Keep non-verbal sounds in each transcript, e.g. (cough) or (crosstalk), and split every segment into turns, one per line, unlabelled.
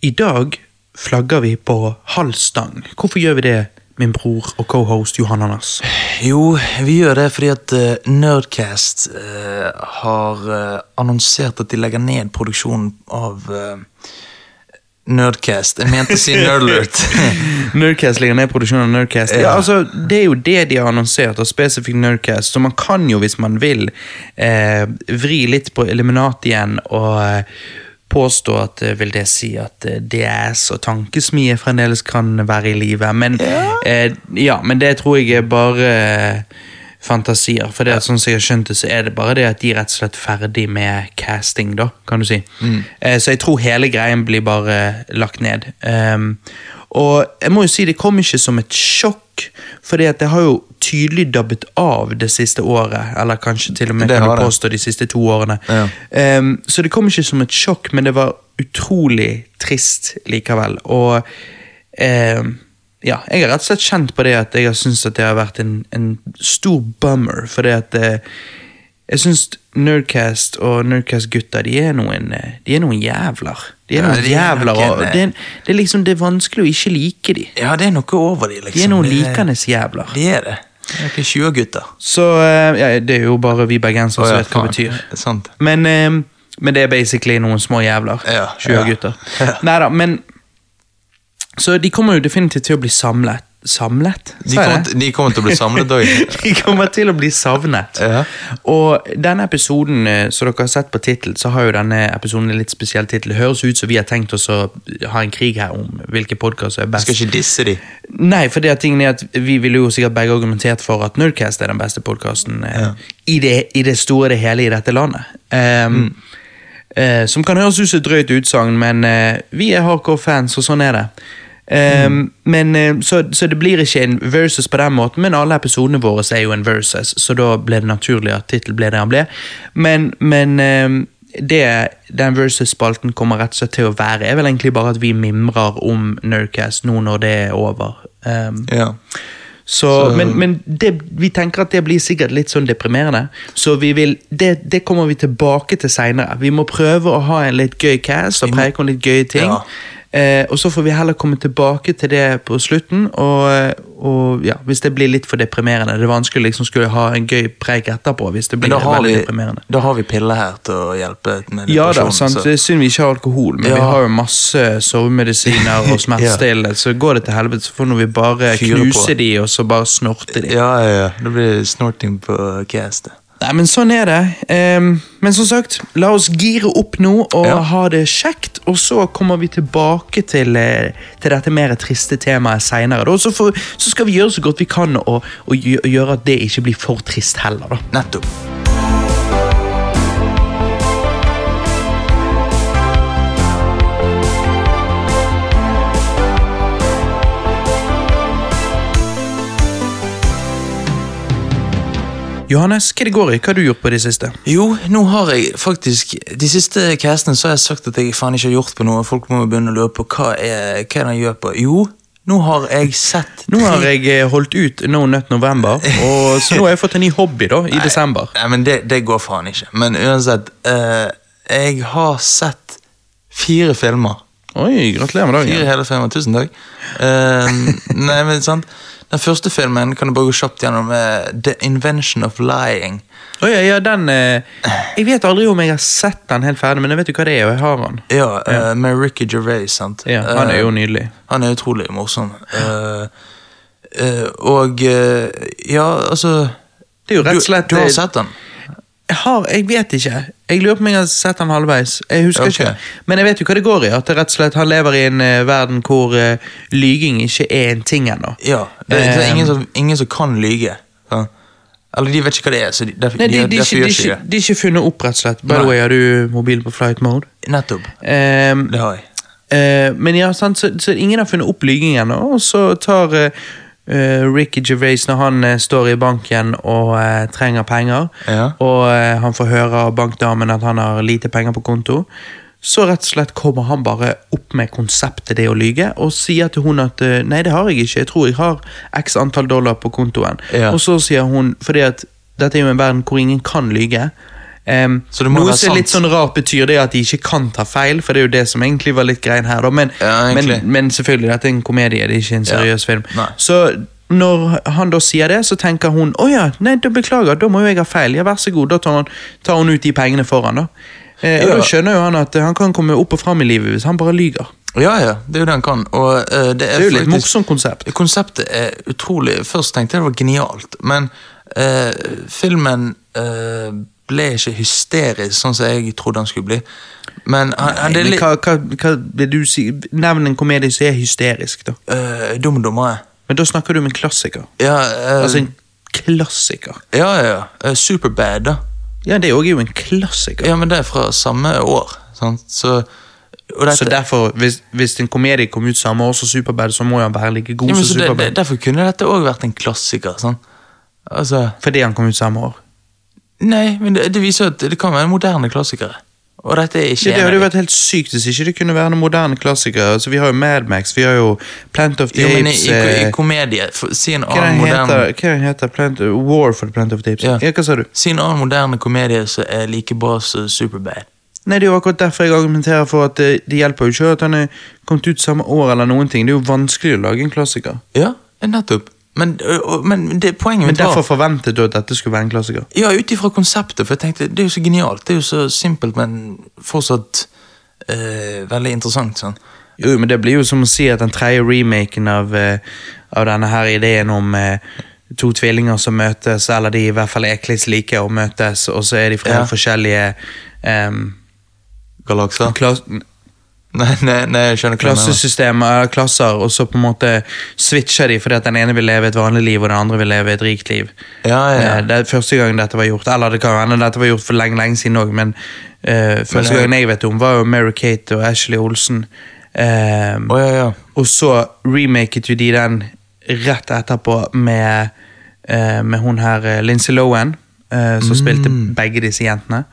I dag flagger vi på halv stang. Hvorfor gjør vi det, min bror og cohost Johan Anders?
Jo, vi gjør det fordi at eh, Nerdcast eh, har eh, annonsert at de legger ned produksjonen av eh, Nerdcast. Jeg mente å (laughs) si Nerdlert. (laughs)
Nerdcast ligger ned produksjonen av Nerdcast. Ja. altså, Det er jo det de har annonsert, og spesifikt Nerdcast, så man kan jo, hvis man vil, eh, vri litt på Eliminat igjen og eh, påstå at eh, vil det si at eh, DS og tankesmie fremdeles kan være i live. Men, eh, ja, men det tror jeg er bare eh, fantasier. For det at sånn som jeg har skjønt det, så er det bare det at de er rett og slett ferdig med casting, da, kan du si.
Mm.
Eh, så jeg tror hele greien blir bare eh, lagt ned. Ehm, og jeg må jo si det kom ikke som et sjokk, fordi at det har jo tydelig dabbet av det siste året, eller kanskje til og med
Det
kan
har
du
det.
påstå de siste to årene.
Ja.
Ehm, så det kom ikke som et sjokk, men det var utrolig trist likevel. Og ehm, ja, jeg har rett og slett kjent på det at jeg har syntes at det har vært en, en stor bummer, fordi at eh, jeg syns Nerdcast og Nerdcast-gutta de, er noen, eh, de er noen jævler. De er
Ja,
noen
de er
jævler,
nok
og
en, eh,
det er, det er liksom det er vanskelig å ikke like de.
Ja, det er noe over de, liksom.
De er noen
Det-
likandes jævler.
De er det. Det er ikke 20-gutter.
Så eh, ja, det er jo bare vi bergensere som vet hva det betyr.
Sant.
Men, eh, men det er basically noen små jævler.
Ja,
20
ja.
gutter.
(laughs) Ja.
Neida, men Så de kommer jo definitivt til å bli samlet. Samlet?
De
Sa jeg
kommer,
det?
til- de kommer til å bli samlet òg.
(laughs) De kommer til å bli savnet.
Ja.
Og denne episoden, eh, som dere har sett på tittelen, så har jo denne episoden en litt spesiell tittel. Det høres ut som vi har tenkt oss å ha en krig her om hvilke podkaster er best.
Skal ikke disse de.
Nei, for det at tingen er at vi ville jo sikkert begge argumentert for at Nerdcast er den beste podkasten i, det- i det store og det hele i dette landet. Ehm, eh, som kan høres ut som et drøyt utsagn, men eh, vi er hardcore fans, og sånn er det. Ehm, men, eh, så, så det blir ikke en versus på den måten, men alle episodene våre er jo en versus, så da ble det naturlig at tittelen ble det han ble. Men, men ehm, det den versus-spalten kommer rett og slett til å være, er vel egentlig bare at vi mimrer om Nerdcast nå når det er over. Ehm,
Ja.
så, men men det, vi tenker at det blir sikkert litt sånn deprimerende, så vi vil, det, det kommer vi tilbake til seinere. Vi må prøve å ha en litt gøy cast og preke om litt gøye ting.
Ja.
Eh, og så får vi heller komme tilbake til det på slutten, og, og ja, hvis det blir litt for deprimerende. Det er vanskelig liksom skulle ha en gøy preik etterpå hvis det
Men
blir
da har,
veldig
vi,
deprimerende.
da har vi piller her til å hjelpe med
Ja da,
depresjonen,
sant?
så-
det er synd vi ikke har alkohol, men
Ja.
vi har jo masse sovemedisiner
(laughs)
og smertestillende, så går det til helvete, så får nå vi bare
Fyre på.
knuse de, og så bare snorte de.
Ja, ja, ja. Det blir snorting på castet.
Nei, men sånn er det. Ehm, men som sagt, la oss gire opp nå og
Ja.
ha det kjekt, og så kommer vi tilbake til, eh, til dette mer triste temaet seinere. Så, får- så skal vi gjøre så godt vi kan og, og gjø- og gjøre at det ikke blir for trist heller, da.
Nettopp.
Johannes, hva det går i? Hva har du gjort på det siste?
Jo, nå har jeg faktisk De siste castene så har jeg sagt at jeg faen ikke har gjort på noe. Folk må jo begynne å lure på hva er, hva er det han gjør på. Jo, nå har jeg sett
Nå har jeg eh, holdt ut No Nut November, og så nå har jeg fått en ny hobby da, i desember.
Nei, men det, det går faen ikke. Men uansett, eh, jeg har sett fire filmer.
Oi, gratulerer med
Fire
dagen.
hele filmer, tusen takk. Eh, nei, men sant Den første filmen kan du bare gå kjapt gjennom. eh, The Invention of Lying.
Oi, ja, ja, den eh, Jeg vet aldri om jeg har sett den helt ferdig, men jeg vet jo hva det er, og jeg har den.
Ja, eh, Med Ricky Gervais, sant.
Ja, han er
Eh,
jo nydelig.
Han er utrolig morsom. Eh, eh, og eh, Ja, altså
Det er jo rett og slett eh,
du, du har sett den?
Jeg har, jeg vet ikke. Jeg lurer på om jeg har sett han halvveis. Jeg husker
Ok.
ikke. Men jeg vet jo hva det går i. At det rett og slett han lever i en eh, verden hvor eh, lyging ikke er en ting ennå.
Ja. Det, det er
Eh,
ingen som, ingen som kan lyge. sant? Eller de vet ikke hva det er, så de, derfor,
Nei, de,
de,
de, er ikke,
derfor
de,
gjør
er
ikke
ikke,
det.
de er ikke funnet opp, rett og slett. By
Nei.
the way, har du mobil på flight mode?
Nettopp.
Ehm,
Det har jeg.
eh, men ja, sant, så, så ingen har funnet opp lyging ennå, og så tar eh, eh, Ricky Gervais, når han eh, står i banken og eh, trenger penger,
Ja.
og eh, han får høre av bankdamen at han har lite penger på konto, så rett og slett kommer han bare opp med konseptet det å lyge, og sier til hun at eh, nei, det har jeg ikke, jeg tror jeg har x antall dollar på kontoen.
Ja.
Og så sier hun, fordi at dette er jo en verden hvor ingen kan lyge, Em,
Så det må
noe
være
som er litt
sant.
sånn rart, betyr det at de ikke kan ta feil, for det er jo det som egentlig var litt greien her, da. Men,
Ja,
men,
egentlig.
men selvfølgelig, dette er en komedie, det er ikke en seriøs film.
Nei.
Så når han da sier det, så tenker hun å ja, nei, da beklager, da må jo jeg ha feil. Ja, vær så god, da tar hun, tar hun ut de pengene for han da. Eh, og
Ja.
Da skjønner jo han at eh, han kan komme opp og fram i livet hvis han bare lyger.
Ja, ja, det er jo det han kan. Og eh, det er,
Det er jo litt
faktisk-
morsomt konsept.
Konseptet er utrolig Først tenkte jeg det var genialt, men eh, filmen eh, ble ikke hysterisk, sånn som jeg trodde han skulle bli. Men han, han, det er
Men
litt
hva, hva, hva vil du si? Nevn en komedie som er hysterisk, da.
eh, dum dummere.
Men da snakker du om en klassiker.
Ja, eh,
Altså en klassiker.
ja, ja, ja. Eh, Superbad, da.
Ja, det er jo en klassiker.
Ja, men det er fra samme år, sant? så og
Så derfor, hvis, hvis en komedie kom ut samme år som Superbad, så må han være like god
ja, men,
som
så det, det,
Superbad.
derfor kunne dette òg vært en klassiker. Sånn. Altså,
Fordi han kom ut samme år.
nei, men det, det viser jo at det kan være moderne klassikere. Og dette er ikke
Ja, det
en av
hadde jo
de.
vært helt sykt hvis ikke det kunne være noen moderne klassikere. Altså, vi har jo Mad Max, vi har jo Plant of the
Jo, men i,
Apes
i, i
eh,
komedie for, Si en
Hva
annen
den
moderne
heter hva den? Heter, Plant, øh, War for the Plant of the Apes.
Ja.
Ja, hva sa du?
Si en annen moderne komedie som er like bra som Superbad.
Nei, Det er jo akkurat derfor jeg argumenterer for at det, det hjelper jo ikke at han er kommet ut samme år. eller noen ting. Det er jo vanskelig å lage en klassiker.
Ja, nettopp. Men, ø- ø- men det, poenget
Men
mitt
derfor
var
forventet du at dette skulle være en klassiker?
Ja, ut ifra konseptet, for jeg tenkte det er jo så genialt. Det er jo så simpelt, men fortsatt eh, veldig interessant. sånn.
Jo, men det blir jo som å si at den tredje remaken av, eh, av denne her ideen om eh, to tvillinger som møtes, eller de i hvert fall er kliss like og møtes, og så er de fra
Ja.
forskjellige em,
Galakser?
klas
(laughs) Nei, nei, nei, jeg skjønner hva du mener.
klassesystemer, eller klasser, og så på en måte switcher de fordi at den ene vil leve et vanlig liv, og den andre vil leve et rikt liv.
Ja, ja, ja.
Eh, Det er første gang dette var gjort, eller det kan hende dette var gjort for lenge, lenge siden òg, men eh, første
Men, eh,
gangen jeg vet om, var jo Mary-Kate og Ashley Olsen. Eh,
Å, ja, ja.
og så remaket jo de den rett etterpå med, eh, med hun her eh, Lindsay Lohan, eh, som spilte
Mm.
begge disse jentene.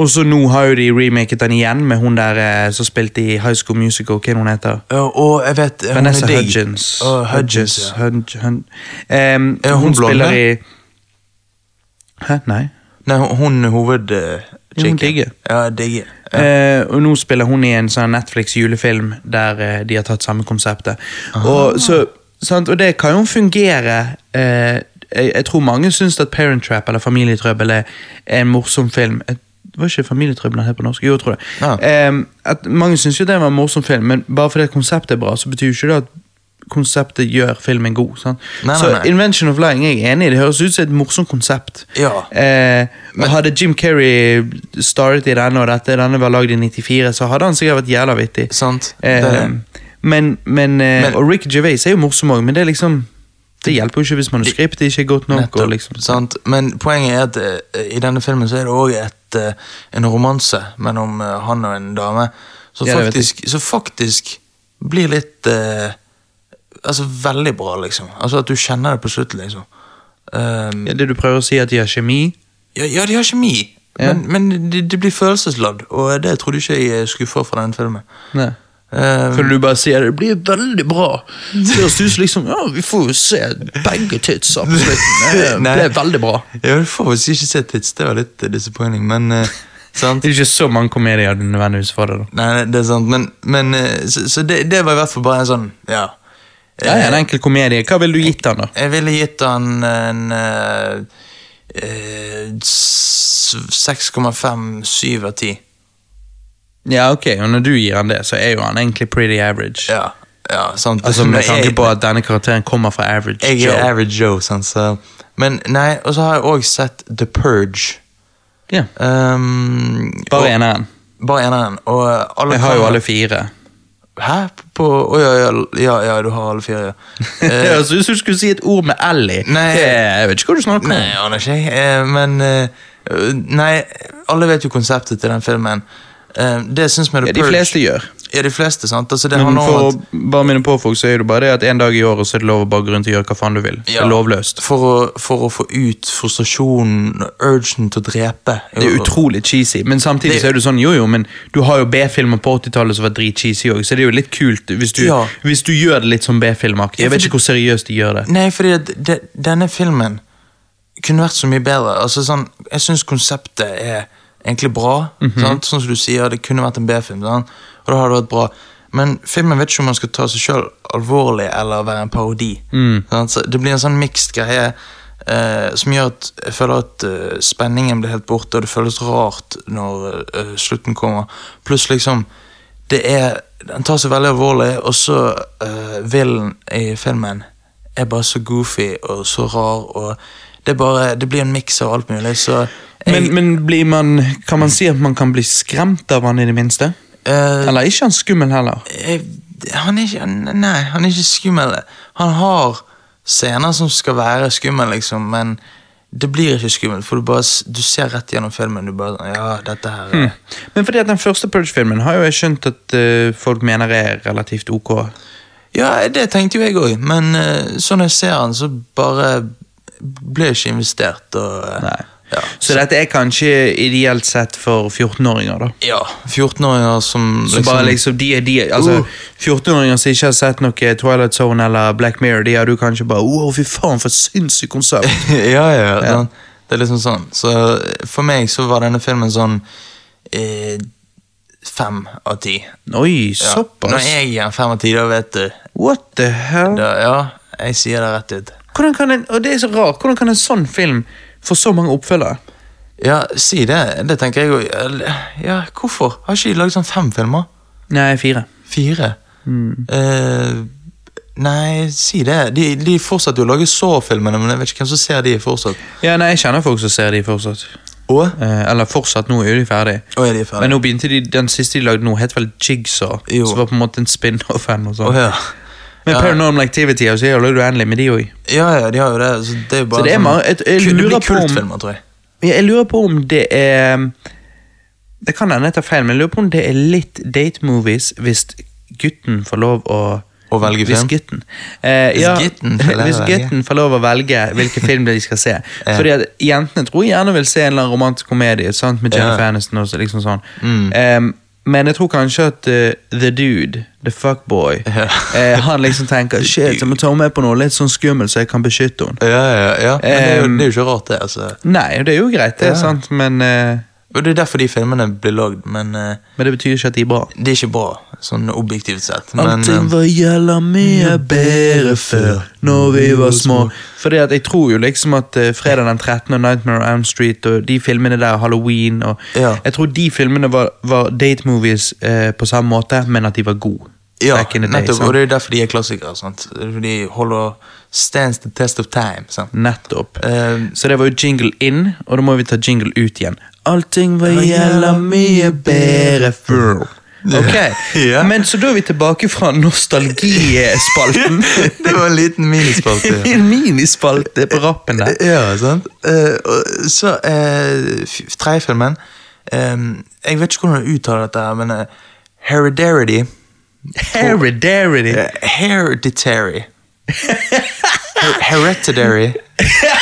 Og så nå har jo de remaket den igjen med hun der eh, som spilte i High School Musical. Hva er hun heter?
Ja, og jeg vet eh,
Vanessa
hun er digg.
Hudgens.
Å, Hudgens, ja.
Hudgens, ja. Hud- Hud- Ehm,
Er hun
hun spiller
blonde?
i Hæ, nei?
Nei, hun- hun er hoved... eh,
Ja, hun
chicken.
digger.
Ja, digger. Ja.
Eh, og nå spiller hun i en sånn Netflix-julefilm der eh, de har tatt samme konseptet. Og, så, sant? og det kan jo fungere. Eh, jeg, jeg tror mange syns at Parent Trap eller Familietrøbbel er en morsom film. Jeg, var ikke Familietrøbbel den het på norsk? Jo, jeg tror det.
Ja.
Eh, at mange syns jo det var en morsom film, men bare fordi konseptet er bra, så betyr jo ikke det at konseptet gjør filmen god. Sant?
Nei, nei,
så
nei.
Invention of Lying jeg er enig i, det høres ut som et morsomt konsept.
Ja.
Eh, og hadde Jim Carrey startet i denne, og dette, denne var lagd i 94, så hadde han sikkert vært jævla vittig.
Sant?
Eh,
det er det.
men, men, eh,
Men-
og Rick Gervais er jo morsom òg, men det er liksom det hjelper jo ikke hvis manuskriptet ikke er godt nok.
Nettopp,
og liksom,
sant? Men poenget er at eh, i denne filmen så er det òg eh, en romanse mellom eh, han og en dame som
Ja, det vet jeg.
faktisk, som faktisk blir litt eh, Altså veldig bra, liksom. Altså At du kjenner det på slutten, liksom. Um,
Ja, det du prøver å si, er at de har kjemi.
ja, ja, de har kjemi,
Ja.
men, men det, det blir følelsesladd, og det trodde ikke jeg skuffa fra den filmen.
Nei.
Um,
Kan du bare si at det blir veldig (laughs) bra? Det høres ut som liksom, ja, vi får jo se begge titsa på (laughs) slutten. Det
Nei.
ble veldig bra.
ja, du får visst ikke se tids, det var litt eh, disappointing, men
(laughs)
eh, sant?
Det er ikke så mange komedier du nødvendigvis får det, da.
Nei, nei, det er sant, men, men eh, Så, så det, det var i hvert fall bare en sånn, ja. Eh,
Ja, ja, en enkel komedie. Hva ville du gitt den, da?
Jeg ville gitt han en eh, eh, s- 6,57 av 10.
Ja, ok, og når du gir han det, så er jo han egentlig pretty average.
Ja, ja sant.
Altså Med
Men
tanke
jeg-
på at denne karakteren kommer fra average.
Jeg
Joe.
er average Joe, sant, så Men nei, og så har jeg òg sett The Purge.
Ja,
Um, og-
Bare eneren.
Bare eneren. Og alle
Jeg har jo
kan-
alle fire.
Hæ? På Å ja, ja, ja, ja, du har alle
(laughs)
fire, ja.
Det høres ut som altså, du skulle si et ord med L i.
Eh. Nei.
Det- Jeg vet ikke hva du snakker (clears throat) om.
Nei, jeg aner ikke. jeg. Eh, Men eh, Nei, alle vet jo konseptet til den filmen. Eh, Det jeg syns med
Ja,
The
de
Purge
fleste gjør.
Ja, de fleste, sant? Altså, det
Men
handler
for
om
å bare minne på folk, så er det bare det at en dag i året så er det lov å bare gå rundt og gjøre hva faen du vil. Det
Ja.
er lovløst.
at for å, for å få ut frustrasjonen, urgen til å drepe
Det er utrolig cheesy, men samtidig
Det-
så er du sånn jo jo, men du har jo B-filmer på 80-tallet som var dritcheesy òg, så det er jo litt kult hvis du,
Ja.
hvis du gjør det litt som B-filmaktig.
Ja,
Jeg
for
vet ikke hvor seriøst de gjør det.
Nei, fordi at de, denne filmen kunne vært så mye bedre. Altså, sånn, jeg syns konseptet er egentlig bra. sant? Sånn som du sier, det kunne vært en B-film, sant? og da har det vært bra. Men filmen vet ikke om man skal ta seg sjøl alvorlig eller være en parodi. Sant? Så det blir en sånn mixed greie eh, som gjør at jeg føler at eh, spenningen blir helt borte, og det føles rart når eh, slutten kommer. Pluss liksom det er, Den tar seg veldig alvorlig, og så uh, villen i filmen er bare så goofy og så rar. og Det, er bare, det blir en miks av alt mulig. så... jeg-
Men, men blir man, kan man si at man kan bli skremt av han i det minste?
Eh,
Eller er ikke han skummel heller?
jeg, han er ikke han, Nei, han er ikke skummel. Han har scener som skal være skummel, liksom, men det blir ikke skummelt. For du, bare, s- du ser rett gjennom filmen. Du bare sånn, Ja, dette her
Hmm.
er-
Men fordi at den første Purge-filmen har jo jeg skjønt at eh, folk mener er relativt ok.
Ja, det tenkte jo jeg òg, men eh, sånn jeg ser han, så bare ble jeg ikke investert. Og, eh,
Nei.
Ja.
Så dette er kanskje ideelt sett for 14-åringer, da.
ja 14-åringer som
Som bare liksom, de er de, altså,
Uh.
14-åringer som ikke har sett noe Twilight Zone eller Black Mirror, de har du kanskje bare Wow, fy faen, for et sinnssykt
(laughs)
konsept!
ja, ja, ja. Den, det er liksom sånn. Så eh, for meg så var denne filmen sånn eh, fem av ti.
Oi,
Ja. Når
såpass!
jeg gir en fem av ti, da vet du.
What the hell?
Da, ja, jeg sier det rett ut.
Hvordan kan en, og det er så rart, hvordan kan en sånn film få så mange oppfølgere?
Ja, si det. Det tenker jeg òg. Ja, hvorfor? Har ikke de lagd sånn fem filmer?
Nei, fire.
Fire?
Mm.
Eh, nei, si det. De, de fortsetter jo å lage Saw-filmene, men jeg vet ikke hvem som ser de fortsatt.
Ja, nei, Jeg kjenner folk som ser de fortsatt.
Og?
Eh, eller fortsatt, nå er jo de ferdige.
Og er de
Men
ferdige?
nå begynte de, den siste de lagde nå, het vel Jigsaw.
Jo.
Som var på en måte en spin-off. eller noe sånt.
Å, ja.
Men
Ja.
Paranormal Activity altså, jeg har lagd uendelig med de òg.
ja, ja, de har jo det. Så det er jo bare
Så det er
sånn-
mange- et- jeg
Ku- det
lurer
blir
på om-
kultfilmer, tror jeg.
Jeg lurer på om det er Det kan hende jeg tar feil, men jeg lurer på om det er litt date movies hvis gutten får lov å
Å velge
hvis
film?
Gutten, eh,
Hvis
ja, (laughs)
gutten får lov å
hvis
velge.
gutten får lov å velge hvilken film de skal
(laughs)
se. Fordi at Jentene tror jeg gjerne vil se en eller annen romantisk komedie sant? med Jennifer
Ja. Mm.
Aniston. Og så- liksom sånn. Eh, men jeg tror kanskje at eh, The Dude, The Fuckboy,
(laughs) Ja.
eh, han liksom tenker Shit, jeg må ta henne med på noe litt sånn skummelt, så jeg kan beskytte henne.
Ja, ja, ja. Men det, er jo,
Em,
det er jo ikke rart, det. altså.
Nei, det er jo greit, det,
Ja.
sant? men eh,
Og Det er derfor de filmene blir lagd, men eh,
Men det betyr ikke at de er bra.
det er ikke bra, sånn objektivt sett. Men, eh,
var jævla mye
bedre før,
når vi var små. Fordi at jeg tror jo liksom at eh, Fredag den 13. og Nightmare on Elm Street og de filmene der, Halloween og
Ja.
Jeg tror de filmene var, var date movies eh, på samme måte, men at de var gode.
Ja,
Back in the day, sånn.
nettopp,
sant?
og det er derfor de er klassikere. sant? De holder stands the test of time. sant?
Nettopp.
Eh,
Så det var jo jingle inn, og da må vi ta jingle ut igjen. Allting var jævla mye bedre før. (laughs) Ok,
Ja.
men så da er vi tilbake fra (laughs) nostalgispalten.
(laughs) det var en liten
(laughs)
minispalte. ja.
En minispalte på rappen
(laughs)
der.
ja, sant? Eh, og så eh, f- tredje filmen eh, Jeg vet ikke hvordan du uttaler dette, her, men eh, Heredity
Heredity.
eh, Hereditary. Her hereditary. Eh,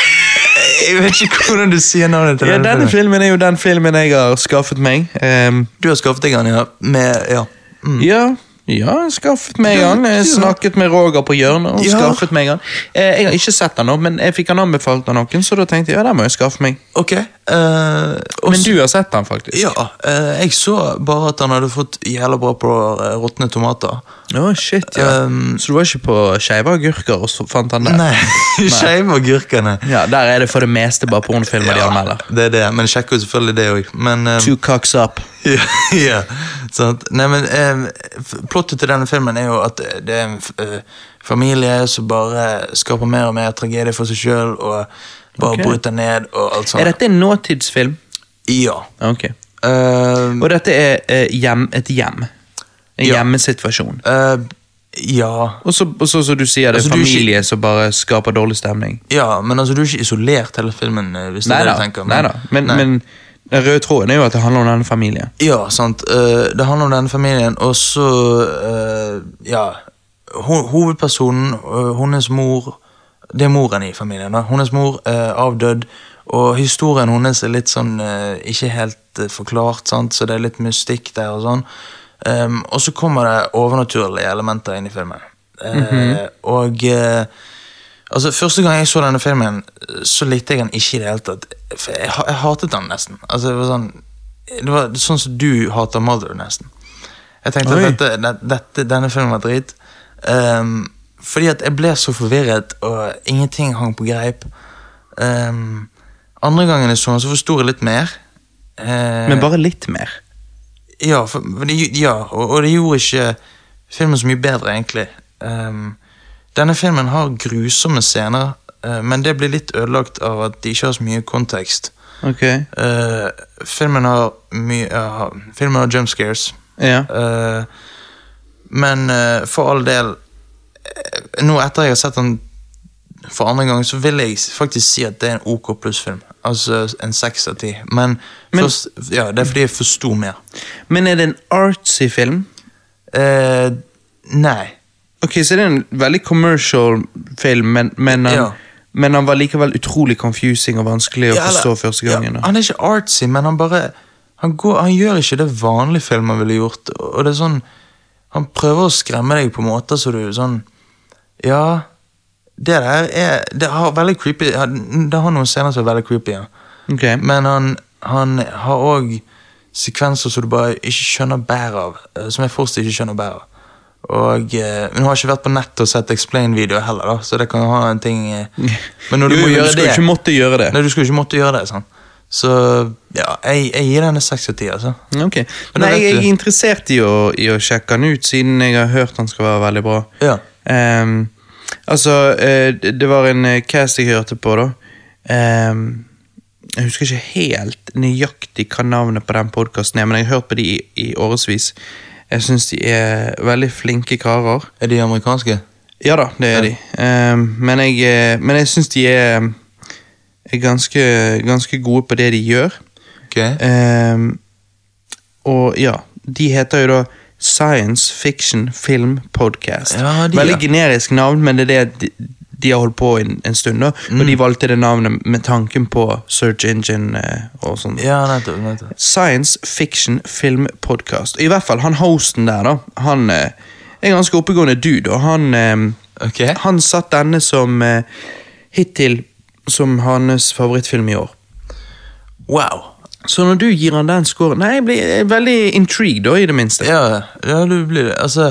Jeg vet ikke hvordan du sier navnet til
Ja,
denne
denne
filmen.
filmen er jo den filmen jeg har skaffet meg. Ehm,
Du har skaffet deg den, ja. Med, ja.
Ja, ja, skaffet meg
Mm. Ja,
han. Jeg
ja.
snakket med Roger på hjørnet og
Ja.
skaffet meg han. Eh, Jeg har ikke sett den nå, men jeg fikk han anbefalt av noen, så da tenkte jeg ja, den må jeg skaffe meg.
Ok. eh, og
Men du har sett den, faktisk.
Ja, eh, jeg så bare at han hadde fått jævla bra på eh, råtne tomater.
Å, shit, ja. så du var ikke på skeive agurker og så fant han der?
Nei, (laughs) skeive agurkene.
Ja, Der er det for det meste bare pornofilmer de anmelder.
det er det, men sjekk jo selvfølgelig det òg. Men eh,
Two cocks up.
ja, (laughs) ja, sant. Nei, men eh, f- plottet til denne filmen er jo at eh, det er en f- eh, familie som bare skaper mer og mer tragedie for seg sjøl og bare
Ok.
bryter ned og alt
Er
sånt.
dette en nåtidsfilm?
Ja.
Ok.
Eh,
Og dette er eh, hjem, et hjem. En
Ja.
hjemmesituasjon.
eh, ja
Og så, og så som du sier, det
Altså,
er
du er ikke-
familie som bare skaper dårlig stemning.
Ja, men altså, du er ikke isolert hele filmen, eh, hvis det
Nei
er det
da,
du tenker.
nei da. Men,
Nei.
men den røde tråden er jo at det handler om denne familien.
Ja, sant. Eh, det handler om denne familien, og så eh, Ja. Ho hovedpersonen, eh, hennes mor Det er moren i familien. da. Hennes mor er avdød, og historien hennes er litt sånn eh, ikke helt eh, forklart, sant? så det er litt mystikk der og sånn. Ehm, og så kommer det overnaturlige elementer inn i filmen. Eh, Og eh, Altså, Første gang jeg så denne filmen, så likte jeg den ikke i det hele tatt. For jeg, ha- jeg hatet den nesten. Altså, det var sånn, Det var sånn som du hater Mother, nesten. Jeg tenkte
Oi.
at dette, det- dette, denne filmen var drit. Ehm, fordi at jeg ble så forvirret, og ingenting hang på greip. Ehm, andre gangen jeg så den, så forsto jeg litt mer. Eh,
Men bare litt mer.
ja, for, for det, ja og, og det gjorde ikke filmen så mye bedre, egentlig. Ehm, denne filmen har grusomme scener, eh, men det blir litt ødelagt av at de ikke har så mye kontekst.
Ok.
Eh, filmen har mye ja, Filmen har jump scares.
Ja.
Eh, men eh, for all del eh, Nå etter jeg har sett den for andre gang, så vil jeg faktisk si at det er en OK pluss-film. Altså en seks av ti. Men,
Men-
først, ja, det er fordi jeg forsto mer.
Men er det en artsy film?
Eh, nei.
Ok, Så det er en veldig commercial film, men, men, han,
Ja.
men han var likevel utrolig confusing og vanskelig å
Ja, eller-
forstå første gangen.
Ja,
da.
han er ikke artsy, men han bare han, går, han gjør ikke det vanlige filmer ville gjort. og- Og det er sånn Han prøver å skremme deg på måter så du sånn Ja, det der er Det har veldig creepy ja, Det har noen scener som er veldig creepy, ja.
Ok.
Men han, han har òg sekvenser som du bare ikke skjønner bæret av. eh, Som jeg fortsatt ikke skjønner bæret av. Og, eh, men hun har ikke vært på nettet og sett Explain-videoer heller, da, så det kan ha en ting eh, Men når
(laughs)
du
Jo, jo,
må
men
gjøre
skulle
det
ikke måtte gjøre det.
Nei, du skulle ikke måtte gjøre det. sant? Så ja, jeg, jeg gir denne 6 av 10, altså.
Mm, Ok.
da
Nei,
vet
jeg
du-
er interessert i å, i å sjekke han ut, siden jeg har hørt han skal være veldig bra.
Ja.
Ehm, altså, eh, det det var en eh, cast jeg hørte på, da. Ehm, jeg husker ikke helt nøyaktig hva navnet på den podkasten er, men jeg har hørt på de i, i årevis. Jeg syns de er veldig flinke karer.
Er de amerikanske?
Ja da, det er de. Ehm, men jeg, eh, men jeg syns de er, eh, er ganske, ganske gode på det de gjør.
Ok.
Ehm, og ja, de heter jo da Science Fiction Film Podcast.
Ja, de,
Veldig
ja.
generisk navn, men det er det de, de har holdt på en, en stund. da Og
Mm.
de valgte det navnet med tanken på search engine eh, og sånn.
Ja, nettopp. nettopp.
Science Fiction Film Podcast. I hvert fall han hosten der, da. Han eh, er en ganske oppegående dude, og han eh,
Ok.
han satt denne som eh, hittil som hans favorittfilm i år.
Wow.
Så når du gir han den scoren Nei, jeg blir jeg er veldig intrigued, da, i det minste.
Ja, ja du blir det. Altså,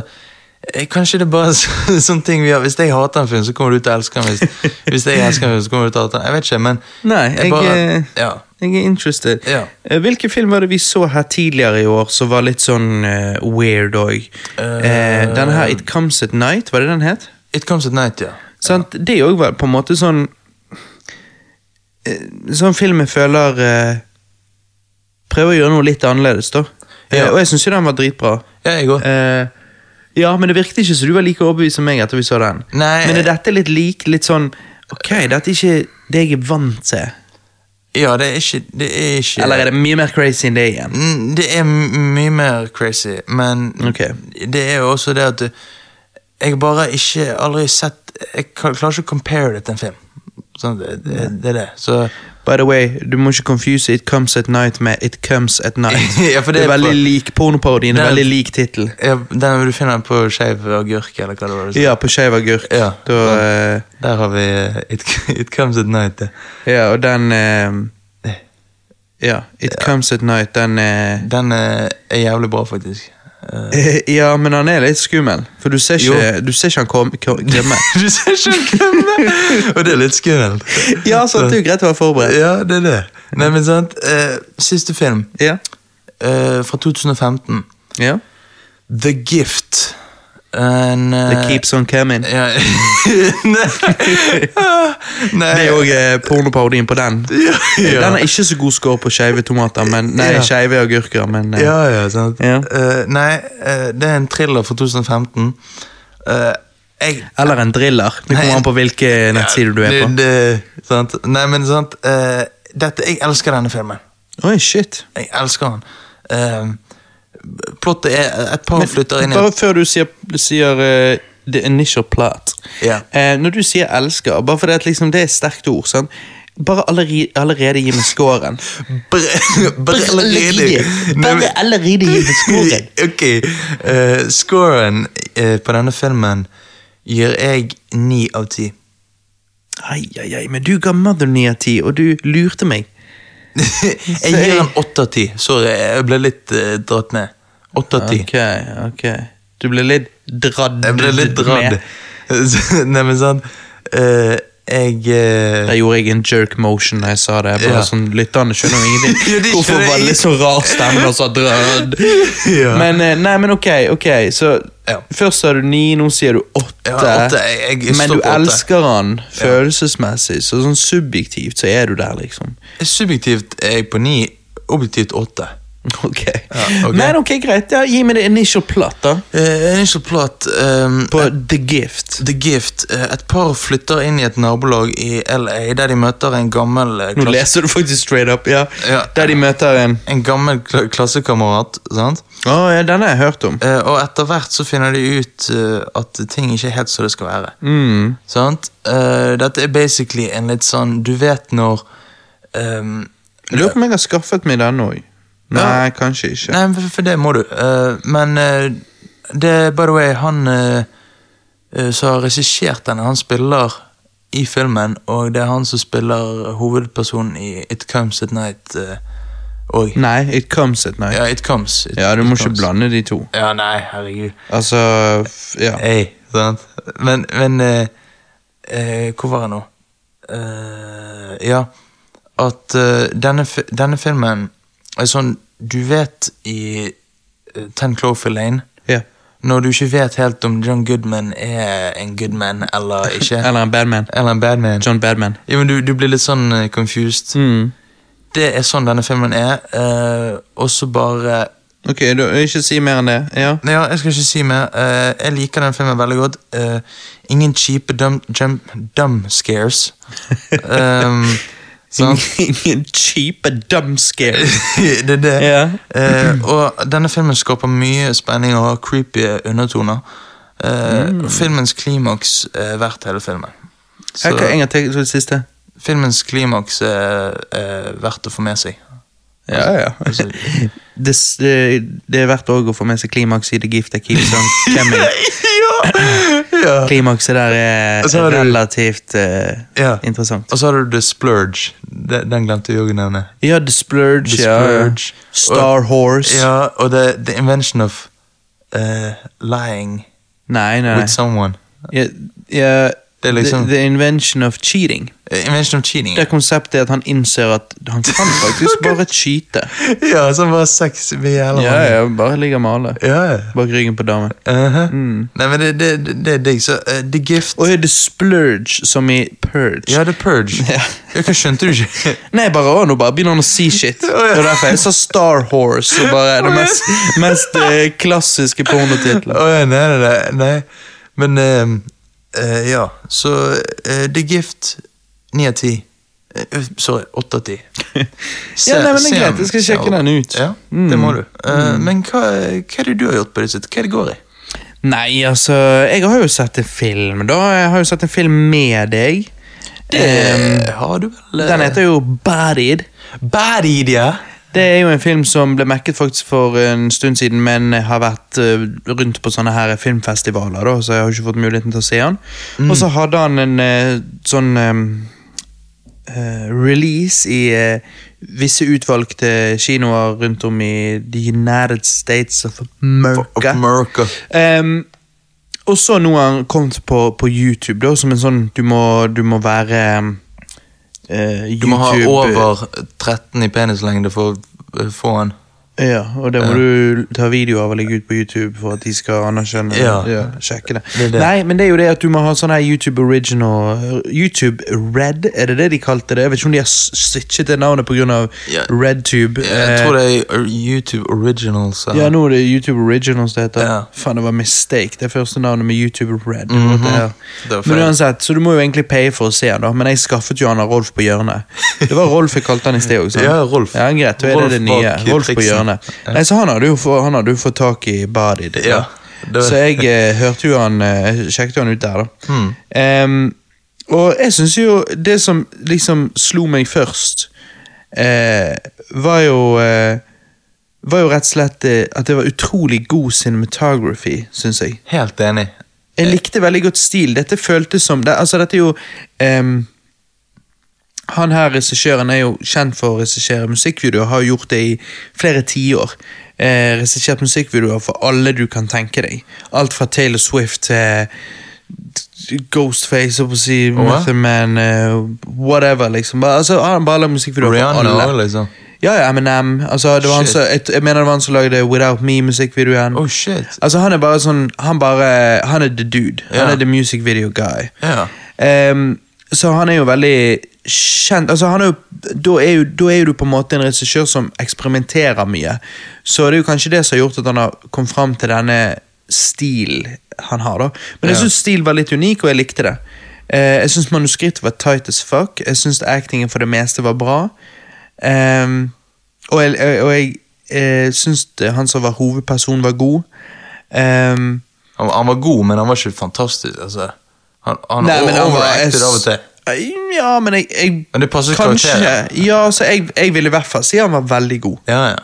eh, kanskje det er bare (laughs) så, sånne ting vi har Hvis jeg hater en film, så kommer du til å
(laughs)
elske den. Hvis, hvis jeg elsker en film, så kommer du til å hate den. Jeg vet ikke, men
Nei, jeg, eh,
Ja.
jeg er interested.
Ja.
Eh, Hvilke film var det vi så her tidligere i år som var litt sånn eh, weird òg?
Eh,
denne her It Comes At Night, var det den het?
It Comes At Night, ja.
Sant? Det òg var på en måte sånn eh, Sånn film jeg føler eh, Prøver å gjøre noe litt annerledes, da. Eh,
Ja.
og jeg syns jo den var dritbra.
Ja, jeg òg.
Eh, ja, men det virket ikke så du var like overbevist som meg etter vi så den.
Nei.
Men er dette litt lik, litt sånn Ok, dette er ikke det jeg er vant til.
Ja, det er ikke, det er ikke
Eller er det mye mer crazy enn det igjen?
Mm, Det er m- mye mer crazy, men
Ok.
det er jo også det at du- jeg bare ikke aldri sett Jeg kan- klarer ikke å compare det til en film. Sånn, det, det, det er det. Så, (laughs)
By the way, du må ikke confuse It Comes At Night med It Comes At (laughs) Night.
Ja, for det
er
er
veldig
på-
lik pornoparodien. er
Nei.
Veldig lik tittel.
ja, den du finner på Skeiv agurk, eller hva det var. du sa.
Ja, på Skeiv agurk.
Ja.
Da, eh,
Der har vi eh, it, (laughs) it Comes At Night. det.
ja, og den eh, Ja, It Comes At Night, den eh, (laughs)
Den eh, er jævlig bra, faktisk. Eh, (laughs)
eh, Ja, men han er litt skummel. For du ser ikke, du ser ikke han kom- kom- komme.
du ser ikke han komme! Og det er litt skummelt.
(laughs) Ja, altså, så det er jo greit å være forberedt.
Ja, det er det. Nei, men sant. eh, siste film,
Ja.
eh, fra 2015.
ja.
The Gift. En, eh,
The keeps on coming.
ja, (laughs)
(laughs)
Nei. Ah, Nei.
Det er òg eh, pornoparodien på den.
ja, ja.
Den er ikke så god score på skeive tomater, men nei,
Ja.
skeive agurker, men eh,
ja, ja, sant.
Ja.
Eh, nei, eh, det er en thriller fra 2015. Eh, jeg
Eller en driller. Det
Nei.
kommer an på hvilke nettsider du er på.
Det, det, sant? Nei, men sant. eh, dette, jeg elsker denne filmen.
Oi, shit.
Jeg elsker den. Eh, plottet er et par flytter inn i
Bare før du sier, sier eh, the initial plot
Ja.
Eh, Når du sier elsker, bare fordi at liksom, det er et sterkt ord sånn. Bare allerede, allerede gi meg
(laughs)
scoren.
Bre-
(laughs)
Brelleride. Nei, men-
Bare allerede gi meg
(laughs)
scoren.
ok. eh, scoren eh, på denne filmen gir jeg ni av ti.
Ai, ai, ai, men du ga Mother 9 av 10, og du lurte meg.
jeg gir en åtte av ti. Sorry, jeg ble litt eh, dratt med. Åtte av ti.
Ok, ok. Du ble litt dradd
Jeg ble litt dratt.
med.
(laughs) Nei, men sånn eh, Jeg eh,
Da gjorde jeg en jerk motion da jeg sa det. Bare
Ja.
sånn, Lytterne skjønner jo ingenting.
(laughs) Ja, de
Hvorfor
skjønner
var det litt så rar stemme og sa dradd?
(laughs) Ja.
Men, eh, nei, men ok, ok. Så
Ja.
først sa du ni, nå sier du åtte.
Ja, åtte. Jeg- jeg
men
står
du
på åtte.
elsker han følelsesmessig, så sånn subjektivt så er du der, liksom. (laughs)
Subjektivt er jeg på ni, objektivt åtte.
Ok.
Ja, ok.
Men ok, greit. Ja, gi meg det initial plot, da.
Eh, initial plot ehm,
På The Gift.
The Gift. Eh, Et par flytter inn i et nabolag i LA, der de møter en gammel eh,
Nå
klasse-
leser du faktisk straight up, ja.
Ja.
Der de møter en
En gammel kla- klassekamerat. sant?
Å, ja, denne har jeg hørt om.
Eh, og etter hvert så finner de ut eh, at ting ikke er helt som det skal være.
Mm.
Sant? Eh, dette er basically en litt sånn Du vet når ehm,
Jeg lurer på om jeg har skaffet meg den òg. Nei, kanskje ikke.
Nei, for, for det må du. Eh, men eh, det By the way, han eh, eh, som har regissert den, han spiller i filmen, og det er han som spiller hovedpersonen i It Comes At Night òg.
Nei, It Comes At Night.
ja, It Comes. It,
Mm. Ja, du
It
må ikke
Comes.
blande de to.
Ja, nei, herregud.
Altså f- Ja.
Hey, sant? Men, men eh, eh, Hvor var jeg nå? Eh, ja, at eh, denne, fi- denne filmen er sånn Du vet i eh, Ten Clover Lane
ja.
Når du ikke vet helt om John Goodman er en goodman eller ikke,
(laughs) Eller en Badman.
eller en badman
John Badman.
ja, men du, du blir litt sånn eh, confused.
Mm.
Det er sånn denne filmen er, eh, og så bare
Ok, du ikke si mer enn det. Ja.
Nei, Ja, jeg skal ikke si mer. Eh, jeg liker den filmen veldig godt. Eh, ingen kjipe dum, jump, dumb
(laughs)
scares. Um, (laughs) (laughs) sant?
Ingen kjipe dumscare.
det er det.
Ja.
Eh, og denne filmen skaper mye spenning og har creepy undertoner. Eh,
Mm.
og Filmens klimaks er verdt hele filmen. (laughs) Så
Hva en gang til til det siste?
filmens klimaks er, er verdt å få med (laughs) seg.
Ja, ja.
Altså,
(laughs) Det, s- det, det er verdt også å få med seg klimaks i The Gift I Keep Song Coming.
(laughs) ja.
Klimakset der er
Og så har du-
relativt eh,
Ja.
interessant.
Og så har du The Splurge. Den, den glemte vi òg å nevne.
Ja, The Splurge.
The
ja, ja.
Splurge.
Star Horse.
Ja, og The, the Invention of eh, Lying
Nei, nei.
with someone.
Ja, ja,
Det er liksom-
the, the Invention of Cheating.
Eh, Invention of Cheating.
Det konseptet er at han innser at han
(laughs)
kan faktisk bare skyte.
ja, som var sex med jævla
Ja,
mange.
ja, bare ligge med alle.
Ja, ja.
Bak ryggen på damen.
Uh-huh. Nei, men det, det, det- det er digg. Så eh, The Gift
Og er det splurge som i purge?
Ja, The Purge.
Ja.
(laughs) Ja, Hva skjønte du ikke? (laughs)
Nei, bare å, nå bare begynner han å si shit. Det
ja.
var derfor jeg sa Star Horse. Og bare det mest, mest eh, klassiske pornotitler.
Å ja, nei, nei, nei, nei. Men eh, eh, ja, så eh, The Gift 9 av 10. Eh, eh, sorry, 8 av 10. Se-
(laughs) Ja, nei, men det
se
er
den.
greit. Jeg skal
Se
sjekke den ut.
Ja, Det
Mm.
må du. Eh, Men hva, hva er det du har gjort på det sitt? Hva er det går i?
Nei, altså Jeg har jo sett en film, da. Jeg har jo sett en film med deg. Em,
Eh, har du vel eh,
ehm, den heter jo Bodied.
Bad Idea.
Det er jo en film som ble mekket faktisk for en stund siden, men har vært eh, rundt på sånne her filmfestivaler, da, så jeg har ikke fått muligheten til å se den.
Mm.
Og så hadde han en eh, sånn eh, eh, release i eh, visse utvalgte kinoer rundt om i The United States of America.
America.
Ehm, og så nå har han kommet på, på YouTube, da, som en sånn Du må, du må være eh,
Du må ha
YouTube-
over 13 i penislengde for å eh, få den.
Ja, og det må du ta video av og legge ut på YouTube for at de skal anerkjenne
Ja.
sjekke det.
Det er det.
Nei, men det er jo det at du må ha sånn her YouTube original YouTube Red, er det det de kalte det? Jeg vet ikke om de har s- switchet det navnet pga.
Ja.
RedTube.
Jeg tror det er YouTube Originals. eh.
Eh, ja, nå er det YouTube Originals det heter.
Ja.
Faen, det var mistake. Det første navnet med YouTube Red.
Mhm.
det her.
Det var
Men
feil.
uansett, så du må jo egentlig paye for å se den, da. Men jeg skaffet jo han av Rolf på hjørnet. Det var Rolf jeg kalte han i sted også. sant?
Ja, Rolf.
Ja, greit, da er
Rolf
det det nye.
bak
Rolf på
triksen.
hjørnet. Nei, så han hadde jo få- han hadde jo fått tak i Body. Det,
Ja, det-
Så jeg eh, hørte jo han eh, sjekket jo han ut der, da.
Hmm.
Em, og jeg syns jo Det som liksom slo meg først, eh, var jo eh, var jo rett og slett eh, at det var utrolig god cinematography, syns jeg.
Helt enig.
Jeg likte veldig godt stil. Dette føltes som det, Altså, dette er jo ehm, han her regissøren er jo kjent for å regissere musikkvideoer, har jo gjort det i flere tiår. Eh, regissert musikkvideoer for alle du kan tenke deg. Alt fra Taylor Swift til Ghostface, holdt på å si, Method Man, eh, whatever, liksom. Bare- Altså, han har bare lagd musikkvideoer for
Rihanna
alle.
òg, liksom.
Ja, ja, Eminem. Altså, det var han
Shit.
som, jeg, jeg mener det var han som lagde Without Me-musikkvideoen.
Oh, shit.
Altså, han er bare sånn Han, bare, han er the dude. Han
Ja.
er the music video guy.
Ja.
Ehm, så han er jo veldig kjent altså han er jo, da, er jo, da er jo du på en måte en regissør som eksperimenterer mye. Så det er jo kanskje det som har gjort at han har kommet fram til denne stilen han har. da Men jeg
Ja.
syns stil var litt unik, og jeg likte det. Eh, jeg syns manuskriptet var tight as fuck. Jeg syns actingen for det meste var bra. Ehm, og jeg, jeg- og jeg, eh, syns det- han som var hovedperson, var god. Ehm,
Han, han var god, men han var ikke fantastisk. altså. Han, han
Nei, men han var-
overacted av og til.
Ja, men jeg, jeg
Men det passer
Kanskje.
karakteren.
Ja, så jeg, jeg ville i hvert fall si han var veldig god.
Ja, ja.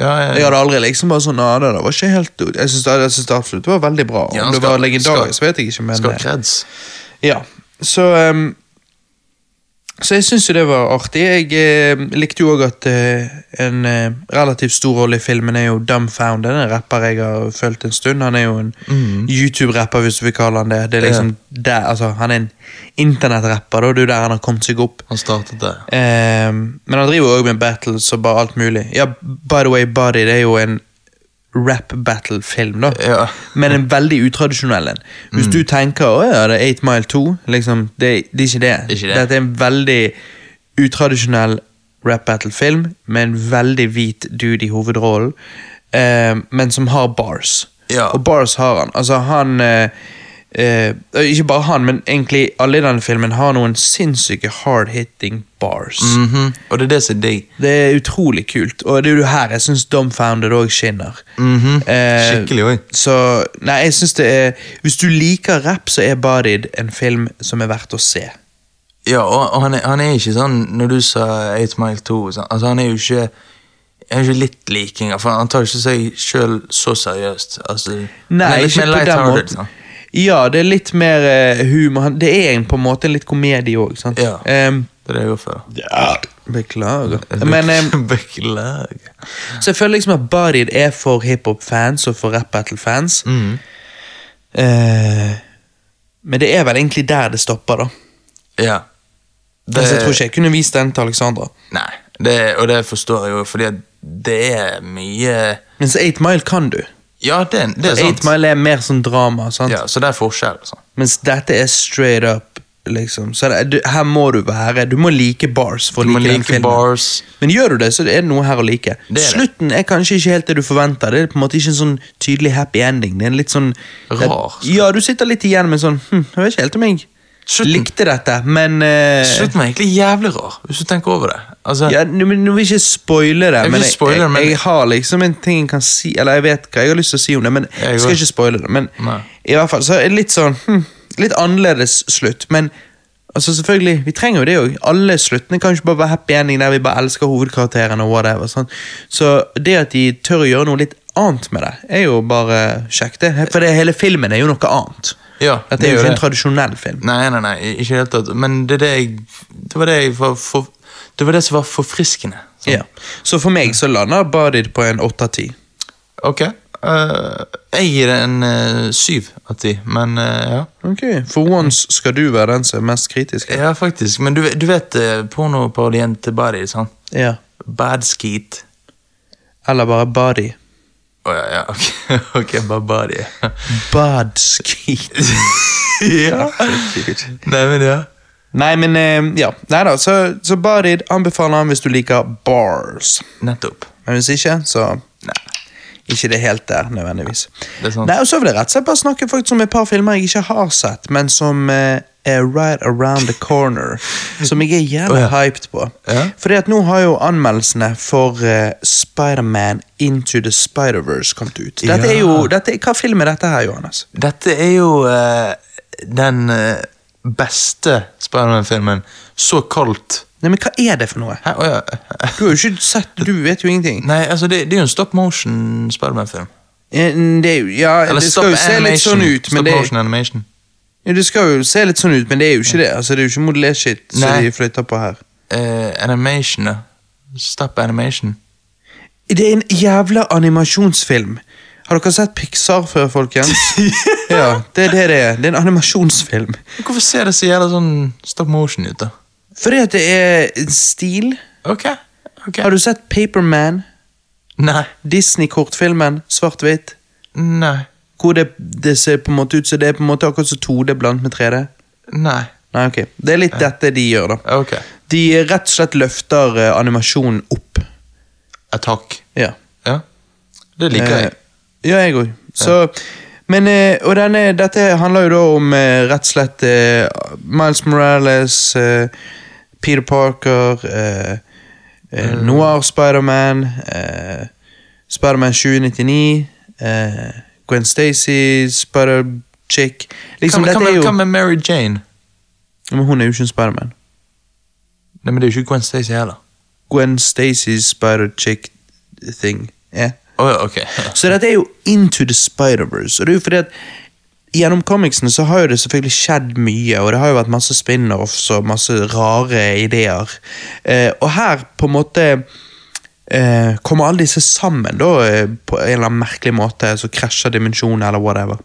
ja, ja,
Jeg
ja.
hadde aldri liksom bare sånn «Nei, det der var ikke helt Jeg syns det, jeg synes det absolutt var veldig bra. Om
Ja, han
det
skal-
var legendarisk,
skal-
vet jeg ikke, men eh,
Skal ha creds.
ja. Så ehm, Så jeg syns jo det var artig. Jeg eh, likte jo òg at eh, en eh, relativt stor rolle i filmen er jo Dumbfound. En rapper jeg har fulgt en stund. Han er jo en YouTube-rapper, hvis du vil kalle han det. Det er liksom der, altså, Han er en internettrapper, da. Det er jo der han har kommet seg opp.
Han startet der.
Ehm, men han driver òg med battles og bare alt mulig. Ja, By the way, Body det er jo en rap-battle-film, da.
Ja.
Men en veldig utradisjonell en. Hvis
Mm.
du tenker å ja, det er 8 Mile 2, liksom, det, det er ikke det.
Ikke det.
Dette er en veldig utradisjonell rap-battle-film med en veldig hvit dude i hovedrollen, ehm, men som har bars.
Ja.
Og bars har han. Altså, han eh, eh, Ikke bare han, men egentlig alle i denne filmen har noen sinnssyke hard-hitting bars.
Mhm. Og det er det som er digg.
Det er utrolig kult, og det er jo her jeg syns Dumbfounded òg skinner.
Mhm.
Eh,
Skikkelig òg.
Så Nei, jeg synes det er Hvis du liker rap, så er Bodied en film som er verdt å se.
Ja, og, og han, er, han er ikke sånn Når du sa 8 Mile 2 sånn, altså, Han er jo ikke han er ikke litt lik engang, for han tar ikke seg sjøl så seriøst. Altså, han
Nei,
er litt
ikke
mer
på den
lighthearted,
måten.
sånn.
Ja, det er litt mer eh, humor. Han- Det er en, på en måte en litt komedie òg, sant?
Ja.
Ehm,
Det er det jeg går for.
beklager. Men ehm,
Beklager.
Så jeg føler liksom at Bodied er for hiphop-fans og for rap-battle-fans.
Mm.
Eh, men det er vel egentlig der det stopper, da.
Ja.
Altså, jeg tror ikke jeg kunne vist den til Alexandra.
Nei, det, og det forstår jeg jo, fordi at det er mye
Mens 8 Mile kan du.
Ja, det, det er
8
sant.
Mile er mer sånn drama, sant?
Ja, så det er forskjell. Sånn.
mens dette er straight up. Liksom. Så det, du, her må du være Du må like bars for å
Du må
like, den
like
filmen.
bars.
Men gjør du det, så er det noe her å like.
er det.
Slutten er kanskje ikke helt det du forventer. Det er på en måte ikke en sånn tydelig happy ending. Det er en litt sånn
Rar. altså.
Det, ja, du sitter litt igjen med sånn hm, Jeg vet ikke helt om jeg
Slutten-
likte dette, men eh,
Slutten var egentlig jævlig rar, hvis du tenker over det. Altså,
ja, nå, men nå vil jeg ikke spoile det,
vil
men,
ikke
jeg,
spoile det, men-
jeg, jeg har liksom en ting jeg kan si Eller jeg vet hva jeg har lyst til å si om det, men
Jeg
jeg skal
går.
ikke spoile det. Men
Nei.
i hvert fall, så er det litt sånn hm, Litt annerledes slutt, men altså selvfølgelig, vi trenger jo det òg. Alle sluttene kan ikke bare være happy ending der vi bare elsker hovedkarakteren og whatever. Sånn. Så det at de tør å gjøre noe litt annet med det, er jo bare kjekt, det. For det, hele filmen er jo noe annet.
Ja,
Dette er
det er
jo
jo
ikke
det.
en tradisjonell film.
Nei, nei, nei, ikke i det hele tatt. Men det er det jeg Det var det jeg var for, Det var det som var forfriskende. Sånn.
Ja. Så for meg så lander Bodied på en åtte av ti.
Ok. eh, jeg gir det en eh, syv av ti, men eh, ja.
Ok, For once skal du være den som er mest kritisk.
Ja, faktisk. Men du, du vet uh, pornoparodien til Body, sant?
Ja.
Bad skeet.
Eller bare body.
Å ja, ja, (laughs) ok. ok, bare body.
Bad (laughs) skit.
(laughs) ja. Nei, men ja.
Nei, men eh, ja. Nei da, så, så body anbefaler han hvis du liker bars.
Nettopp.
Men hvis ikke, så
Nei.
ikke det helt der, nødvendigvis.
Det er sant.
Nei, og så vil jeg rett og slett bare snakke faktisk om et par filmer jeg ikke har sett, men som eh, er right around the
(laughs)
corner. Som jeg er jævlig
Å, ja.
hyped på.
Ja.
Fordi at nå har jo anmeldelsene for eh, Spider-Man Into the Spider-Verse kommet ut. Dette er jo,
Ja.
dette, hva film er dette her, Johannes?
Dette er jo eh, den eh, beste Spiderman-filmen. Så kaldt.
Nei, men hva er det for noe?
Hæ? Å ja. (laughs)
Du har jo ikke sett, du vet jo ingenting.
Nei, altså, det, det er jo en stop motion Spiderman-film.
Eh, Det, er jo- ja,
Eller
det skal jo se litt sånn ut, men
stop
det,
motion animation.
ja, det skal jo se litt sånn ut, men det er jo ikke det. Altså, det er jo ikke modellert shit som
Nei.
de flytter på her.
eh, animation. da. Stop
(laughs)
animation.
Det er en jævla animasjonsfilm. Har dere sett Pixar før, folkens? ja, det er det det er. Det er en animasjonsfilm.
Men Hvorfor ser det så jævla sånn stop motion ut, da?
Fordi at det er en stil.
Ok, ok.
Har du sett Paperman?
Nei,
Disney-kortfilmen? Svart-hvitt?
nei,
Hvor det, det ser på en måte ut som det er på en måte akkurat som 2D blandet med 3D?
nei.
Nei, ok. Det er litt dette de gjør, da.
Ok. Eh,
De rett og slett løfter eh, animasjonen opp.
Attack.
Ja.
Ja. Det liker jeg.
Eh, Ja, jeg òg. Så Men eh, Og denne, dette handler jo da om eh, rett og slett eh, Miles Morales, eh, Peter Parker, eh, eh,
Mm.
Noir Spiderman, eh, Spiderman 2099, eh, Gwen Stacy, Spider-Chick liksom,
Hva med- hva
Dette er
med-
jo
Hva med Mary Jane?
Men hun er jo ikke en Spiderman.
Nei, men det er jo ikke Gwen Stacy heller.
Gwen Stacy's Spider-Chick-thing. Yeah.
Å ja, ok. (laughs)
Så dette er jo Into the Spider-Verse. Og det er jo fordi at Gjennom comicsene så har jo det selvfølgelig skjedd mye, og det har jo vært masse spin-offs og masse rare ideer. Eh, og her på en måte eh, kommer alle disse sammen da, eh, på en eller annen merkelig måte, så krasjer dimensjonen eller whatever.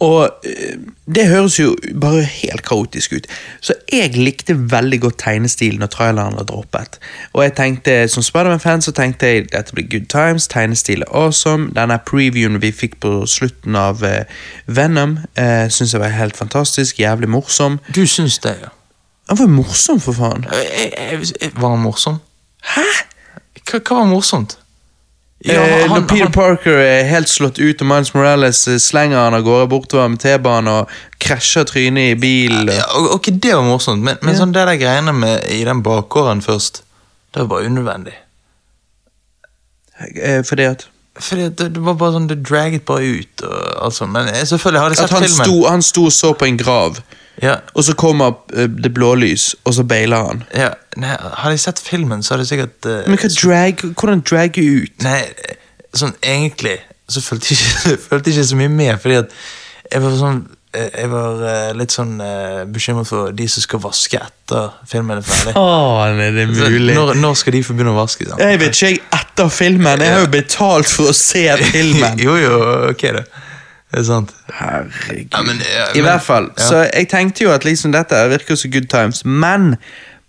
Og eh, det høres jo bare helt kaotisk ut. Så jeg likte veldig godt tegnestilen når traileren var droppet. Og jeg tenkte, som Spiderman-fan så tenkte jeg dette blir good times, tegnestil er awesome. Denne previewen vi fikk på slutten av eh, Venom, uh, syns jeg var helt fantastisk. Jævlig morsom.
Du syns det, ja. Eh,
Han var morsom, for faen!
Jeg, jeg, jeg, var han morsom? Hæ? Hva, hva var morsomt?
Eh, når Peter Parker er helt slått ut, og Miles Morales eh, slenger han av gårde bortover med T-banen og krasjer trynet i bilen.
ja, o- Ok, det var morsomt, men, men sånn det der greiene med i den bakgården først, det var bare unødvendig.
eh, fordi at
Fordi at det, det var bare sånn, det draget bare ut og alt sånt. Men jeg, selvfølgelig hadde jeg
At
sett
han
filmen.
sto, han sto og så på en grav,
Ja,
og så kommer eh, det blålys, og så bailer han.
ja, nei, hadde jeg sett filmen, så hadde jeg sikkert eh,
Men hva drag, hvordan dragge ut?
Nei, sånn egentlig så fulgte jeg ikke, (laughs) fulgte jeg ikke så mye med, fordi at jeg var sånn eh, jeg var eh, litt sånn eh, bekymret for de som skal vaske etter filmen er (laughs) ferdig.
Faen, er det
Så Når, når skal de få begynne å vaske? sant?
Jeg vet ikke, jeg etter filmen. Jeg har jo betalt for å se (laughs) filmen.
(laughs) jo, jo, ok, det. Det er sant.
Herregud.
Ja, men, ja,
I
men-
hvert fall.
ja.
Så jeg tenkte jo at liksom dette virker så good times, men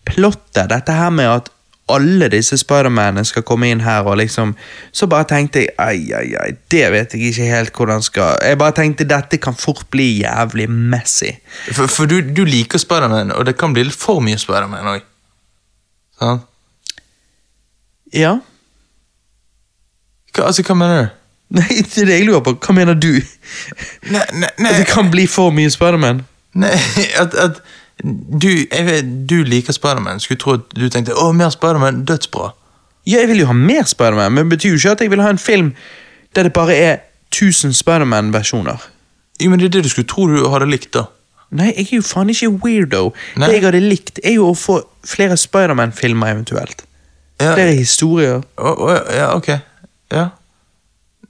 plottet, dette her med at alle disse Spidermanene skal komme inn her og liksom Så bare tenkte jeg ai, ai, ai, det vet jeg ikke helt hvordan skal Jeg bare tenkte dette kan fort bli jævlig messy.
For, for du, du liker Spiderman, og det kan bli litt for mye Spiderman òg. Sånn?
Ja? (laughs)
Hva, altså, hva mener du?
Nei, det er det jeg lurer på. Hva mener du?
Nei, nei,
At
nei,
det kan bli for mye Spiderman?
nei (laughs) at, at du, jeg vet, du liker Spiderman. Skulle tro at du tenkte å, mer Spiderman, dødsbra.
Ja, jeg vil jo ha mer Spiderman, men det betyr jo ikke at jeg vil ha en film der det bare er 1000 Spiderman-versjoner.
Jo, men det er det du skulle tro du hadde likt, da.
Nei, jeg er jo faen ikke weirdo.
Nei.
Det jeg hadde likt, er jo å få flere Spiderman-filmer eventuelt.
Ja,
Flere historier.
å, å, ja ok. Ja.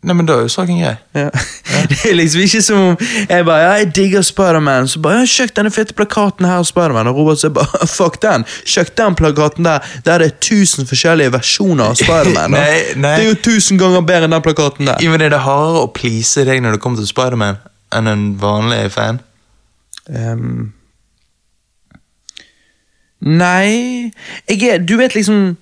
Nei, men da er jo saken grei.
Ja. (laughs) Det er liksom ikke som om jeg bare ja, jeg digger Spiderman, så bare ja, sjekk denne fete plakaten her, Spiderman. Og Robert sier bare (laughs) fuck den. Sjekk den plakaten der, der det er 1000 forskjellige versjoner av Spiderman. da.
(laughs) Nei, nei.
Det er jo 1000 ganger bedre enn den plakaten der.
Jo, men er det hardere å please deg når det kommer til Spiderman, enn en vanlig fan?
Ehm. nei jeg er, Du vet liksom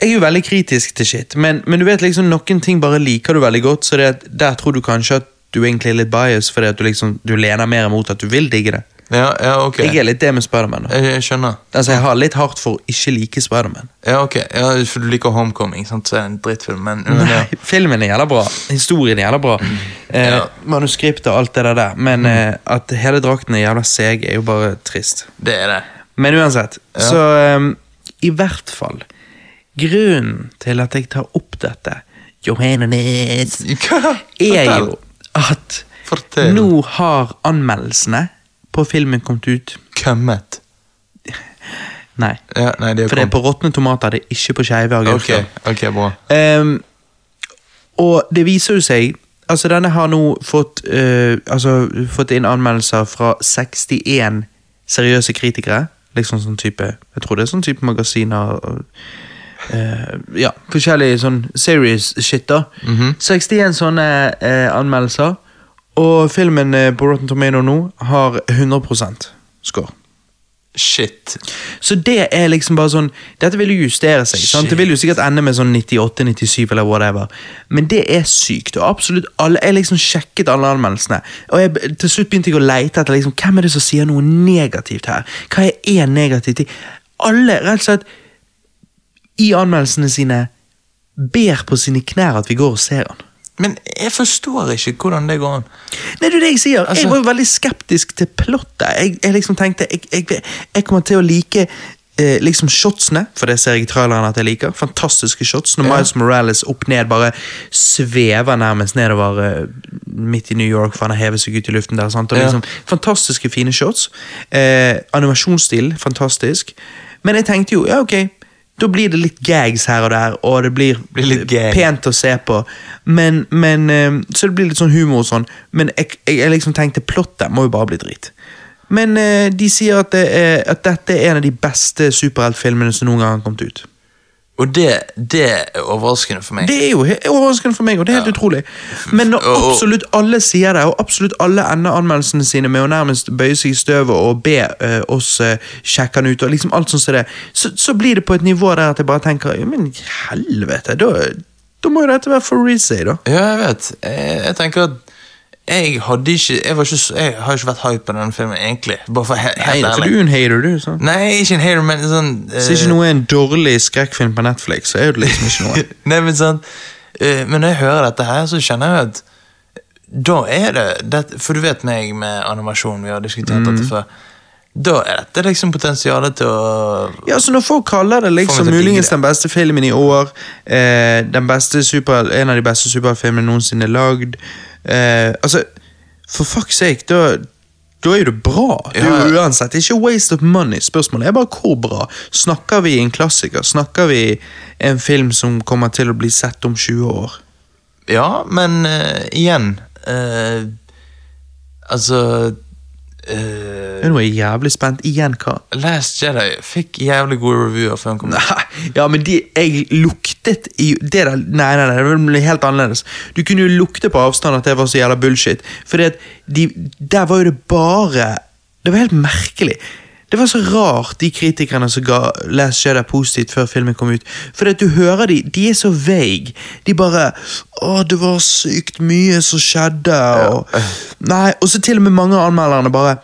Jeg er jo veldig kritisk til shit, men, men du vet liksom noen ting bare liker du veldig godt, så det, at der tror du kanskje at du egentlig er litt bias, fordi at du liksom Du lener mer mot at du vil digge det.
Ja, ja, ok.
Jeg er litt det med Spiderman. da.
Jeg, jeg skjønner.
Altså, jeg har litt hardt for å ikke like Spiderman.
Ja, ok. Ja, for du liker Homecoming, sant? så er det en drittfilm, men men ja. Mm.
Nei, (laughs) Filmen er jævla bra, historien er jævla bra, eh,
Ja. Mm.
manuskriptet og alt det der, men eh, at hele drakten er jævla seg, er jo bare trist.
det er det. (laughs)
Men uansett, så ehm, i hvert fall Grunnen til at jeg tar opp dette, Johannes,
Hva?
er
Fortell.
jo at
Fortell.
nå har anmeldelsene på filmen kommet ut.
Kømmet.
Nei,
Ja, nei, det er
for det er
kommet.
på råtne tomater, det er ikke på skeive
Ok,
agurker.
ok, bra.
Ehm, og det viser jo seg Altså, denne har nå fått, eh, altså, fått inn anmeldelser fra 61 seriøse kritikere. Liksom sånn type Jeg tror det er sånn type magasiner og, eh, Ja, forskjellige sånn serious shit, da. 61 sånne eh, anmeldelser. Og filmen eh, på Rotten Tomato nå har 100 score.
Shit.
Så det er liksom bare sånn Dette vil jo justere seg. Sant? Det vil jo sikkert ende med sånn 98-97 eller whatever. Men det er sykt. Og absolutt alle Jeg liksom sjekket alle anmeldelsene. Og jeg, til slutt begynte jeg å leite etter liksom, hvem er det som sier noe negativt her. Hva er en negativ ting? Alle rett og slett i anmeldelsene sine ber på sine knær at vi går og ser han.
Men jeg forstår ikke hvordan det går an.
Nei, det er det jeg sier.
Altså-
jeg var jo veldig skeptisk til plottet. Jeg, jeg liksom tenkte jeg, jeg, jeg kommer til å like eh, liksom shotsene, for det ser jeg i traileren at jeg liker. Fantastiske shots. Når Miles Morales opp ned bare svever nærmest nedover eh, midt i New York, for han har hevet seg ut i luften der. Sant? Og
Ja.
liksom, fantastiske, fine shots. Eh, animasjonsstil, fantastisk. Men jeg tenkte jo, ja, ok. Da blir det litt gags her og der, og det blir,
Blir litt gag.
pent Eh, pent å se på. Men, men, eh, så det blir litt sånn humor og sånn. Men jeg, jeg, jeg liksom tenkte plottet må jo bare bli drit. Men eh, de sier at, det er, at dette er en av de beste superheltfilmene som noen gang har kommet ut.
Og det, det er overraskende for meg.
Det er jo he- overraskende for meg, og det er helt utrolig. Men når
Og- og-
absolutt alle sier det, og absolutt alle ender anmeldelsene sine med å nærmest bøye seg i støvet og be eh, oss eh, sjekke den ut, og liksom alt sånt som det, så, så blir det på et nivå der at jeg bare tenker "Ja, Men helvete, da, da må jo dette være for Rizzy, da.
Ja, jeg vet. Jeg, jeg tenker at jeg hadde ikke Jeg, var ikke, så- jeg har ikke vært hype på den filmen, egentlig. Bare for he
Nei,
helt
for
ærlig.
du er en hater, du. sant?
Nei, jeg er ikke en hater, men sånn
Hvis ikke noe er en dårlig skrekkfilm på Netflix, så er det liksom ikke
(laughs)
noe.
Nei, men sånn eh, Men når jeg hører dette her, så kjenner jeg at da er det, det For du vet meg med animasjon, vi har diskutert
Mm.
dette før. Da er dette liksom potensialet til å
Ja, så Når folk kaller det
Får
liksom
meg til å
muligens
digge
den
det.
beste filmen i år, eh, den beste super, en av de beste superfilmene noensinne lagd eh, Altså, for fuck's sake, da, da er jo det bra. Det er
Ja,
jo
ja.
uansett det er ikke waste of money. Spørsmålet er bare hvor bra. Snakker vi en klassiker? Snakker vi en film som kommer til å bli sett om 20 år?
Ja, men eh, igjen eh, Altså eh,
Nå er jeg jævlig spent. Igjen, hva?
Last Jedi fikk jævlig gode reviewer før den kom ut.
Nei, (laughs) ja, men de, jeg luktet i det der, Nei, nei, nei, det ble helt annerledes. Du kunne jo lukte på avstand at det var så jævla bullshit. Fordi at de, der var jo det bare Det var helt merkelig. Det var så rart, de kritikerne som ga Last Jedi positivt før filmen kom ut. Fordi at du hører de, de er så vague. De bare 'Å, det var sykt mye som skjedde', og Nei, og så til og med mange av anmelderne bare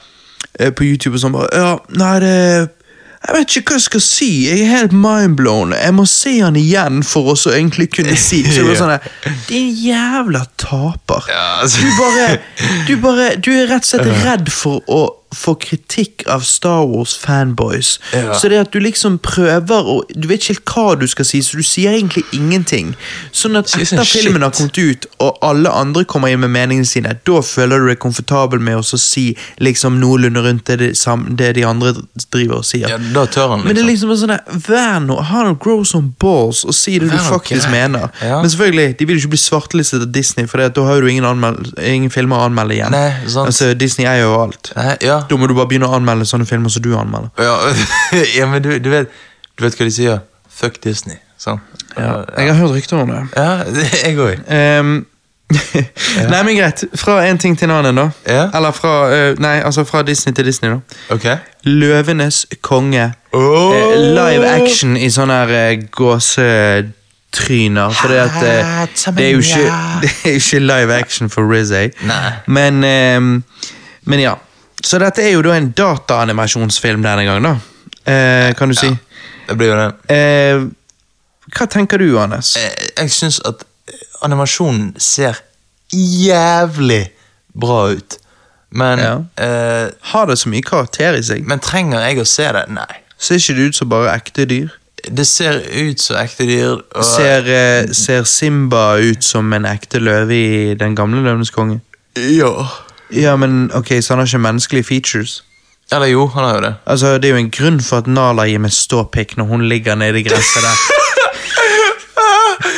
eh, på YouTube og sånn bare Ja, nei, det jeg vet ikke hva jeg skal si. Jeg er helt mindblown. Jeg må se han igjen for å så egentlig kunne si Så det
(laughs)
var sånn der, Din jævla taper.
Ja, altså.
Du bare, du bare Du er rett og slett redd for å få kritikk av Star Wars-fanboys.
Ja.
Så det at du liksom prøver å Du vet ikke helt hva du skal si, så du sier egentlig ingenting. Sånn at
Sier
etter
sånn shit.
filmen har kommet ut, og alle andre kommer inn med meningene sine, da føler du deg komfortabel med å så si liksom noenlunde rundt det, de sam- det de andre driver og sier.
Ja, da tør han,
Men det er
liksom.
liksom bare sånn der, vær nå, ha noe grow some balls, og si det
Vær
du
nå
faktisk
grei.
mener.
Ja.
Men selvfølgelig, de vil jo ikke bli svartelistet av Disney, for det at da har jo du ingen, anmel- ingen filmer å anmelde igjen.
Nei, sant.
altså, Disney eier jo alt.
Nei, ja.
Da må du bare begynne å anmelde sånne filmer som du anmelder.
ja, (laughs) ja men du, du, vet, du vet hva de sier? Fuck Disney. Sånn. Ja,
Jeg har hørt rykter om det.
(laughs) jeg òg.
Ehm, (laughs) Nei, men greit. Fra en ting til en annen, da.
Ja.
Eller fra, eh, nei, altså fra Disney til Disney, da.
Ok.
Løvenes konge.
Åh!
Eh, live action i sånne her eh, gåsetryner. Fordi at eh, det er jo ikke, (laughs) det er jo ikke live action for Rizzy.
Nei.
Men, eh, men ja. Så dette er jo da en dataanimasjonsfilm denne gangen, da. Eh, kan du si.
Det blir jo det.
Eh, hva tenker du, Anders?
Jeg, Eh, jeg syns at eh, animasjonen ser jævlig bra ut. Men,
Ja.
eh,
Har det så mye karakter i seg?
men trenger jeg å se det? Nei.
Ser ikke det ut som bare ekte dyr?
Det ser ut som ekte dyr. Og,
Ser, eh, ser Simba ut som en ekte løve i Den gamle løvenes konge?
Ja.
Ja, men ok, så han har ikke menneskelige features?
Eller jo, han har jo det.
Altså, Det er jo
(laughs)
en grunn for at Nala gir meg ståpikk når hun ligger nede i gresset der.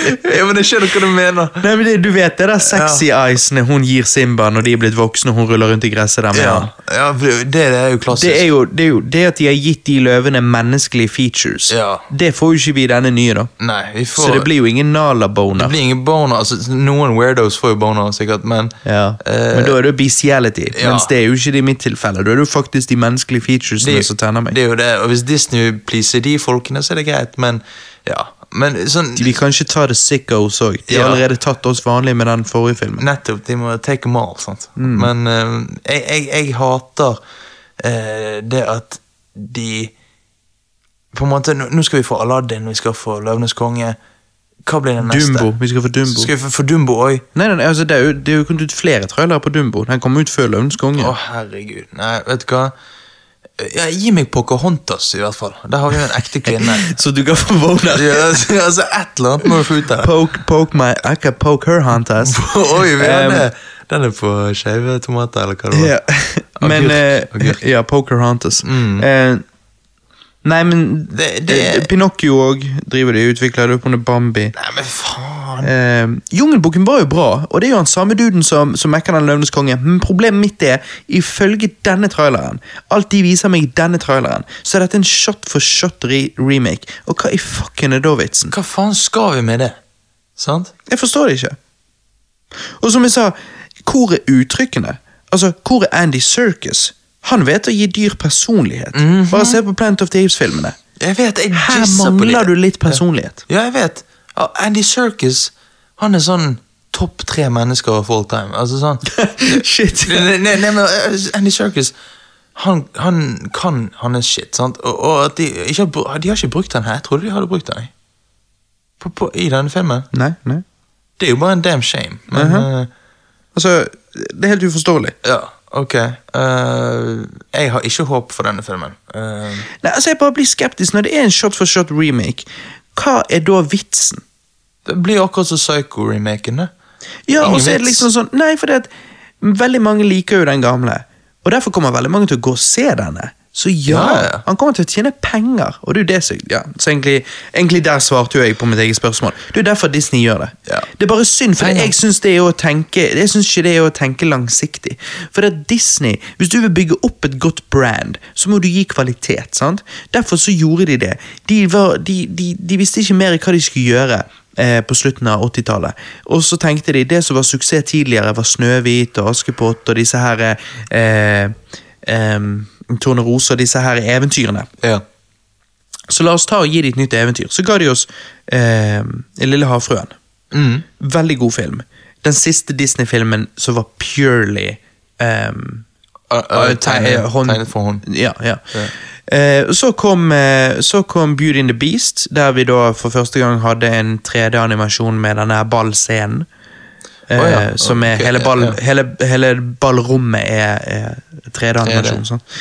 ja, men jeg skjønner hva du mener.
Nei, men det, Du vet det der sexy eyesene hun gir Simba når de er blitt voksne og hun ruller rundt i gresset der med
Ja,
han.
ja for det, det er jo klassisk.
Det er, jo, det er jo det at de har gitt de løvene menneskelige features.
Ja.
Det får jo ikke vi i denne nye, da.
Nei, vi får...
Så det blir jo ingen Nala-boner.
Det blir ingen boner. Altså, noen weirdos får jo boner, sikkert, men
Ja.
eh,
Men da er det bestiality,
ja.
mens det er jo ikke det i mitt tilfelle. Da er det jo faktisk de menneskelige featuresene som tenner meg.
det er jo det. Og hvis Disney vil please de folkene, så er det greit, men ja. Men sånn
De- Vi kan ikke ta det sickos òg. De har
Ja.
allerede tatt oss vanlige med den forrige filmen.
Nettopp. De må take them all, sant.
Mm.
Men eh, jeg, jeg, jeg hater eh, det at de På en måte, nå nå skal vi få Aladdin, vi skal få Løvenes konge. Hva blir den neste?
Dumbo. Vi skal få Dumbo.
Skal vi få, få Dumbo òg?
Nei, nei, nei, altså Det er jo, det er jo kommet ut flere trailere på Dumbo. Den kom ut før Løvens konge.
Å, herregud. Nei, vet du hva? Ja, gi meg Pocahontas, i hvert fall. Der har vi jo en
(laughs)
ekte kvinne.
Så du kan få boner.
ja, altså, altså, et eller annet må du få
(laughs)
ut der.
Poke, poke my I can poke her hunters.
Oi, vi har
Um,
det. Den er på skeive tomater, eller hva det var.
Ja. Men
Agurk,
eh,
agurk.
Ja, Poker Hunters. Eh, nei, men
Det- det-
eh, Pinocchio òg driver de og utvikler. Det opp under Bambi.
Nei, men faen.
Eh, Jungelboken var jo bra, og det er jo han samme duden som, som mekker den løvenes konge. Men problemet mitt er, ifølge denne traileren, alt de viser meg i denne traileren, så er dette en shot for shot re remake. Og hva i fucken er da vitsen?
Hva faen skal vi med det? Sant?
Jeg forstår det ikke. Og som jeg sa, hvor er uttrykkene? Altså, hvor er Andy Circus? Han vet å gi dyr personlighet. Bare se på Plant of the Apes-filmene.
Jeg vet, jeg
Mhm. Her
jizzer på
mangler
det.
du litt personlighet.
Ja, jeg vet. Ja, Andy Serkis, han er sånn topp tre mennesker of all time. Altså
(laughs)
sånn.
Shit.
Nei, nei, nei, men eh, Andy Serkis, han, han kan hans shit, sant? Og, og at de, ikke, har br- de har ikke brukt han her. Jeg trodde de hadde brukt han jeg. på, på, i denne filmen.
Nei, nei.
Det er jo bare en damn shame. Men,
Mhm.
eh,
Altså, det er helt uforståelig.
ja, ok. Eh, jeg har ikke håp for denne filmen. Eh,
Nei, altså Jeg bare blir skeptisk når det er en shot for shot remake. Hva er da vitsen?
det blir akkurat som Psycho-remaken, det.
Ja,
Ingen
og så er det
vits.
liksom sånn Nei, for det at veldig mange liker jo den gamle. Og derfor kommer veldig mange til å gå og se denne. Så ja,
Ja, ja.
han kommer til å tjene penger. Og det er jo det som Ja, så egentlig, egentlig der svarte jo jeg på mitt eget spørsmål. Det er jo derfor Disney gjør det.
Ja.
Det er bare synd, for
Penger.
jeg syns det er å tenke Jeg synes ikke det er å tenke langsiktig. For det at Disney, hvis du vil bygge opp et godt brand, så må du gi kvalitet. sant? Derfor så gjorde de det. De, var, de, de, de visste ikke mer hva de skulle gjøre. eh, På slutten av 80-tallet. Og så tenkte de det som var suksess tidligere, var Snøhvit og Askepott og disse her eh, eh, Tornerose og disse her eventyrene.
Ja.
Så la oss ta og gi det et nytt eventyr. Så ga de oss eh, Lille havfruen. Mm. Veldig god film. Den siste Disney-filmen som var purely ehm,
Eh, eh,
eh, teg- eh, hånd-
tegnet for hånd.
Ja, ja. Eh, så, kom, eh, så kom Beauty and the Beast, der vi da for første gang hadde en 3D-animasjon med denne her ballscenen. Eh,
Å ja,
Som er
ok,
hele, ball,
ja, ja.
hele, hele ballrommet er, er 3D-animasjon. sant?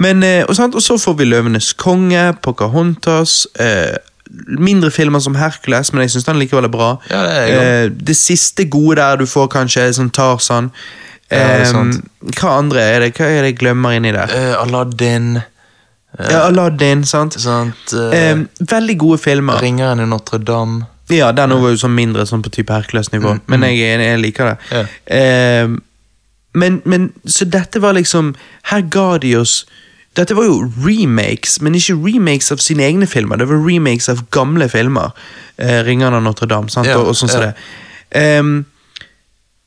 Men, eh, og, sant? og så får vi Løvenes konge, Pocahontas eh, Mindre filmer som Hercules, men jeg syns den likevel er bra.
Ja, det er jeg også.
Eh, det siste gode der du får, kanskje, er sånn Tarzan.
Ja, det er
Eh,
sant.
hva andre er det? Hva er det jeg glemmer inni der?
Eh, Aladdin,
Ja, Aladdin, sant?
sant? eh,
Eh, veldig gode filmer.
Ringeren i Notre-Dame.
Ja, den var jo sånn mindre sånn på type Hercules-nivå, men jeg, er enig, jeg liker det.
Mm, Ja.
Eh, men, men, så dette var liksom Her ga de oss Dette var jo remakes, men ikke remakes av sine egne filmer. Det var remakes av gamle filmer. Eh, 'Ringerne av Notre-Dame' sant?
Ja,
og, og sånn som
ja.
det. Ehm,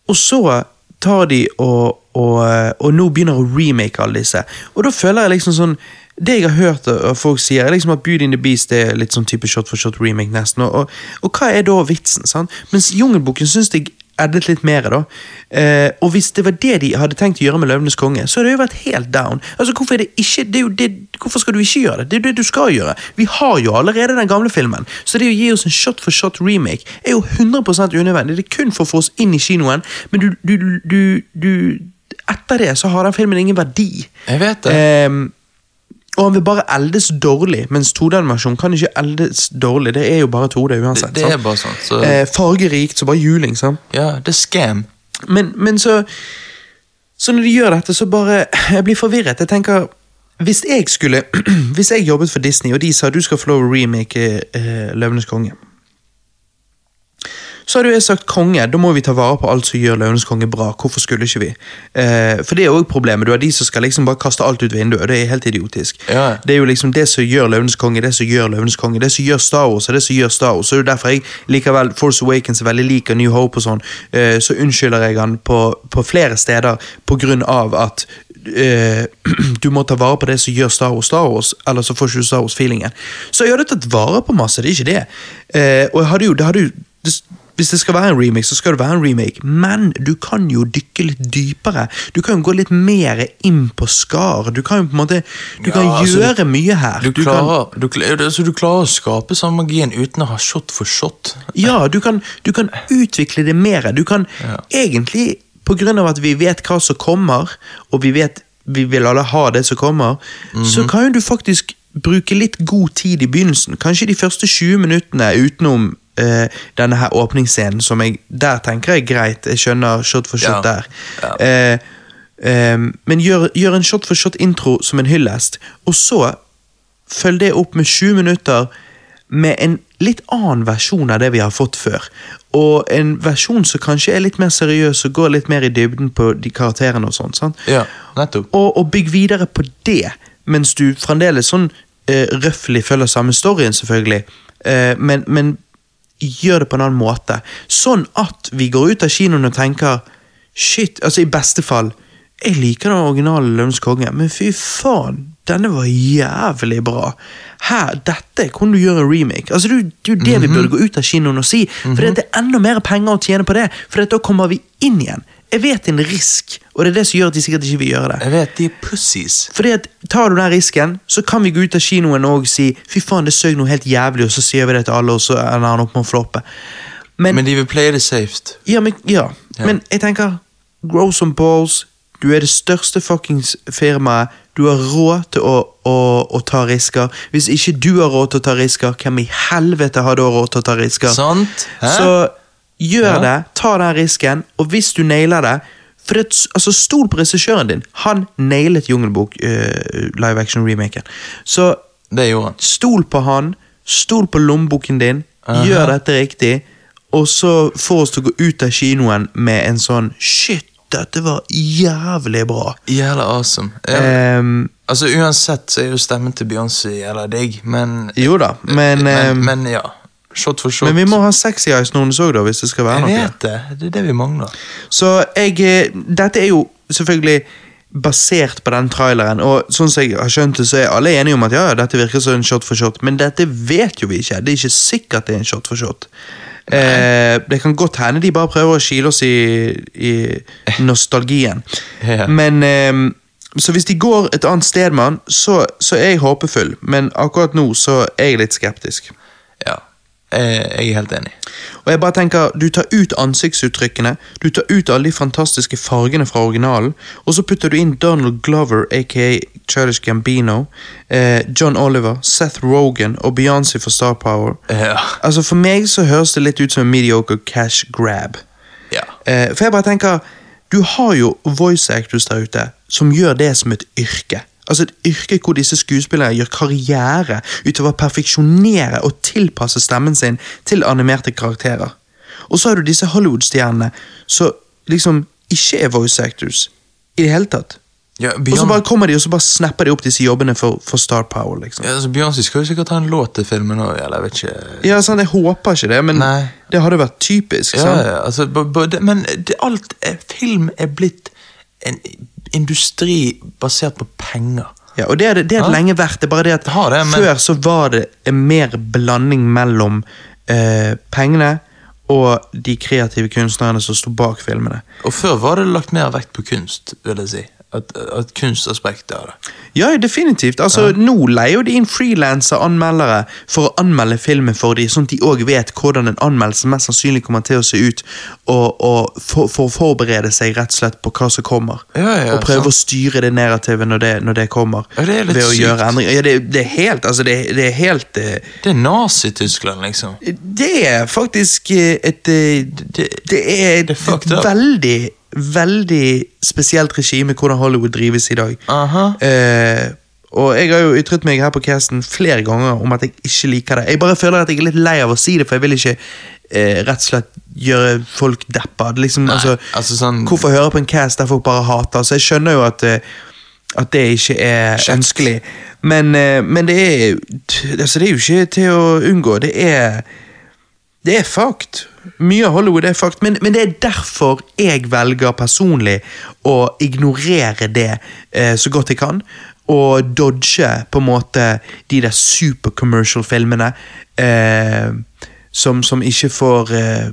og så tar de og, og, og nå begynner å remake alle disse. Og da føler jeg liksom sånn Det jeg har hørt av folk sier, er liksom at Beauty and the Beast er litt sånn type shot for shot remake, nesten. Og, og, og hva er da vitsen? sant? Mens Jungelboken syns jeg eddet litt mer, da. Eh, og hvis det var det de hadde tenkt å gjøre med Løvenes konge, så hadde det jo vært helt down. Altså, Hvorfor, er det ikke, det er jo det, hvorfor skal du ikke gjøre det? Det er jo det du skal gjøre. Vi har jo allerede den gamle filmen, så det å gi oss en shot for shot remake er jo 100 unødvendig. Det er kun for å få oss inn i kinoen, men du, du, du, du Etter det så har den filmen ingen verdi.
Jeg vet det.
Ehm, og han vil bare eldes dårlig, mens 2D-animasjon kan ikke eldes dårlig. Det er jo bare 2D uansett.
Det- det er
sant?
bare sånn, så-
Eh, fargerikt, så bare juling, sant.
Ja, det er scam.
Men, men så Så når de gjør dette, så bare Jeg blir forvirret. Jeg tenker Hvis jeg skulle (clears throat) Hvis jeg jobbet for Disney, og de sa du skal få lov å remake eh, Løvenes konge Så hadde jo jeg sagt konge, da må vi ta vare på alt som gjør Løvenes konge bra. Hvorfor skulle ikke vi? Eh, for det er òg problemet. Du har de som skal liksom bare kaste alt ut vinduet. Det er helt idiotisk.
Ja.
Det er jo liksom det som gjør Løvenes konge, det som gjør Løvenes konge, det som gjør Star Wars, og det som gjør Star Wars. Så det er jo derfor jeg likevel Force Awakens er veldig lik og New Hope og sånn. eh, så unnskylder jeg han på, på flere steder på grunn av at eh, (clears throat) du må ta vare på det som gjør Star Wars Star Wars, eller så får ikke du Star Wars-feelingen. Så jeg hadde tatt vare på masse, det er ikke det. Eh, og jeg hadde jo, det hadde jo det, hvis det skal være en remake, så skal det være en remake, men du kan jo dykke litt dypere. Du kan jo gå litt mer inn på skar. Du kan jo på en måte Du kan
Ja, altså,
gjøre mye her.
Du
Du kan-
klarer, du, kl- altså, du klarer å skape samme magien uten å ha shot for shot.
Ja, du kan, du kan utvikle det mer. Du kan egentlig, på grunn av at vi vet hva som kommer, og vi vet vi vil alle ha det som kommer,
Mhm.
så kan jo du faktisk bruke litt god tid i begynnelsen. Kanskje de første 20 minuttene utenom eh, denne her åpningsscenen, som jeg der tenker jeg greit, jeg skjønner shot for shot
Ja.
der. Eh, eh, men gjør, gjør en shot for shot-intro som en hyllest, og så følg det opp med 20 minutter med en litt annen versjon av det vi har fått før. Og en versjon som kanskje er litt mer seriøs og går litt mer i dybden på de karakterene. og sånt, sant?
Ja, nettopp.
Og, og bygg videre på det, mens du fremdeles sånn eh, røffelig følger samme storyen, selvfølgelig. Eh, men, men gjør det på en annen måte. Sånn at vi går ut av kinoen og tenker Shit, altså i beste fall Jeg liker den originale Løvens konge, men fy faen, denne var jævlig bra. Her, dette kunne du gjøre en remake. Altså, du, Det er jo det vi burde gå ut av kinoen og si, for det er enda mer penger å tjene på det. For da kommer vi inn igjen. Jeg vet det er en risk, og det er det som gjør at de sikkert ikke vil gjøre det.
Jeg vet, de er pussies.
Fordi at Tar du den risken, så kan vi gå ut av kinoen og si fy faen, det søg noe helt jævlig, og så sier vi det til alle, og så ender han opp med å floppe. Men,
Men de vil play det safe.
ja, men, ja.
Ja.
men jeg tenker Grow some balls. Du er det største fuckings firmaet. Du har råd til å, å, å ta risker. Hvis ikke du har råd til å ta risker, hvem i helvete har da råd til å ta risker?
Sant? Hæ?
Så gjør
Ja.
det, ta den risken, og hvis du nailer det for det, altså Stol på regissøren din. Han nailet Jungelbok eh, live action-remaken. Så
Det gjorde han.
stol på han, stol på lommeboken din, gjør dette riktig, og så få oss til å gå ut av kinoen med en sånn Shit, dette var jævlig bra.
Jævla awesome. Ja.
Ehm,
altså Uansett så er jo stemmen til Beyoncé jævla digg, men,
jo da, men, ehm,
men,
men,
men ja. Shot for shot.
vi må ha sexy eyes noen så, da, hvis det skal være
jeg
noe.
vet det. Det er det vi mangler.
Så jeg eh, Dette er jo selvfølgelig basert på den traileren, og sånn som jeg har skjønt det, så er alle enige om at ja, ja, dette virker som en shot for shot, men dette vet jo vi ikke. Det er ikke sikkert det er en shot for shot. Eh, det kan godt hende de bare prøver å kile oss i, i nostalgien.
Ja.
Men eh, Så hvis de går et annet sted med han, så, så er jeg håpefull, men akkurat nå så er jeg litt skeptisk.
Ja. Jeg, jeg er helt enig.
Og jeg bare tenker, Du tar ut ansiktsuttrykkene, du tar ut alle de fantastiske fargene fra originalen, og så putter du inn Donald Glover, aka Childish Gambino, eh, John Oliver, Seth Rogan og Beyoncé for Star Power.
Ja.
Altså For meg så høres det litt ut som en mediocre cash grab.
ja.
Eh, for jeg bare tenker, du har jo voice actors der ute som gjør det som et yrke. Altså Et yrke hvor disse skuespillerne gjør karriere utover å perfeksjonere og tilpasse stemmen sin til animerte karakterer. Og så har du disse Hollywood-stjernene som liksom ikke er voice actors i det hele tatt.
ja
Og så
Beyoncé,
bare kommer de og så bare snapper de opp disse jobbene for, for Star Power. liksom.
ja, altså, Beyoncé skal jo sikkert ha en låt til filmen òg, eller jeg vet ikke.
Ja, sant, Jeg håper ikke det, men
Nei.
det hadde vært typisk.
Ja,
Mm. sant?
ja, altså, b- b- det- men det, alt er, film er blitt en industri basert på penger.
Ja, og det er det, det er det
Ja.
lenge vært. Det er bare det at
har det, men-
før så var det en mer blanding mellom eh, pengene og de kreative kunstnerne som sto bak filmene.
Og før var det lagt mer vekt på kunst, vil jeg si. At, at kunstaspektet av det.
Ja, ja, definitivt. Altså, Nå leier jo de inn frilanser-anmeldere for å anmelde filmen for dem, sånn at de òg vet hvordan en anmeldelse mest sannsynlig kommer til å se ut, og, og for, for å forberede seg rett og slett på hva som kommer.
Ja, ja,
og prøve
sant.
å styre det narrativet når det, når det kommer.
Ja, det er litt
ved å
sykt.
gjøre endringer. Ja, det, det er helt, altså, det, det er helt eh,
Det er Nazi-Tyskland, liksom.
Det er faktisk eh, et eh, Det, det er et
Det er fucked up.
veldig, veldig spesielt regime hvordan Hollywood drives i dag.
Aha.
Eh, og jeg har jo ytret meg her på casten flere ganger om at jeg ikke liker det. Jeg bare føler at jeg er litt lei av å si det, for jeg vil ikke eh, rett og slett gjøre folk deppa. Det Liksom,
Nei,
altså,
altså sånn-
Hvorfor høre på en cast der folk bare hater? Så jeg skjønner jo at, eh, at det ikke er ønskelig. Men, eh, men det, er, altså, det er jo ikke til å unngå. Det er det er fucked. Mye av Hollywood er fucked, men, men det er derfor jeg velger personlig å ignorere det eh, så godt jeg kan. Og dodge på en måte de der supercommercial-filmene eh, som, som ikke får eh,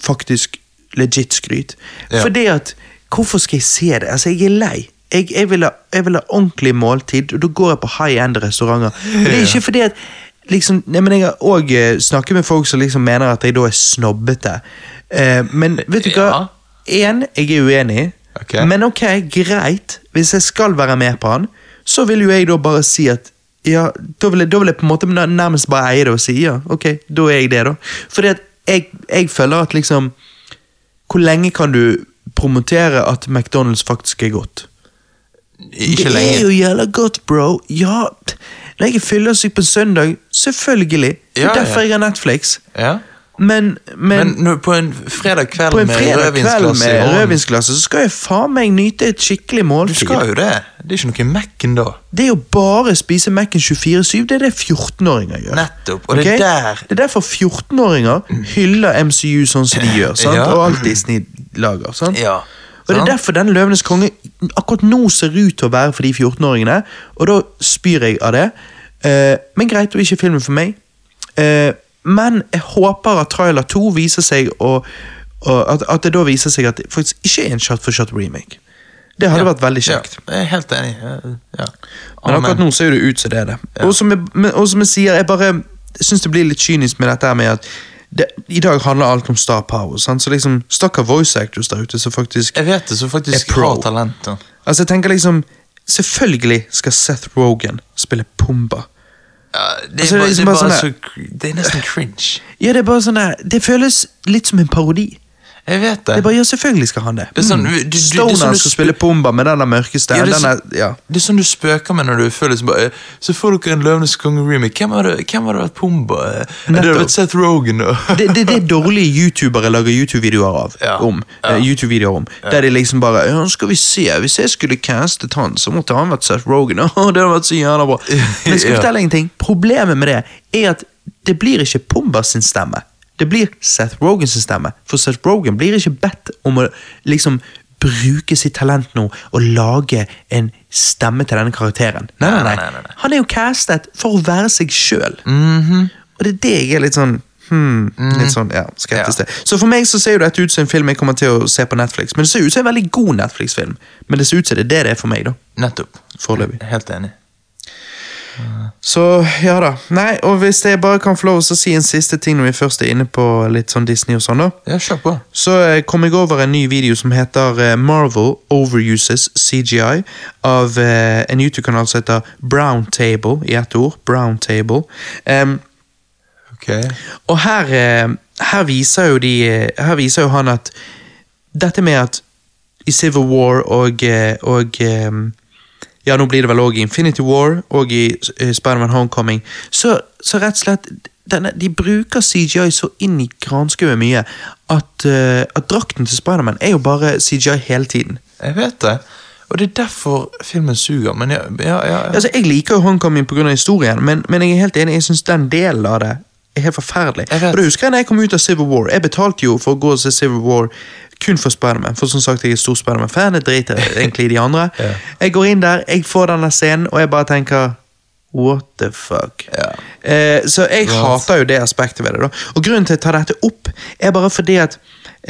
faktisk legit skryt.
Ja.
Fordi at Hvorfor skal jeg se det? Altså, Jeg er lei. Jeg, jeg, vil ha, jeg vil ha ordentlig måltid, og da går jeg på high end-restauranter. Men det er ikke fordi at liksom, nei, men Jeg har òg eh, snakket med folk som liksom mener at jeg da er snobbete. Eh, men vet du hva? Én, jeg er uenig.
Ok.
Men ok, greit. Hvis jeg skal være med på han, så vil jo jeg da bare si at ja, da vil, jeg, da vil jeg på en måte nær- nærmest bare eie det og si ja, ok, da er jeg det, da. Fordi at jeg, jeg føler at liksom Hvor lenge kan du promotere at McDonald's faktisk er godt?
Ikke
det er jo
lenge.
jævla godt, bro. Ja, t- når jeg er fyllesyk på søndag, selvfølgelig. Det er
Ja, ja.
derfor jeg har Netflix.
Ja.
Men, men,
Men nå på en fredag kveld
på en
med
fredag kveld
rødvinsglass i
med
hånden
rødvinsglasset, så skal jeg faen meg nyte et skikkelig
Du
måltid.
skal jo det. Det er ikke noe i Mac-en da.
Det er jo bare å spise Mac-en 24-7. Det er det 14-åringer gjør.
Nettopp. Og det
Ok?
er der
Det er derfor 14-åringer hyller MCU sånn som de gjør, sant?
Ja.
og alt Disney lager. sant?
Ja.
Og Det er
Sant?
derfor den Løvenes konge akkurat nå ser ut til å være for de 14-åringene, og da spyr jeg av det. Eh, men greit, det er ikke filmen for meg. Eh, men jeg håper at Trailer 2 viser seg å og at, at det da viser seg at det faktisk ikke er en shot for shot remake. Det hadde vært veldig kjekt.
Ja, jeg er helt enig. Ja.
Men akkurat nå ser jo det ut som det er det. Og, som jeg, men, og som jeg sier, jeg bare syns det blir litt kynisk med dette her med at det, i dag handler alt om star power. Sant? Så liksom, Stakkar voice actors der ute som faktisk
Jeg vet det, så faktisk
Er pro.
har talent. da.
Altså jeg tenker liksom Selvfølgelig skal Seth Rogan spille Pumba.
det, er
Altså, det er
bare,
liksom
det, er
bare
bare
sånn
så, cr- det er nesten cringe.
Ja, Det er bare sånn der, det føles litt som en parodi.
Jeg vet det.
Det er bare, ja, Selvfølgelig skal han det.
Det er sånn,
Mm.
du- du- det er
Stoner
sånn du
skal
sp-
spille Pumba med den der mørkeste.
Ja,
Ja,
det er
den der,
sånn-
ja.
Det er sånn du spøker med når du føler som bare eh, Så får dere en Løvenes konge-remake. Hvem hadde hvem hadde vært Pumba? Eh, Det hadde
Nettopp.
vært Seth Rogan. Og...
det, det, det er dårlige youtubere lager YouTube-videoer av.
Ja.
Om,
Ja.
eh, YouTube-videoer om Der de liksom bare ja, skal vi se, Hvis jeg skulle castet han, så måtte han vært Seth (laughs) Rogan. Åh, det hadde vært så jævla
(laughs)
bra Men skal jeg
Ja.
fortelle en ting? Problemet med det er at det blir ikke Pumba sin stemme. Det blir Seth Rogan sin stemme. For Seth Rogan blir ikke bedt om å liksom bruke sitt talent nå og lage en stemme til denne karakteren. Nei, nei, nei.
Nei, nei, Mhm. nei, nei.
Han er jo castet for å være seg sjøl. Og det er det jeg er litt sånn hmm, Litt sånn, ja, skeptisk
Ja.
til. Så for meg så ser jo dette ut som en film jeg kommer til å se på Netflix. Men det ser ut som en veldig god Netflix-film. Men det ser ut som det er det det er for meg, da.
(laughs) Nettopp.
Foreløpig.
Helt enig.
Så ja da. Nei, og hvis jeg bare kan få lov å si en siste ting når vi først er inne på litt sånn Disney og sånn, da.
Ja, kjør på.
Så eh, kom jeg over en ny video som heter eh, Marvel Overuses CGI av eh, en YouTube-kanal som heter Brown Table, i ett ord. Brown Table. Em,
Ok.
og her, eh, her viser jo de eh, Her viser jo han at Dette med at i Civil War og, eh, og eh, Ja, nå blir det vel òg i Infinity War og i eh, Spiderman Homecoming, så, så rett og slett denne, De bruker CGI så inn i granskauen mye at, eh, at drakten til Spiderman er jo bare CGI hele tiden.
Jeg vet det. Og det er derfor filmen suger. Men ja, ja, ja, ja.
Altså, Jeg liker jo Homecoming pga. historien, men, men jeg er helt enig, jeg syns den delen av det er helt forferdelig.
Jeg vet.
Og du husker jeg når jeg kom ut av Civil War. Jeg betalte jo for å gå og se Civil War kun for Spiderman, for som sagt, jeg er stor Spiderman-fan. Jeg driter
(laughs)
egentlig i de andre.
Ja.
Jeg går inn der, jeg får denne scenen, og jeg bare tenker What the fuck?
Ja.
Eh, så jeg
Right.
hater jo det aspektet ved det. da. Og Grunnen til at jeg tar dette opp, er bare fordi at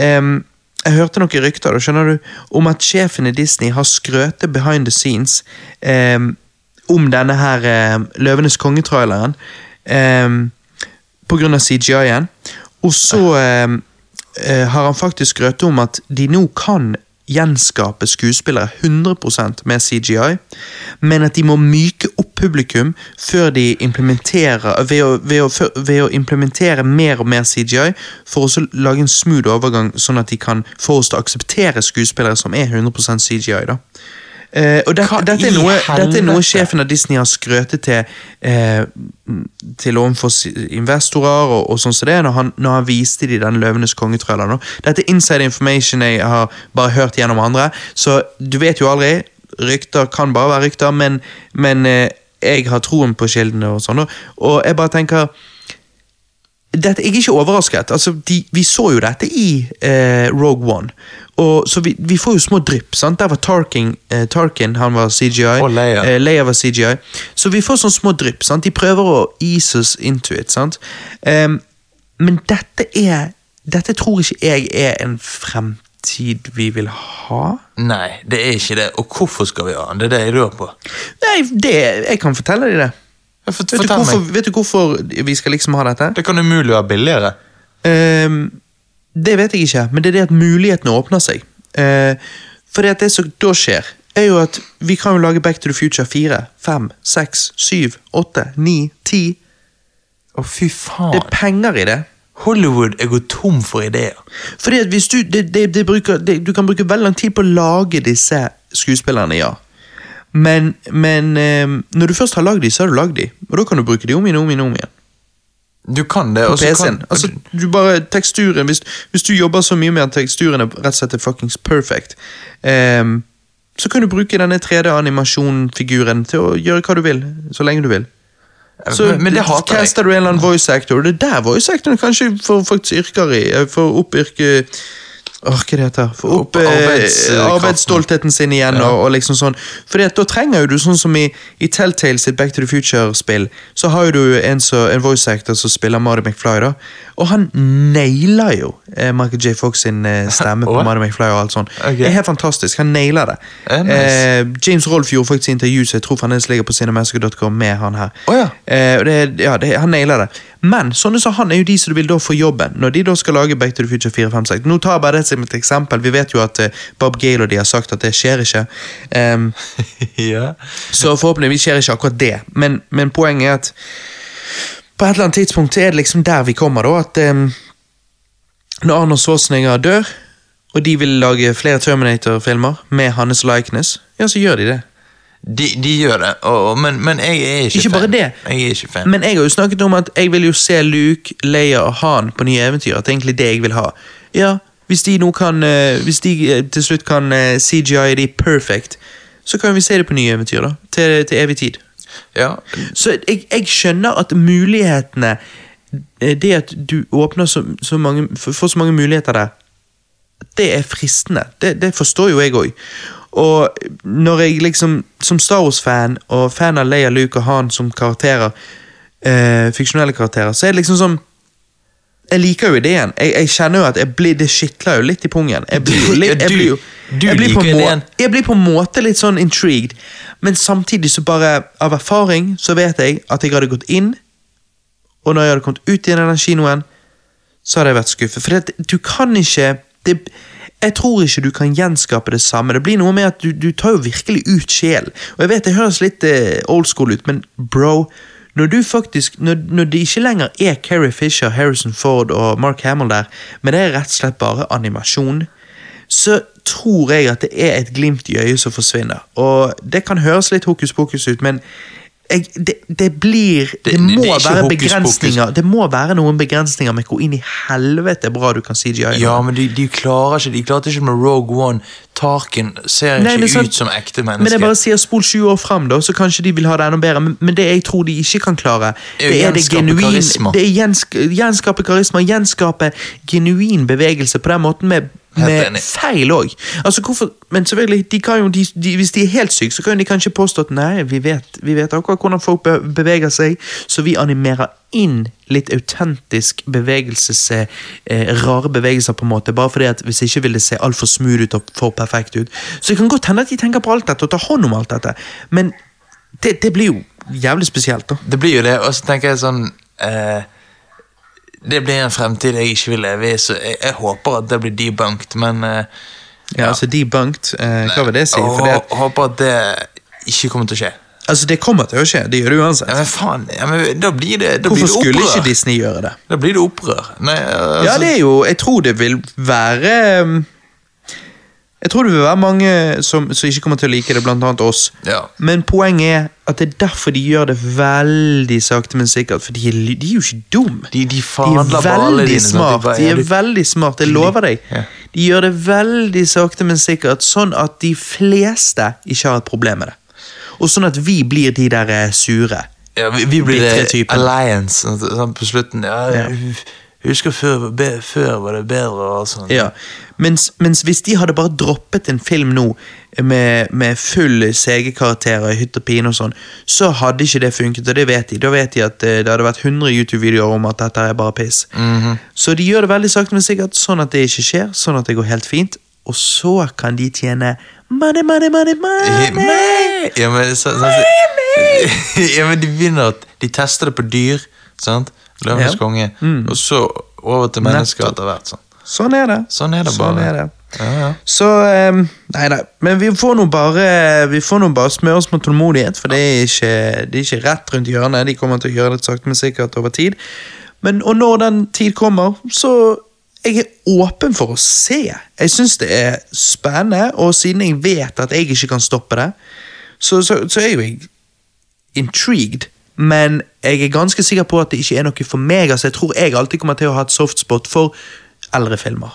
ehm, Jeg hørte noen rykter da, skjønner du, om at sjefen i Disney har skrøtet behind the scenes ehm, om denne her ehm, Løvenes konge-traileren ehm, på grunn av CGI-en. Og så ehm, eh, har han faktisk skrøtet om at de nå kan gjenskape skuespillere 100 med CGI, men at de må myke opp publikum før de implementerer ved å, ved å, før- ved å implementere mer og mer CGI for å så lage en smooth overgang, sånn at de kan få oss til å akseptere skuespillere som er 100 CGI. da. Eh, og det,
Hva
dette,
i
er noe, dette er noe
helvete?
sjefen av Disney har skrøtet til eh, til overfor si- investorer og, og sånn som det, når han, når han viste de den Løvenes kongetrøller. nå. Dette er inside information jeg har bare hørt gjennom andre, så du vet jo aldri. Rykter kan bare være rykter, men, men eh, jeg har troen på kildene og sånn. og- Og jeg bare tenker dette, jeg er ikke overrasket. Altså, de, vi så jo dette i eh, Rogue One. Og, så vi, vi får jo små drypp. sant? Der var Tarkin, eh, Tarkin han var CGI.
Og Leia.
Eh, Leia var CGI. Så vi får sånne små drypp. sant? De prøver å ease us into it. sant? Em, men dette er Dette tror ikke jeg er en fremtid vi vil ha.
Nei, det er ikke det. Og hvorfor skal vi ha den? Det er det jeg lurer på.
Nei, det, jeg kan fortelle deg det.
Ja,
Vet
fort-
du,
Fortell
hvorfor,
meg.
vet du hvorfor vi skal liksom ha dette?
Det kan umulig være billigere.
Ehm, det vet jeg ikke, men det er det at mulighetene åpner seg. Uh, for det at det som da skjer, er jo at vi kan jo lage Back to the Future 4, 5, 6, 7, 8, 9, 10.
Å, fy faen.
Det er penger i det.
Hollywood er gått tom for ideer.
Fordi at hvis du, det, det, det bruker, det, du kan bruke veldig lang tid på å lage disse skuespillerne, ja. Men, men ehm, når du først har lagd de, så har du lagd de. Og da kan du bruke de om igjen om igjen. om igjen.
Du kan det, og så
PC-en.
kan
Altså, du bare, teksturen, hvis, hvis du jobber så mye med at teksturen er rett og slett er fuckings perfect, ehm, så kan du bruke denne 3D-animasjonfiguren til å gjøre hva du vil, så lenge du vil. Så
Men- men det hater jeg.
caster du en eller annen voice actor, og det er der voice actoren kanskje får faktisk yrker i, eh, får opp yrke... Åh, hva det heter? Får opp,
Opp
eh,
arbeidskraften.
arbeidsstoltheten sin igjen, og, og liksom sånn. Fordi at da trenger jo du, sånn som i, i Telltale sitt Back to the Future-spill, så har jo du en, så, en voice actor som spiller Marty McFly, da. Og han nailer jo eh, Michael J. Fox sin eh,
(laughs)
stemme på
Åh?
Marty McFly og alt sånt.
Ok.
Det er helt fantastisk, han nailer det.
Eh, nice.
eh, James Rolfe gjorde faktisk intervju, så jeg tror fremdeles ligger på cinemasker.com med han her.
Å ja.
Eh, og det, ja, det, han nailer det. Men sånne som han er jo de som du vil da få jobben. Når de da skal lage Back to the Future 4, 5, 6. Nå tar jeg bare det som et eksempel. Vi vet jo at eh, Bob Gale og de har sagt at det skjer ikke. Ehm,
(laughs) ja.
så forhåpentligvis skjer ikke akkurat det. Men, men poenget er at på et eller annet tidspunkt så er det liksom der vi kommer, da. At ehm, når Arnold Schwarzenegger dør, og de vil lage flere Terminator-filmer med hans likeness, ja, så gjør de det.
De, de gjør det, og, og, men, men jeg er ikke,
Ikke bare
fan.
det.
Jeg er ikke fan.
Men jeg har jo snakket om at jeg vil jo se Luke, Leia og Han på nye eventyr. At det er egentlig det jeg vil ha. Ja, Hvis de nå kan eh, Hvis de eh, til slutt kan eh, CGI de perfect, så kan vi se det på nye eventyr. da Til, til evig tid.
Ja.
Så jeg, jeg skjønner at mulighetene eh, Det at du åpner så, så mange f- Får så mange muligheter der Det er fristende Det, det forstår jo jeg også Og når jeg liksom Som Star Wars-fan Og fan av Leia, Luke og Han som karakterer eh, Fiksjonelle karakterer Så er det liksom sånn jeg liker jo ideen. Jeg, jeg kjenner jo at jeg blir, det skitler jo litt i pungen. Jeg blir,
(laughs)
jo
Du-
litt- jeg
du-
blir, jo,
du
jeg blir på
liker
en må-
ideen.
jeg blir på en måte litt sånn intrigued, men samtidig så bare av erfaring så vet jeg at jeg hadde gått inn, og når jeg hadde kommet ut igjen i den kinoen, så hadde jeg vært skuffet. For det, du kan ikke det, Jeg tror ikke du kan gjenskape det samme. Det blir noe med at du, du tar jo virkelig ut sjelen. Og jeg vet det høres litt eh, old school ut, men bro når du faktisk, når, når det ikke lenger er Carrie Fisher, Harrison Ford og Mark Hamill der, men det er rett og slett bare animasjon, så tror jeg at det er et glimt i øyet som forsvinner. Og det kan høres litt hokus pokus ut, men jeg, det, det blir Det,
det- det
må
er ikke
være
hokus pokus.
begrensninger. Det må være noen begrensninger med hvor inn i helvete bra du kan CGI.
ja, men de, de klarer ikke De klarte ikke med Rogue One. Tarkin ser
Nei, men
ikke
sant-
ut som ekte
Men jeg
menneske.
bare sier spol 20 år fram, da, så kanskje de vil ha det enda bedre. Men, men det jeg tror de ikke kan klare,
Er å
det er det
gjenskape
genuin
karisma.
Det er gjensk, gjenskape karisma, gjenskape genuin bevegelse på den måten med,
Helt
med
enig.
feil òg. Altså, hvorfor- men selvfølgelig, de kan jo, de, de, hvis de er helt syke, så kan de kanskje påstå at nei, vi vet, vi vet akkurat hvordan folk be, beveger seg, så vi animerer inn litt autentisk bevegelses... Eh, rare bevegelser, på en måte, bare fordi at hvis ikke vil det se altfor smooth ut og for perfekt ut. Så det kan godt hende at de tenker på alt dette og tar hånd om alt dette, men det, det blir jo jævlig spesielt, da.
Det blir jo det, og så tenker jeg sånn eh, Det blir en fremtid jeg ikke vil leve i, så jeg, jeg håper at det blir debunked, men eh,
Ja, altså debunked. Eh, hva vil det si? For det,
jeg håper at det ikke kommer til å skje.
altså, det kommer til å skje. Det gjør det uansett.
Ja, men faen, ja, men da blir det, da blir
Hvorfor
det
skulle
opprør.
ikke Disney gjøre det?
Da blir det opprør. Nei, altså,
Ja, det er jo Jeg tror det vil være um, mm, Jeg tror det vil være mange som, som ikke kommer til å like det, blant annet oss.
Ja.
Men poenget er at det er derfor de gjør det veldig sakte, men sikkert. For de er, ly- de er jo ikke dum.
De, de
De er
fadler på alle
veldig
dine. sant?
smart,
bare,
de
ja,
er
du-
veldig smart, jeg lover deg.
Ja.
De gjør det veldig sakte, men sikkert, sånn at de fleste ikke har et problem med det. Og sånn at vi blir de der eh, sure.
Ja, vi, vi blir
Bitre
det
typen.
alliance sånn, sånn på slutten. Ja, hu- Husker før, be, før var det bedre og sånn.
Ja. Mens, mens hvis de hadde bare droppet en film nå med, med full CG-karakterer i hytt og pine og sånn, så hadde ikke det funket, og det vet de. Da vet de at eh, det hadde vært 100 YouTube-videoer om at dette er bare piss.
Mhm.
Så de gjør det veldig sakte, men sikkert, sånn at det ikke skjer, sånn at det går helt fint. Og så kan de tjene money, money, money, money!
Ja, men, så, sånn, (laughs) ja, men de begynner at De tester det på dyr. sant? Løvenes
Ja. Mm.
konge. Og så over til mennesker etter hvert. sånn.
Sånn er det.
Sånn er det bare.
Sånn er det.
Ja, ja.
Så um, Nei, nei. Men vi får nå bare Vi får nå bare smøre oss med tålmodighet, for det er, ikke, det er ikke rett rundt hjørnet. De kommer til å gjøre det sakte, men sikkert over tid. Men, og når den tid kommer, så jeg er åpen for å se. Jeg syns det er spennende, og siden jeg vet at jeg ikke kan stoppe det, så, så, så er jo jeg intrigued, men jeg er ganske sikker på at det ikke er noe for meg. Altså, jeg tror jeg alltid kommer til å ha et softspot for eldre filmer.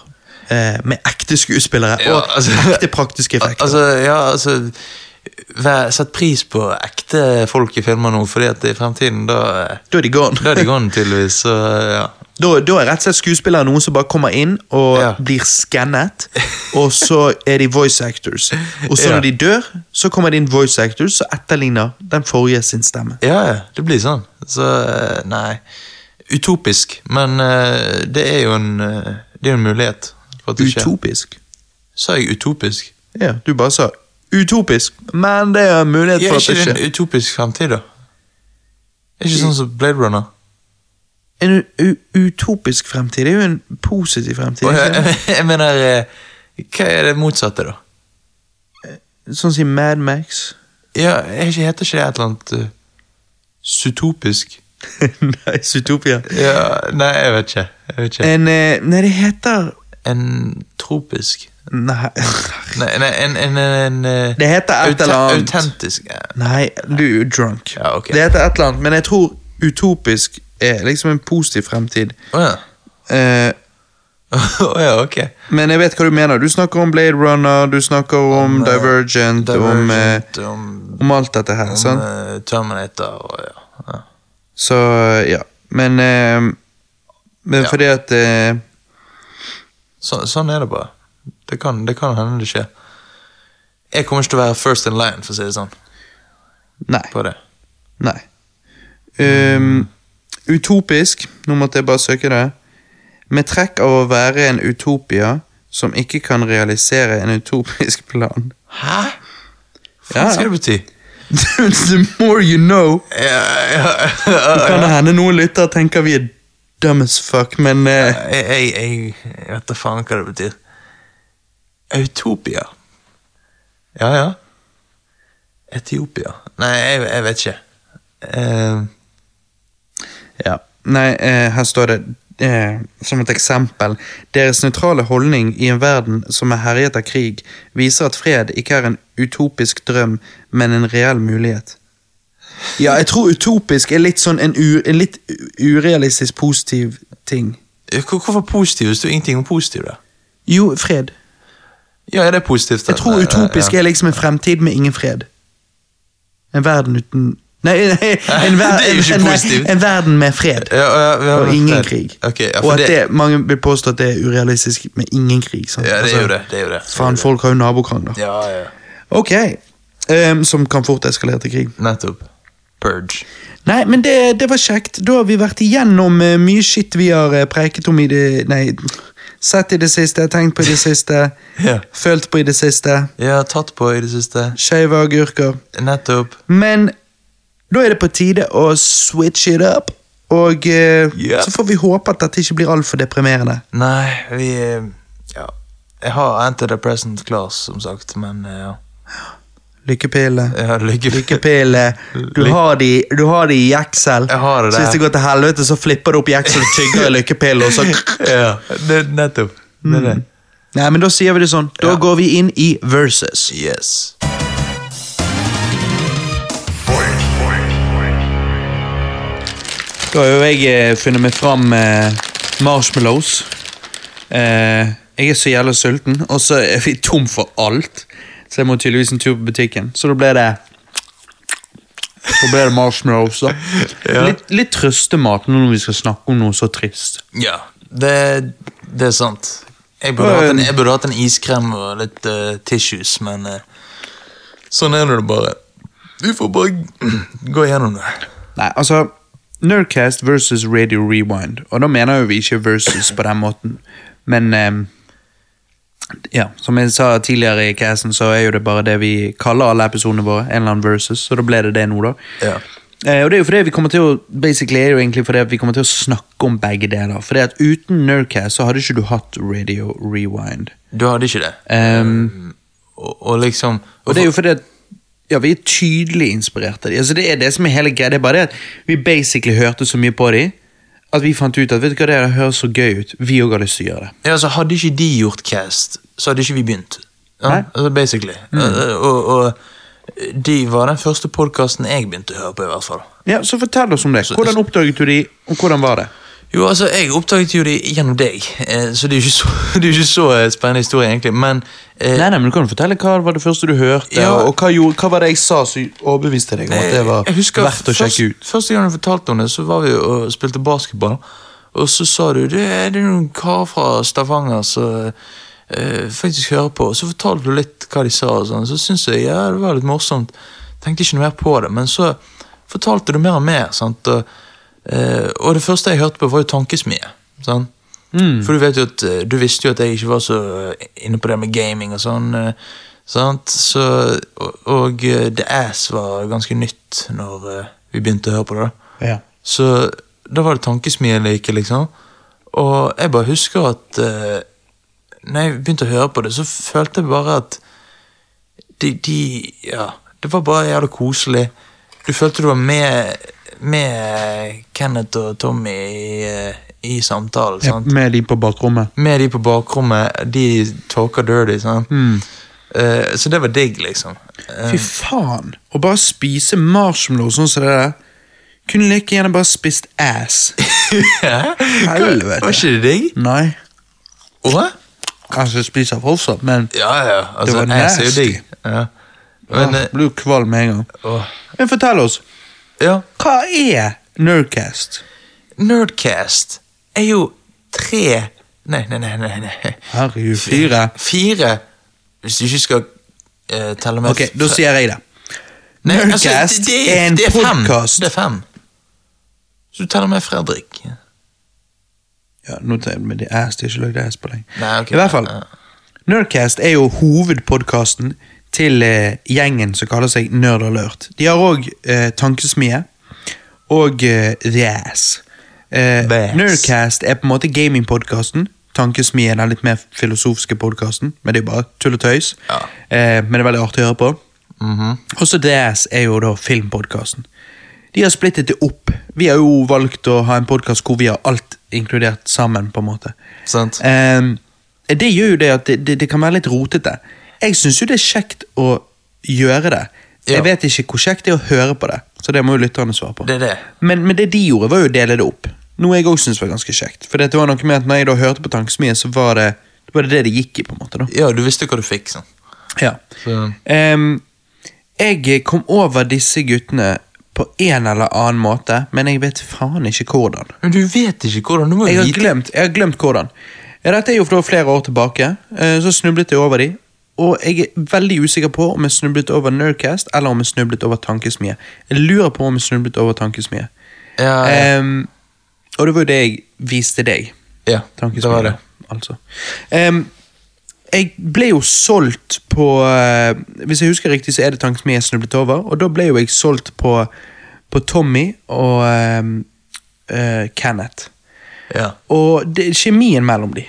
Eh, med ekte skuespillere
Ja,
og
altså-
ekte praktiske effekter.
Altså, (laughs) ja, altså vær, Sett pris på ekte folk i filmer nå, fordi at i fremtiden, da eh,
da er de gone.
Da er de
(laughs)
gone, tydeligvis. Så ja.
Da, da er rett og slett skuespillere noen som bare kommer inn og
Ja.
blir skannet, og så er de voice actors. Og så
Ja.
når de dør, så kommer det inn voice actors som etterligner den forrige sin stemme.
Ja, ja, det blir sånn. Så eh, nei Utopisk, men eh, det er jo en, eh, det er jo en mulighet. For at det skjer.
Utopisk.
Sa jeg utopisk?
Ja, du bare sa utopisk, men det er en mulighet
Er
for at
ikke
det
det
skjer.
en utopisk fremtid, da? Er ikke sånn som Blade Runner?
En u u utopisk fremtid er jo en positiv fremtid.
Og
ikke
jeg,
det?
(laughs) jeg mener eh, Hva er det motsatte, da?
Sånn som i Mad
(laughs)
Max.
Ja, er ikke, Heter ikke det et eller annet eh, Sutopisk?
nei, Zootopia.
Ja, nei, jeg vet ikke. Jeg vet ikke.
En eh, Nei, det heter
En tropisk
Nei. (laughs)
Nei, nei en, en, en, en
Det heter et eller annet.
Autentisk ja.
Nei, du er jo drunk.
Ja, ok.
Det heter et eller annet, men jeg tror utopisk er liksom en positiv fremtid.
Å ja. (laughs)
Eh,
Å ja, ok.
men jeg vet hva du mener. Du snakker om Blade Runner, du snakker om,
eh,
Divergent, om, eh, sånn.
Divergent, om,
om alt dette her.
om,
sant?
eh, Terminator og ja. ja.
Så ja. Men, eh, men
Ja.
fordi at eh,
Så, sånn er det bare. Det kan, det kan hende det skjer. Jeg kommer ikke til å være first in line, for å si det sånn.
Nei.
på det.
Nei. Ehm, utopisk, nå måtte jeg bare søke det. Med trekk av å være en utopia som ikke kan realisere en utopisk plan. (laughs)
Hæ? Hva
Ja, ja.
skal det bety?
The more you know.
Ja, ja,
Kan det hende noen lyttere tenker vi er dumb as fuck, men eh,
jeg, jeg, jeg jeg vet da faen hva det betyr. Autopia. Ja, ja. Etiopia. Nei, jeg, jeg vet ikke. Eh,
Ja. Nei, eh, her står det eh, som et eksempel. Deres nøytrale holdning i en verden som er herjet av krig, viser at fred ikke er en utopisk drøm, men en reell mulighet. Ja, jeg tror utopisk er litt sånn en, u, en litt u- urealistisk positiv ting.
hvor- hvorfor positiv? Det står ingenting om positiv der.
Jo, fred.
Ja, er det positivt? da?
Jeg tror
Nei,
utopisk
ja.
er liksom en fremtid med ingen fred. En verden uten Nei, (laughs) nei en, ver,
Det er jo ikke
en, nei,
positivt.
en verden med fred.
Ja, ja, ja,
Og
men-
ingen krig.
Ok, ja, for
og at
det,
det, mange vil påstå at det er urealistisk med ingen krig. Sant?
ja, det er
Altså,
jo det. det, er jo det.
Faen, folk har jo nabokrangler.
Ja, ja.
Ok. Ehm, som kan fort eskalere til krig.
Nettopp. Purge.
Nei, men det, det var kjekt. Da har vi vært igjennom eh, mye shit vi har eh, preiket om i det Nei, sett i det siste, tenkt
(laughs)
på i det siste,
Ja.
følt på i det siste.
Jeg har tatt på i det siste.
Skeive agurker.
Nettopp.
Men da er det på tide å switch it up. Og eh,
Yeah.
så får vi håpe at dette ikke blir altfor deprimerende.
Nei, vi eh, Ja. Jeg har antidepressant class, som sagt, men eh, ja.
Lykkepille.
Jeg har lykke
Lykkepille. Du har de, du har de i jeksel.
Jeg har det
Så
der.
hvis det går til (laughs)
(laughs)
helvete, så flipper du opp jeksel og tygger i lykkepillen, og så
ja, det, nettopp. Det er det.
Nei, men da sier vi det sånn. Da
Ja.
går vi inn i versus.
Yes.
Da har jo jeg eh, funnet meg fram eh, marshmallows. Eh, jeg er så jævla sulten, og så er vi tom for alt. Så jeg må tydeligvis en tur på butikken. Så da ble det Så ble det marshmallows, (laughs) da.
Ja.
Litt, litt trøstemat nå når vi skal snakke om noe så trist.
Ja, det, det er sant. Jeg burde, hatt en, jeg burde hatt en iskrem og litt eh, tissues, men eh, sånn er det bare. Du får bare gå gjennom det.
Nei, altså Nerdcast versus Radio Rewind. Og da mener jo vi ikke versus på den måten, men ehm, Ja, som jeg sa tidligere i casten, så er jo det bare det vi kaller alle episodene våre. En eller annen versus, så da ble det det nå, da.
Ja.
Eh, og det er jo fordi vi kommer til å Basically er det jo egentlig fordi at vi kommer til å snakke om begge deler. Fordi at uten Nerdcast så hadde ikke du hatt Radio Rewind.
Du hadde ikke det.
Ehm.
og, og liksom
Og det er jo fordi at ja, vi er tydelig inspirert av dem. Altså, det er det som er hele greia. Det er bare det at vi basically hørte så mye på dem at vi fant ut at vet du hva det er, det høres så gøy ut. Vi òg har lyst til å gjøre det.
Ja, altså Hadde ikke de gjort cast, så hadde ikke vi begynt.
Nei. Mm.
Ja, altså basically. Eh, Og, og de var den første podkasten jeg begynte å høre på, i hvert fall.
Ja, Så fortell oss om det. Hvordan oppdaget du de, og hvordan var det?
Jo, altså, jeg oppdaget jo de gjennom deg, eh, så det er jo ikke så, (laughs) det er jo ikke så eh, spennende historie, egentlig, men eh,
Nei, nei, men Du kan jo fortelle hva var det første du hørte,
Ja.
og, og hva, gjorde, hva var det jeg sa som overbeviste deg om at det var
Jeg husker
verdt å
først-
sjekke ut?
Første gang du fortalte om det, så var vi jo og spilte basketball. Og så sa du det er det noen kar fra Stavanger som eh, faktisk hører på. Og så fortalte du litt hva de sa, og sånn. så syntes jeg ja, det var litt morsomt. Tenkte ikke noe mer på det, men så fortalte du mer og mer. Sant? Og, eh, og det første jeg hørte på, var jo Tankesmie. Sant?
Mm.
For du vet jo at eh, Du visste jo at jeg ikke var så eh, inne på det med gaming og sånn. eh, Sant? Så, og, og eh, The Ass var ganske nytt når eh, vi begynte å høre på det. da.
Ja.
Så da var det tankesmie jeg liker, liksom. Og jeg bare husker at eh, Når jeg begynte å høre på det, så følte jeg bare at de, de Ja, det var bare jævla koselig. Du følte du var med, med Kenneth og Tommy i, eh, i samtalen.
Ja,
sant?
med de på bakrommet.
med de på bakrommet, de talker dirty, sant?
Mm.
Eh, så det var digg, liksom.
(laughs)
Eh,
Fy faen! Å bare spise marshmallow sånn som det der Kunne like gjerne bare spist (laughs) ass.
ja.
helvete.
Var ikke det digg?
Nei.
Åh?
Kanskje jeg spiser fortsatt, men
Ja, ja, ja.
Det
Altså,
var
ass er jo
nasty.
digg. Ja. Men,
jeg
eh,
Ah, blir jo kvalm med en gang.
åh.
Men fortell oss,
ja.
hva er Nerdcast?
Nerdcast er jo tre Nei, nei, nei. nei, nei.
Herregud, fire.
Fire, hvis du ikke skal eh, telle med
Ok, da sier jeg det.
Nei, altså,
Nerdcast
det- det
er en
det fem.
podcast.
Det er fem. Så du teller med Fredrik.
Ja, nå tar jeg med det ass, det er ikke lagd ass på lenge.
Nei, ok.
I hvert fall,
Ja.
Nerdcast er jo hovedpodkasten til eh, gjengen som kaller seg Nerd Alert. De har òg eh, Tankesmie og eh, The Ass. Eh,
Bass.
Nerdcast er på en måte gamingpodkasten. Tankesmie er den litt mer filosofiske podkasten, men det er jo bare tull og tøys.
Ja.
Eh, men det er veldig artig å høre på. Også The Ass er jo da filmpodkasten. De har splittet det opp. Vi har jo valgt å ha en podkast hvor vi har alt inkludert sammen, på en måte.
Sant.
Ehm, det gjør jo det at det, det, det kan være litt rotete. Jeg syns jo det er kjekt å gjøre det.
Ja.
Jeg vet ikke hvor kjekt det er å høre på det, så det må jo lytterne svare på.
Det er det.
Men, men det de gjorde, var jo å dele det opp. Noe jeg òg syns var ganske kjekt. For det var noe med at når jeg da hørte på Tankesmien, så var det det, var det det det gikk i. på en måte da.
Ja, du visste hva du fikk, sånn.
Ja.
Så-
Ehm, jeg kom over disse guttene på en eller annen måte, men jeg vet faen ikke hvordan.
Men du vet ikke hvordan, du må
Jeg
jo
har
vite.
glemt, jeg har glemt hvordan. Ja, Dette er jo fra flere år tilbake. eh, Så snublet jeg over de. Og jeg er veldig usikker på om jeg snublet over Nerdcast eller om jeg snublet over Tankesmie. Jeg lurer på om jeg snublet over Tankesmie.
Ja, ja.
Ehm, og det var jo det jeg viste deg.
ja det var det.
Tankesmie. Altså. Ehm, jeg ble jo solgt på eh, Hvis jeg husker riktig, så er det Tankesmie jeg snublet over. Og da ble jo jeg solgt på, på Tommy og ehm, eh, Kenneth.
Ja.
Og det, kjemien mellom de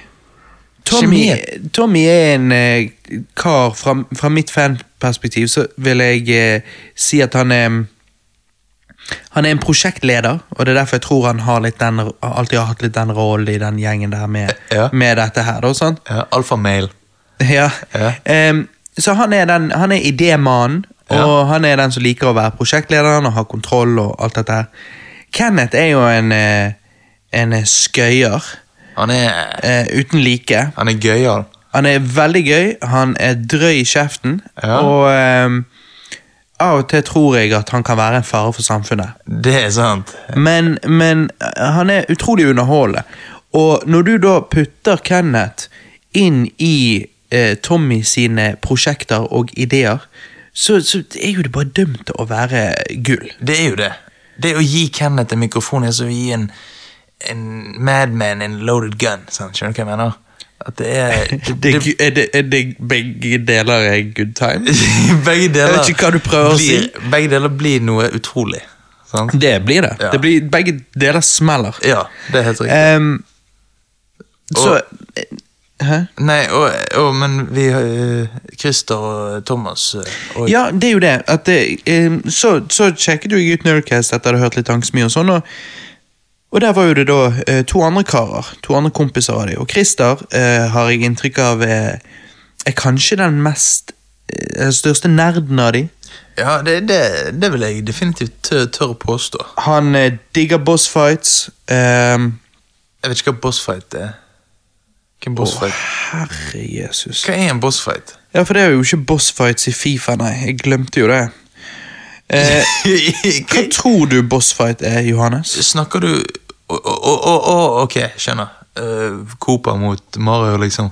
Tommy,
Kjemien?
Tommy er en eh, kar fra, fra mitt fanperspektiv så vil jeg eh, si at han er han er en prosjektleder, og det er derfor jeg tror han har litt den, alltid har hatt litt den rollen i den gjengen der med,
Ja.
med dette her. Da, sant? (laughs)
ja Alfamail.
Ja.
Ja.
Ehm, så han er, den, han er idémannen, og han er den som liker å være prosjektlederen og ha kontroll og alt dette her. Kenneth er jo en, eh, en skøyer
Han er,
eh, uten like.
han er gøyal.
Han er veldig gøy, han er drøy i kjeften,
Ja.
og ehm, av og til tror jeg at han kan være en fare for samfunnet.
Det er sant.
Men, men eh, han er utrolig underholdende. Og når du da putter Kenneth inn i eh, Tommy sine prosjekter og ideer, så, så er jo det bare dømt å være gull.
Det er jo det. Det å gi Kenneth en mikrofon er som å gi en, en madman en loaded gun. Sant? Skjønner du hva jeg mener? At det er
(laughs) Det, er, det, er det begge deler er good
(laughs)
time?
Begge deler
Jeg vet ikke hva du prøver å
blir, Begge deler blir noe utrolig. Sant?
Det blir det.
Ja.
det blir, begge deler smeller.
Ja, det er helt riktig.
Ehm, så
Og-
eh, Hæ?
Nei, og, og, men vi eh, Christer og Thomas eh, og,
Ja, det er jo det. At det ehm, så, så sjekket jo jeg ut Nerdcast etter at jeg hadde hørt litt angstmye og sånn. Og, og der var jo det da eh, to andre karer. To andre kompiser av dem. Og Christer eh, har jeg inntrykk av eh, er kanskje den mest eh, største nerden av dem.
Ja, det, det, det vil jeg definitivt tør, tør å påstå.
Han eh, digger boss fights. ehm,
Jeg vet ikke hva bossfight er. Hva er en bossfight?
Herre Jesus.
Hva er en
(laughs)
bossfight?
Ja, for det er jo ikke boss fights i Fifa, nei. Jeg glemte jo det. Eh, hva
Hva-
tror du boss fight er, Johannes?
Snakker du Å, å, å, å, ok, skjønner. Uh, Cooper mot Mario, liksom.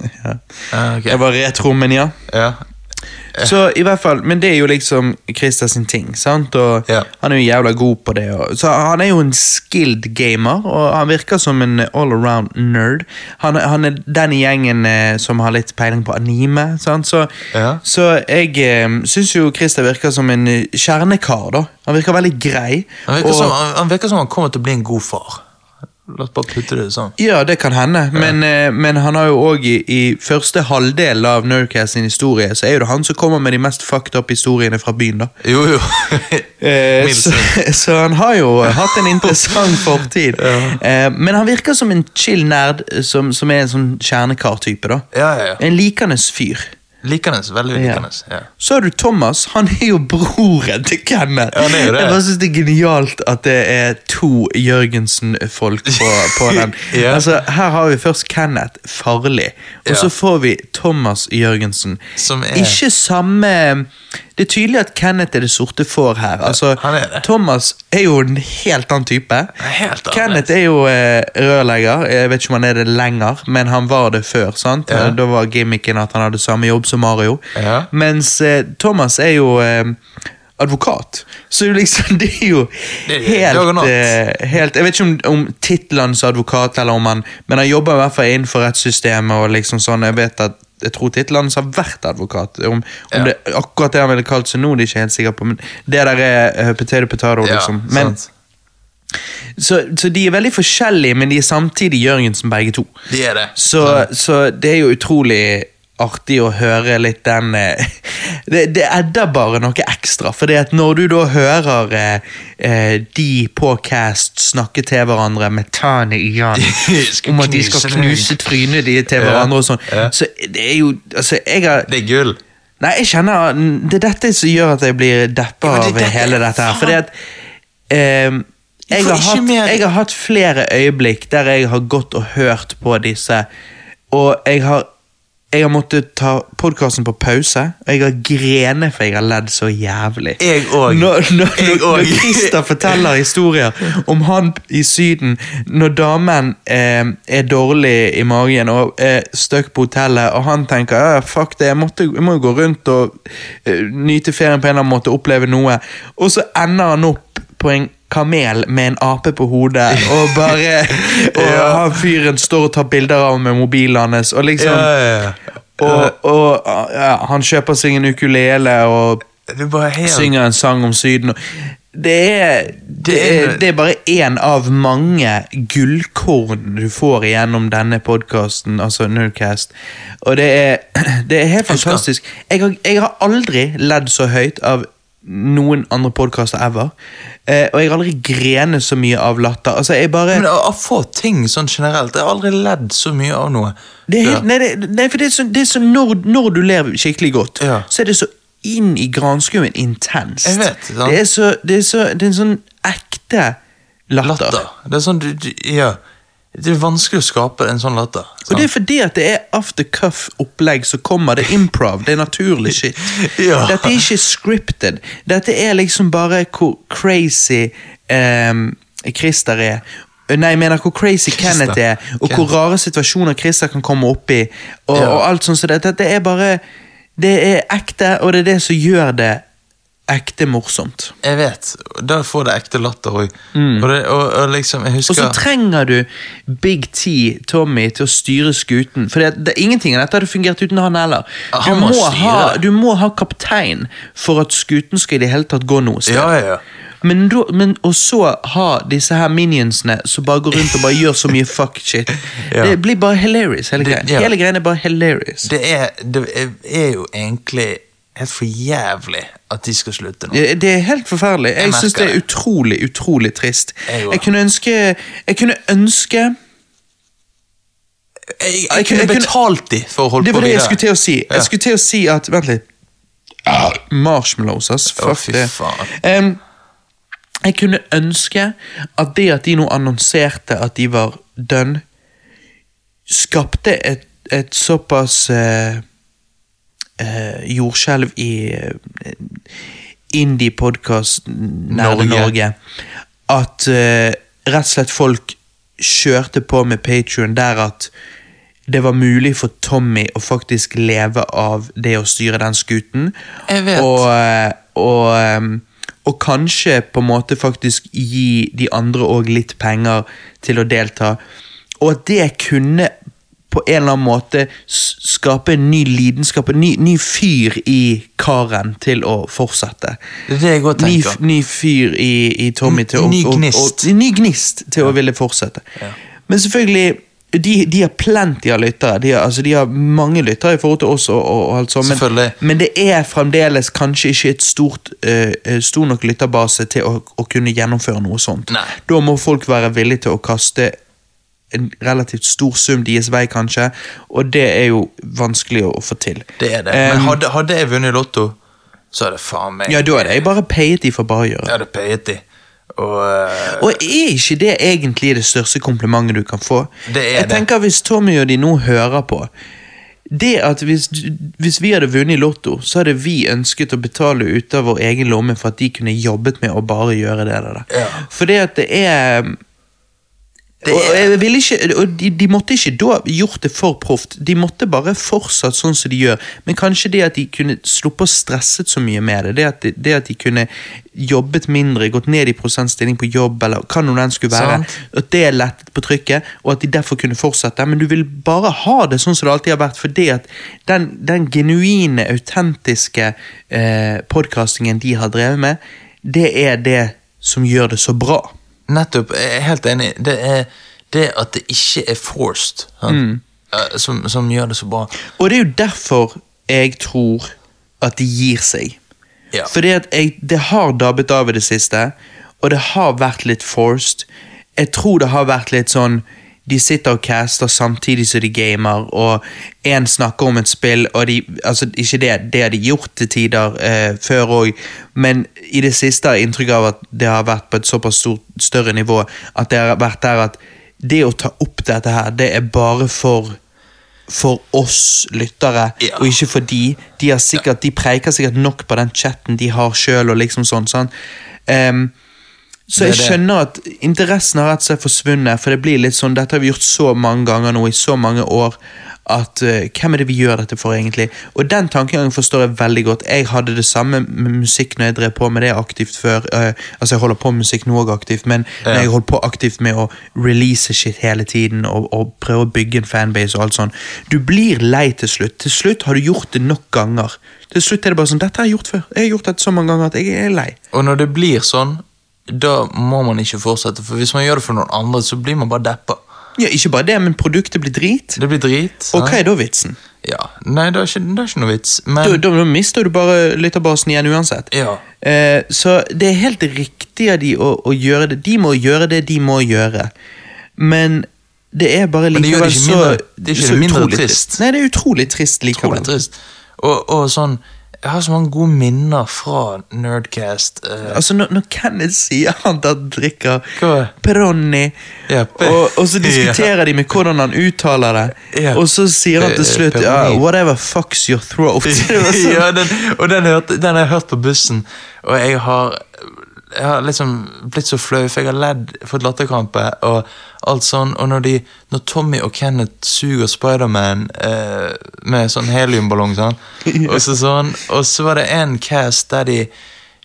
Ja.
Ja, ok.
Jeg var retro, men ja.
ja.
Så i hvert fall, Men det er jo liksom Christer sin ting, sant? Og
Ja.
han er jo jævla god på det. Og, så han er jo en skilled gamer, og han virker som en all around nerd. Han, han er den i gjengen eh, som har litt peiling på anime, sant? Så,
Ja.
så jeg eh, syns jo Christer virker som en eh, kjernekar, da. Han virker veldig grei.
Han, virker
og-
som, han, han virker som han kommer til å bli en god far. La oss bare putte det sånn.
Ja, det kan hende, men, eh, men han har jo òg i, i første halvdel av Nerdcast sin historie, så er jo det han som kommer med de mest fucked up historiene fra byen, da.
Jo, (laughs) jo.
Eh,
Mildt
så, (laughs) så han har jo eh, hatt (laughs) en interessant fortid. Eh, men han virker som en chill nerd eh, som, som er en sånn kjernekar-type. da.
Ja, ja, ja.
En likende fyr.
Likende. Veldig
Ja.
likende. Ja.
Så har du Thomas. Han er jo broren til Kenneth.
Ja, han er jo det.
Jeg bare synes det er genialt at det er to Jørgensen-folk på, på den.
(laughs) Ja.
Altså, Her har vi først Kenneth Farlig, og
Ja.
så får vi Thomas Jørgensen.
Som er-
Ikke samme Det er tydelig at Kenneth er det sorte får her. Altså,
han er det.
Thomas er jo en helt annen type.
Helt annerledes.
Kenneth er jo eh, rørlegger. Jeg vet ikke om han er det lenger, men han var det før. sant?
Ja.
Da var gimmicken at han hadde samme jobb som Mario.
Ja.
Mens eh, Thomas er jo eh, advokat. Så det er jo liksom, (laughs) det er jo
Det er dag og
helt,
natt.
eh, helt Jeg vet ikke om, om tittelen som advokat, eller om han, men han jobber i hvert fall innenfor rettssystemet. og liksom sånn, Jeg vet at jeg tror tittelen hans har vært advokat. Om, om
Ja.
det er akkurat det han ville kalt seg nå, det er jeg ikke helt sikker på. Men det der er eh, potato potato,
Ja,
liksom. Men,
sant.
så, så de er veldig forskjellige, men de er samtidig Jørgensen begge to.
De er det.
Så, så det er jo utrolig artig å høre litt den eh, (laughs) Det, det edder bare noe ekstra. For når du da hører eh, eh, de på Cast snakke til hverandre med tærne
(laughs)
i hånden
Skal
om at de
knuse
skal
deg.
knuse trynet de til
Ja,
hverandre og sånn,
ja.
så det er jo altså, jeg har,
Det er gull.
Nei, jeg kjenner Det er dette som gjør at jeg blir deppa
Ja, men det er
av
dette-
hele dette her. Fordi at ehm, jeg,
får
har
ikke
hatt,
mer-
jeg har hatt flere øyeblikk der jeg har gått og hørt på disse, og jeg har jeg har måttet ta podkasten på pause, og jeg har grene for jeg har ledd så jævlig.
Jeg òg.
Når, når,
Jeg
når, når
òg.
Christer forteller historier om han i Syden, når damen eh, er dårlig i magen og er stuck på hotellet, og han tenker ja, fuck det, jeg, måtte, jeg må jo gå rundt og eh, nyte ferien på en eller annen måte, oppleve noe, og så ender han opp på en kamel med en ape på hodet, og bare Og
(laughs) Ja.
han fyren står og tar bilder av ham med mobilen hans, og liksom
Ja, ja, ja.
Og, og ja, han kjøper seg en ukulele og
Det er bare helt
synger en sang om Syden. og- Det er, det er, det er bare én av mange gullkorn du får igjennom denne podkasten, altså Nerdcast. Og det er, (clears throat) det er helt
Husker.
fantastisk. Jeg har, jeg har aldri ledd så høyt av noen andre podkaster ever. Eh, og jeg har aldri grenet så mye av latter. Altså, jeg bare...
Men av av få ting sånn generelt. Jeg har aldri ledd så mye av noe.
Det er helt, nei, det, nei, for det er så, det er så når, når du ler skikkelig godt,
Ja.
så er det så inn i granskummen intenst.
Jeg vet, sant?
det, er så, det, er så, det er en sånn ekte latter.
Latter. Det er sånn du, du Ja. Det er vanskelig å skape en sånn latter.
Og det er fordi at det er after cuff-opplegg, så kommer det improv. Det er
(laughs)
naturlig shit.
Ja.
Dette er ikke scripted. Dette er liksom bare hvor crazy ehm, Christer er. Eh, Nei, jeg mener hvor crazy
Christer.
Kenneth er, og hvor
Kenneth.
rare situasjoner Christer kan komme opp i. Og,
Ja.
og alt sånt. Så dette, dette er bare Det er ekte, og det er det som gjør det ekte morsomt.
Jeg vet. Da får det ekte latter òg. Og, det- og, og liksom, jeg
Mm. Og
husker
så trenger du Big T, Tommy, til å styre skuten. For det, det, ingenting av dette hadde fungert uten han heller. Du,
Han må
må,
styre.
ha, du må ha kaptein for at skuten skal i det hele tatt gå noe sted.
Ja, ja, ja.
Men, da- men og så ha disse her minionsene som bare går rundt og bare gjør så
(laughs)
mye fuck shit.
Ja.
Det blir bare hilarious, hele greien.
ja.
Hele greien er bare hilarious.
Det er, det er- er jo egentlig helt for jævlig at de skal slutte nå.
Det det er helt forferdelig. Jeg
merker
syns det er
det.
utrolig, utrolig trist.
Jeg òg.
Jeg kunne ønske Jeg kunne ønske
Jeg, jeg,
jeg
kunne
kunne-
betalt de for å holde
Det
på
var det jeg
videre.
skulle til å si.
Ja.
Jeg skulle til å si at Vent litt. Ah, Marshmallows, ass.
Å,
Fuck
fy
det.
faen.
Em, jeg kunne ønske at det at de nå annonserte at de var done, skapte et, et såpass eh, eh, jordskjelv i eh, indie-podkast nære
Norge.
Norge at eh, rett og slett folk kjørte på med Patrion der at det var mulig for Tommy å faktisk leve av det å styre den skuten.
Jeg vet.
Og, eh, og, eh, og kanskje på en måte faktisk gi de andre òg litt penger til å delta. Og at det kunne på en eller annen måte s- skape en ny lidenskap, en ny, ny fyr i karen til å fortsette.
Det er det jeg òg
Ny,
tenker.
f- ny fyr i, i Tommy til å
Ny
å- å-
gnist.
ny gnist til å ville fortsette. Men selvfølgelig, de, de har plenty av lyttere. De har, altså, de har mange lyttere i forhold til oss. og, og, og alt sånt, men,
Selvfølgelig.
men det er fremdeles kanskje ikke et stort, eh, eh, stor nok lytterbase til å, å kunne gjennomføre noe sånt.
Nei.
Da må folk være villige til å kaste en relativt stor sum deres vei, kanskje, og det er jo vanskelig å, å få til.
Det er det.
Em,
Men hadde, hadde jeg vunnet Lotto, så hadde faen meg
ja, da hadde jeg bare payet de for bare å gjøre det.
Jeg hadde payet de. Og eh,
Og er ikke det egentlig det største komplimentet du kan få?
Det er
Jeg
det.
tenker Hvis Tommy og de nå hører på det at hvis, du- hvis vi hadde vunnet i Lotto, så hadde vi ønsket å betale ut av vår egen lomme for at de kunne jobbet med å bare gjøre det der.
Ja.
For det at det er
Det er-
Og, jeg vil ikke, og de, de måtte ikke da gjort det for proft. De måtte bare fortsatt sånn som de gjør. Men kanskje det at de kunne sluppet å stresset så mye med det. Det at de, det at de kunne jobbet mindre, gått ned i prosentstilling på jobb, eller hva nå den skulle være.
Sant.
At det lettet på trykket, og at de derfor kunne fortsette. Men du vil bare ha det sånn som det alltid har vært, fordi at den, den genuine, autentiske eh, podcastingen de har drevet med, det er det som gjør det så bra.
nettopp, jeg er helt enig. Det er det at det ikke er forced, sant?
Mm.
Eh, som, som gjør det så bra.
Og det er jo derfor jeg tror at de gir seg.
Ja.
Fordi at jeg, det har dabbet av i det siste, og det har vært litt forced. Jeg tror det har vært litt sånn de sitter og caster samtidig som de gamer, og én snakker om et spill, og de Altså, ikke det, det har de gjort til tider eh, før òg, men i det siste har jeg inntrykk av at det har vært på et såpass stort, større nivå at det har vært der at det å ta opp dette her, det er bare for for oss lyttere,
Ja.
og ikke for de. De, har sikkert, de preiker sikkert nok på den chatten de har sjøl. Liksom sånn, sånn. Ehm, så
Det er
jeg
det.
skjønner at interessen har rett og slett forsvunnet. For det blir litt sånn, Dette har vi gjort så mange ganger nå i så mange år. At eh, Hvem er det vi gjør dette for, egentlig? Og Den tankegangen forstår jeg veldig godt. Jeg hadde det samme med musikk når jeg drev på med det aktivt før. eh, altså Jeg holder på med musikk nå òg aktivt, men når jeg holdt på aktivt med å release shit hele tiden og, og prøve å bygge en fanbase og alt sånn Du blir lei til slutt. Til slutt har du gjort det nok ganger. Til slutt er det bare sånn Dette har jeg gjort før. Jeg har gjort dette så mange ganger at jeg er lei.
Og når det blir sånn, da må man ikke fortsette. For hvis man gjør det for noen andre, så blir man bare deppa.
Ja, Ikke bare det, men produktet blir drit.
Det blir drit.
Og
sant?
hva er da vitsen?
Ja. Nei, det er ikke, det er ikke noe vits, men
Da, da, da mister du bare lytterbasen igjen uansett.
Ja.
Eh, så det er helt riktig av de å, å gjøre det. De må gjøre det de må gjøre. Men det er bare
Men det gjør
likevel
det ikke
så
mindre- det er ikke
så
det mindre
utrolig
trist.
Nei, det er utrolig trist likevel.
Utrolig trist. Og, og sånn Jeg har så mange gode minner fra Nerdcast. eh,
Altså, når, når Kenneth sier (laughs) han da drikker
Hva?
Peroni,
Ja, pe-
og, og så diskuterer de med hvordan han uttaler det,
Ja.
og så sier han til
Pe-
slutt ja,
Peroni.
Whatever fucks your
(laughs)
throat. (laughs) Det var sånn-
ja, den, og den, hørte, den har jeg hørt på bussen, og jeg har, jeg har liksom blitt så flau, for jeg har ledd, fått latterkrampe og alt sånn. Og når, de, når Tommy og Kenneth suger Spiderman eh, med sånn heliumballong
(laughs)
sånn, og, så sånn, og så var det en cast der de,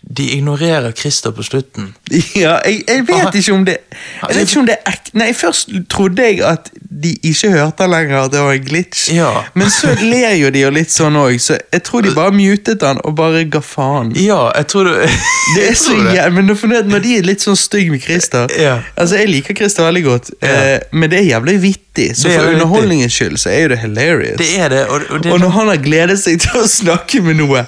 de ignorerer Christer på slutten.
(laughs) Ja, jeg, jeg vet ikke om det Jeg vet ikke om det er ek... Nei, Først trodde jeg at de ikke hørte han lenger, at det var en glitch.
Ja.
Men så ler jo de jo litt sånn òg, så jeg tror de bare mutet han og bare ga faen.
Ja, jeg tror du
(laughs) Det er så jæv- men når- når- Når de er litt sånn stygge med Christer
Ja.
Altså, Jeg liker Christer veldig godt, eh, men det er jævlig vittig. Så
Det
for
er jævlig vittig.
underholdningens skyld så er jo det hilarious.
Det er sånn- det, og, og det
Og når han har gledet seg til å snakke med noe,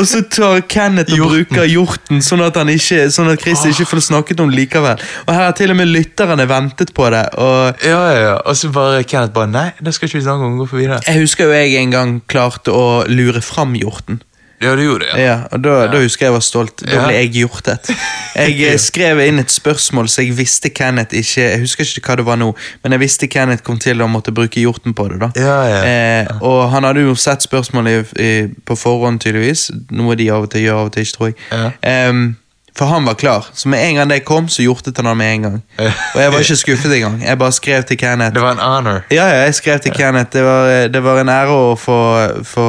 og så tar Kenneth og
Hjorten.
bruker hjorten, sånn at, han ikke, sånn at Chris ikke får snakket om det likevel. Og her har til og med lytterne ventet på det. Og
sånn- Ja, ja, ja. Og så bare Kenneth bare Nei, det skal ikke vi snakke om. Gå forbi det.
jeg husker jo jeg en gang klarte å lure fram hjorten.
Ja, du gjorde det,
Ja, og da, da husker jeg jeg var stolt. Da
Ja.
ble jeg hjortet. Jeg
(laughs)
eh, skrev inn et spørsmål, så jeg visste Kenneth ikke Jeg husker ikke hva det var nå, men jeg visste Kenneth kom til å måtte bruke hjorten på det. da
Ja, ja.
Eh, Og han hadde jo sett spørsmålet i, i, på forhånd, tydeligvis. Noe de av og til gjør, av og til ikke, tror jeg.
Ja.
Em, for han var klar, så med en gang det kom, så hjortet han han med en gang.
Ja.
Og jeg var ikke skuffet engang. Jeg bare skrev til Kenneth.
Det var en honor.
Ja, ja, jeg skrev til Kenneth. Det var, det var en ære å få, få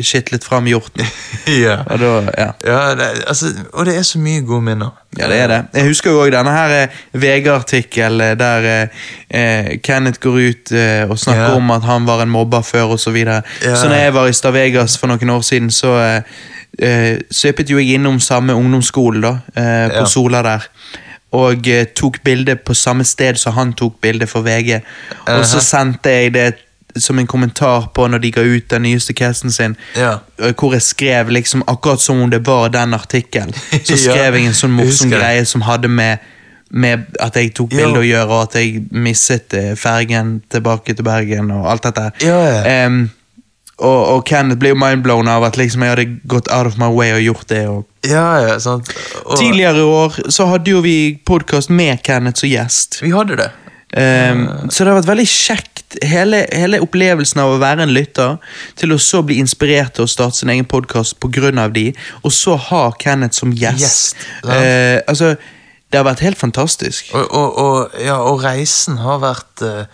skitlet fram hjorten.
ja.
Og da, (laughs) ja.
ja det, altså, og det er så mye gode minner.
Ja, det er det. Jeg husker jo også denne her eh, VG-artikkel eh, der eh, eh, Kenneth går ut eh, og snakker
Ja.
om at han var en mobber før og Så, videre.
Ja.
så når jeg var i Stavegas for noen år siden, så eh, eh, søpet jo jeg innom samme ungdomsskole da, eh, på
Ja.
Sola der. Og eh, tok bilde på samme sted som han tok bilde for VG. Og så
Aha.
sendte jeg det som en kommentar på når de ga ut den nyeste casten sin.
Ja.
eh, Hvor jeg skrev liksom akkurat som om det var den artikkelen. Så
(laughs) Ja,
skrev jeg en sånn
jeg
morsom
husker det.
greie som hadde med, med at jeg tok
Ja.
bilde å gjøre, og at jeg misset eh, fergen tilbake til Bergen og alt dette.
Ja, ja.
Em, og, og Kenneth ble jo mindblown av at liksom jeg hadde gått out of my way og gjort det. Og.
Ja, ja, sant. Og,
Tidligere i år så hadde jo vi podkast med Kenneth som gjest.
Vi hadde det.
Ehm, Så det har vært veldig kjekt. Hele, hele opplevelsen av å være en lytter, til å så bli inspirert til å starte sin egen podkast pga. de, og så ha Kenneth som gjest.
Gjest, ja.
Eh, altså, det har vært helt fantastisk.
Og, og, og, ja, og reisen har vært eh,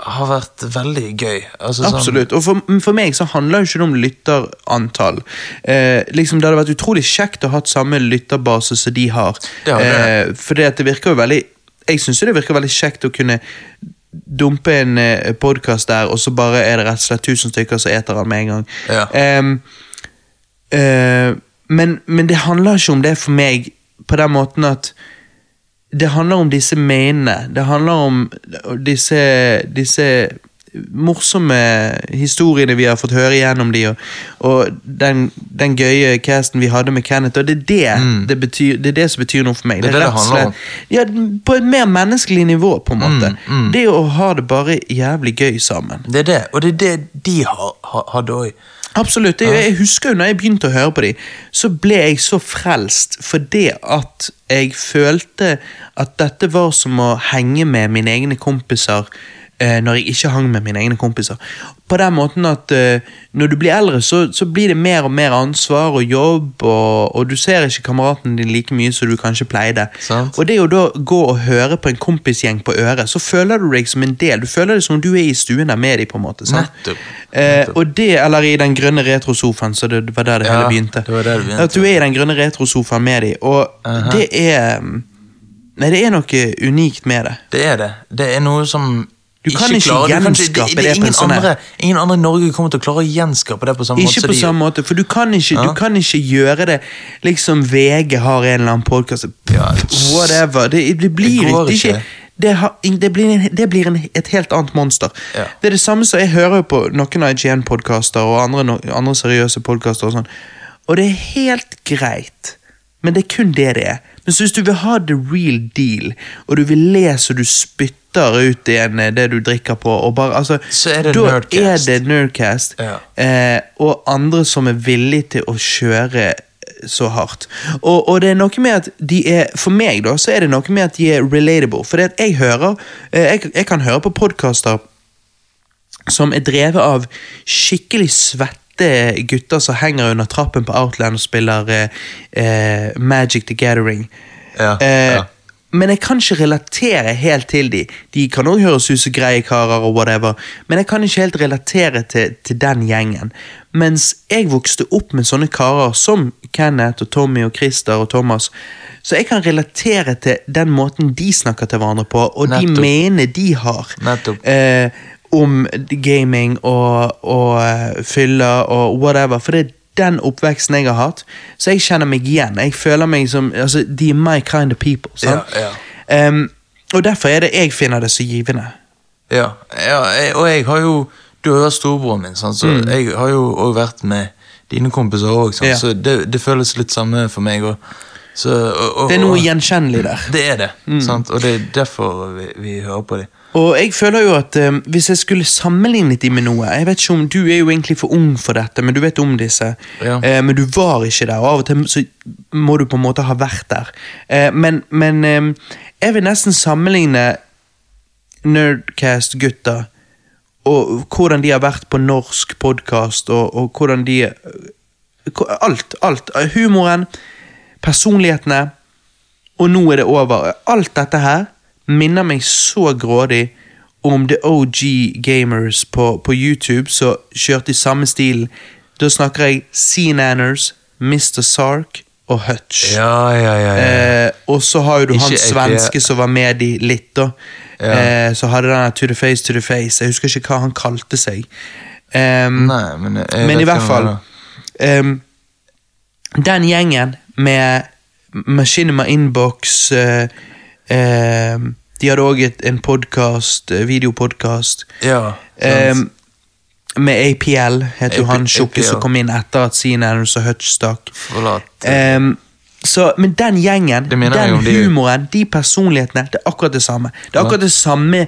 Har vært veldig gøy. Altså, sånn-
Absolutt. Og for, mm, for meg så handler jo ikke det om lytterantall. Eh, liksom Det hadde vært utrolig kjekt å ha hatt samme lytterbase som de har.
Det hadde det.
Eh, fordi at det virker jo veldig Jeg syns det virker veldig kjekt å kunne dumpe en eh, podkast der, og så bare er det rett og slett 1000 stykker som eter den med en gang.
Ja.
Ehm, eh, men, men det handler ikke om det for meg på den måten at det handler om disse mainene. Det handler om disse, disse morsomme historiene vi har fått høre gjennom de, og, og den, den gøye casten vi hadde med Kenneth. Og det er det, det, betyr, det, er det som betyr noe for meg.
Mm. Det er det det
rett og
handler om.
slett- Ja, på et mer menneskelig nivå, på en måte.
Mm,
Det å ha det bare jævlig gøy sammen.
Det er det. Og det er det de har, ha- hadde òg.
Absolutt. Jeg, jeg husker jo når jeg begynte å høre på dem, så ble jeg så frelst fordi at jeg følte at dette var som å henge med mine egne kompiser eh, når jeg ikke hang med mine egne kompiser. På den måten at eh, når du blir eldre, så, så blir det mer og mer ansvar og jobb, og, og du ser ikke kameraten din like mye som du kanskje pleide.
Sant.
Og det å da gå og høre på en kompisgjeng på øret, så føler du deg som en del. Du føler det som om du er i stuen der med dem, på en måte. sant?
Nettopp.
Eh, og det, eller i den grønne retrosofaen, så det var der det
Ja,
hele begynte.
det var der det begynte.
At du er i den grønne retrosofaen med dem, og det er mm, Nei, det er noe unikt med det.
Det er det. Det er noe som
Du kan ikke
klarer- du kan ikke-
gjenskape
er
det på en
ingen
sånn her.
andre, Ingen andre i Norge kommer til å klare å gjenskape det på samme måte
Ikke på
de-
samme måte, for du kan ikke, du kan ikke gjøre det liksom VG har en eller annen podkast
Ja.
Whatever. Det, det blir
Det går
ikke
ikke.
det, har, ing- det blir, en, det blir en, et helt annet monster.
Ja.
Det er det samme som jeg hører jo på noen IGN-podkaster og andre, no- andre seriøse podkaster. Og sånn. Og det er helt greit, men det er kun det det er. Men så hvis du vil ha the real deal, og du vil le så du spytter ut igjen eh, det du drikker på, og bare, altså,
Så er det
da
Nerdcast.
er det Nerdcast.
Ja.
Eh, og andre som er villige til å kjøre så hardt. Og, og det er noe med at de er, for meg da, så er det noe med at de er relatable. For det at jeg hører, eh, jeg, jeg kan høre på podkaster som er drevet av skikkelig svette gutter som henger under trappen på Outland og spiller eh, eh, Magic the Gathering.
Ja,
Eh,
ja.
Men jeg kan ikke relatere helt til de. De kan også høres ut som greie karer, og whatever, men jeg kan ikke helt relatere til, til den gjengen. Mens jeg vokste opp med sånne karer som Kenneth og Tommy og Christer og Thomas, så jeg kan relatere til den måten de snakker til hverandre på, og
Nettopp.
de meningene de har
Nettopp.
eh, om gaming og, og eh, fylla og whatever. For det er den oppveksten jeg har hatt, så jeg kjenner meg igjen. Jeg føler meg som, altså, De er my kind of people. sant?
Ja, ja.
Em, og derfor er det jeg finner det så givende.
Ja, ja jeg, og jeg har jo Du har hørt storebroren min, sant? så jeg har jo også vært med dine kompiser òg,
Mm. Ja.
så det, det føles litt samme for meg òg.
Det er noe gjenkjennelig der. Mm.
Det er det, sant? og det er derfor vi, vi hører på dem.
Og jeg føler jo at eh, Hvis jeg skulle sammenlignet de med noe Jeg vet ikke om Du er jo egentlig for ung for dette, men du vet om disse.
Ja.
Eh, men du var ikke der, og av og til så må du på en måte ha vært der. Eh, men men eh, jeg vil nesten sammenligne Nerdcast-gutta og hvordan de har vært på norsk podkast, og, og hvordan de ko- Alt. alt. Humoren, personlighetene, og nå er det over. Alt dette her minner meg så grådig om The OG Gamers på, på YouTube, som kjørte i samme stilen. Da snakker jeg C-Nanners, Mr. Sark og Hutch.
Ja, ja, ja. ja.
Eh, og så har jo du
Ikke
han
APA.
svenske som var med de litt, da. Eh, så hadde den her To the face, to the face. Jeg husker ikke hva han kalte seg. Ehm,
Nei, men, jeg
men i
Eh, vet
hvert
hvem
fall
det er.
ehm, Den gjengen med Machinima Inbox eh, ehm, De hadde òg en podkast, videopodkast,
Ja. sant.
ehm, med APL, het jo
AP-
han tjukke som
APL.
kom inn etter at C-Nanners og Hutch stakk.
Forlat.
Ehm, så, men den gjengen,
Det mener jeg
den
om de-
humoren, de personlighetene, det er akkurat det samme. Det er akkurat det samme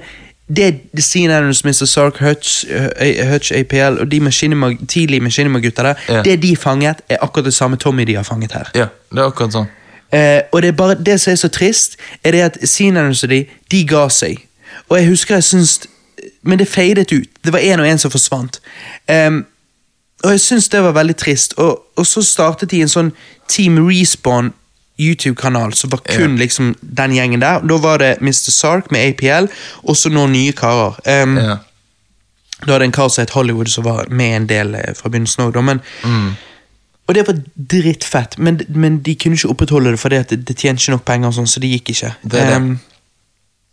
Det er C-Nanners, Mr. Sark, Hutch, eh, Hutch APL og de Machinima- tidlige Machinima-gutta der,
Ja.
det de fanget, er akkurat det samme Tommy de har fanget her.
Ja, det er akkurat sånn.
Eh, og det er bare det som er så trist, er det at C-Nanners og de, de ga seg. Og jeg husker jeg syns Men det fadet ut. Det var én og én som forsvant. Ehm, og jeg syns det var veldig trist. Og, og så startet de en sånn Team Respawn YouTube-kanal som var kun liksom den gjengen der. Da var det Mr. Sark med APL, og så noen nye karer. Ehm,
Ja.
Da hadde en kar som het Hollywood, som var med en del eh, fra begynnelsen òg, da. Men,
Mm.
Og det var drittfett, men, men de kunne ikke opprettholde det fordi at det, det tjente ikke nok penger, og sånn, så det gikk ikke.
Det er det.
Em,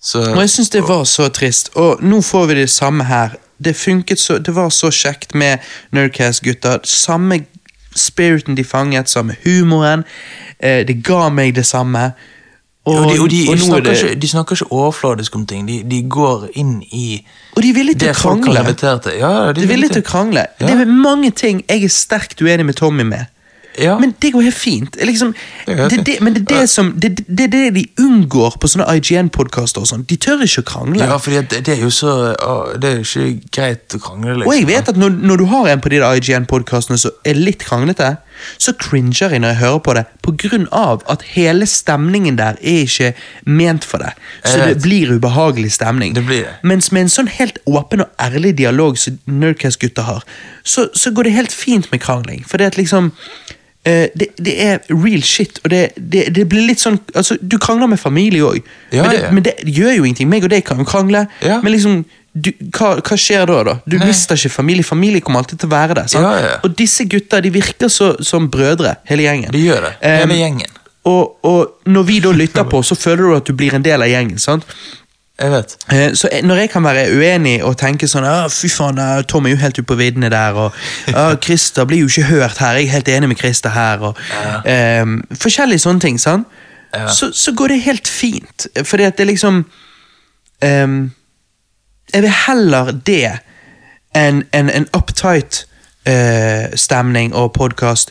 Så
og jeg syns det var så trist. Og nå får vi det samme her. Det funket så, det var så kjekt med Nerdcast-gutta. Samme spiriten de fanget, samme humoren. Eh, det ga meg det samme. Og,
og de, og de,
og nå er
snakker
det,
ikke, de snakker ikke overfladisk om ting. De, de går inn i
og de er villige til
det
å
folk
krangle.
har levitert til. Ja, ja, de
De er villige
vil
til å krangle.
Ja.
Det er mange ting jeg er sterkt uenig med Tommy med.
Ja.
Men det går helt fint. Liksom,
Det
det
går helt
det, men det er det som det, det, det, er det de unngår på sånne IGN-podkaster. og sånn. De tør ikke å krangle.
Ja, fordi at det, det er jo så å, Det er jo ikke greit å krangle, liksom.
Og jeg vet at når, når du har en på de der IGN-podkastene som er litt kranglete, så cringer jeg når jeg hører på det, på grunn av at hele stemningen der er ikke ment for det. Så
Jeg
det
vet.
blir ubehagelig stemning.
Det blir det.
Mens med en sånn helt åpen og ærlig dialog som Nerdcast-gutta har, så, så går det helt fint med krangling. For det at liksom eh, det, det er real shit, og det, det, det blir litt sånn altså, Du krangler med familie òg,
Ja,
men, det-
ja.
men det gjør jo ingenting. Meg og deg kan jo krangle,
Ja.
men liksom du, hva, hva skjer da? da? Du
Nei.
mister ikke familie. Familie kommer alltid til å være der. Sant?
Ja, ja.
Og disse gutta de virker så, som brødre, hele gjengen.
De gjør det. Hele
Em,
gjengen.
og, og når vi da lytter på, så føler du at du blir en del av gjengen. sant?
Jeg vet.
Eh, Så jeg- når jeg kan være uenig og tenke sånn «Ah, Fy faen, eh, Tom er jo helt ute på viddene der, og
(laughs)
«Ah, Christer blir jo ikke hørt her, jeg er helt enig med Christer her, og ehm, Forskjellige sånne ting, sant?
Ja.
Så, så går det helt fint, fordi at det er liksom ehm, Jeg vil heller det enn en, en uptight eh, stemning og podkast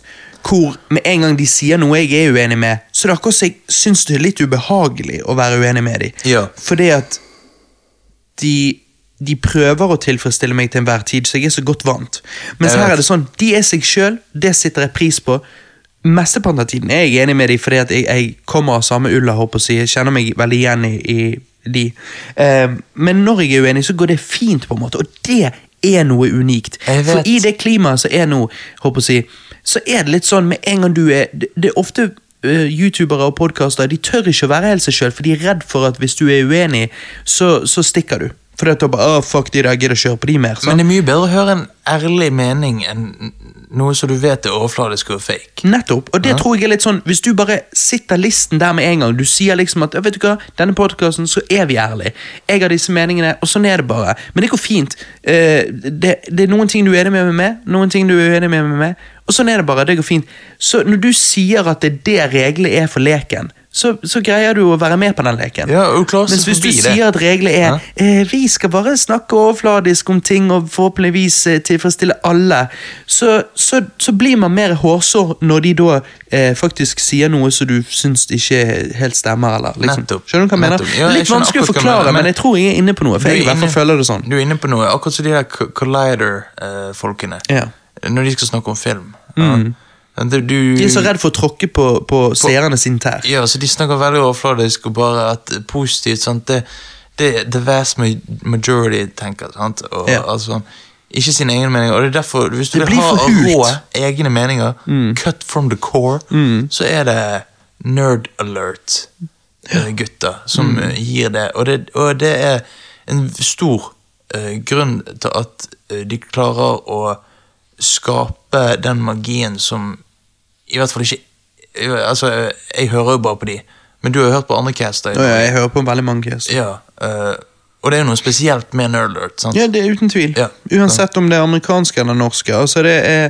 hvor med en gang de sier noe jeg er uenig med, så er det akkurat som jeg syns det er litt ubehagelig å være uenig med dem.
Ja.
Fordi at de, de prøver å tilfredsstille meg til enhver tid, så jeg er så godt vant. Mens
Jeg vet.
her er det sånn, de er seg sjøl, det setter jeg pris på. Mesteparten av tiden er jeg enig med dem, fordi at jeg, jeg kommer av samme ulla, holdt på å si. Jeg kjenner meg veldig igjen i, i de. Eh, men når jeg er uenig, så går det fint, på en måte. Og det er noe unikt.
Jeg
For
vet.
i det klimaet som er nå, holdt på å si, så er det litt sånn med en gang du er Det, det er ofte øh, youtubere og podkaster de tør ikke å være helt seg sjøl, for de er redd for at hvis du er uenig, så, så stikker du. For da bare, «Åh, fuck de der, jeg gidder ikke høre på de mer. sånn.
Men
Sant?
det er mye bedre å høre en ærlig mening enn noe som du vet er overfladisk og fake.
Nettopp, og det tror jeg er litt sånn Hvis du bare sitter listen der med en gang Du sier liksom at, «Ja, vet du hva, denne podcasten Så er vi ærlige, jeg har disse meningene Og sånn er det bare, men det går fint Eh, det, det er noen ting du er enig med meg med Noen ting du er uenig med meg med Og sånn er det bare, det går fint Så når du sier at det er det reglet er for leken så, så greier du å være med på den leken
Ja, og du klarer
Mens
seg
hvis du
forbi det.
sier at reglet er eh, Vi skal bare snakke overfladisk om ting og forhåpentligvis eh, tilfredsstille alle, så, så, så blir man mer hårsår når de da eh, faktisk sier noe som du syns ikke helt stemmer. Eller, liksom.
Nettopp.
Skjønner du hva jeg mener?
Nettopp. Ja, jeg
Litt
skjønner
vanskelig å
akkurat hva du
forklare,
mener, men-
men jeg tror jeg er inne på noe.
Du
For
er
jeg i hvert
inne-
fall føler det sånn.
Du er inne på noe, akkurat som de der Co- Collider-folkene.
Ja. Mm.
Når de skal snakke om film. Ja. Du, du,
De er så redd for å tråkke på, på seerne sin tær.
Mm. Ja, så de snakker veldig overfladisk og bare at positivt, sant, det, det the vast ma- majority tenker, sant, og
Ja.
altså, ikke sine egne meninger, og det er derfor, hvis du
Det
vil
blir
ha
for hult.
rå egne meninger,
Mm.
cut from the core, så er det nerd alert eh, gutter som
Mm.
eh, gir det, og det, og det er en stor eh, grunn til at eh, de klarer å skape den magien som i hvert fall ikke Altså, jeg hører jo bare på de, men du har jo hørt på andre caster.
Å ja, jeg hører på veldig mange caser.
Ja, eh, og det er jo noe spesielt med Nerdlert. sant?
Ja, det er uten tvil.
Ja.
Uansett om det er amerikanske eller norske. Altså det, er,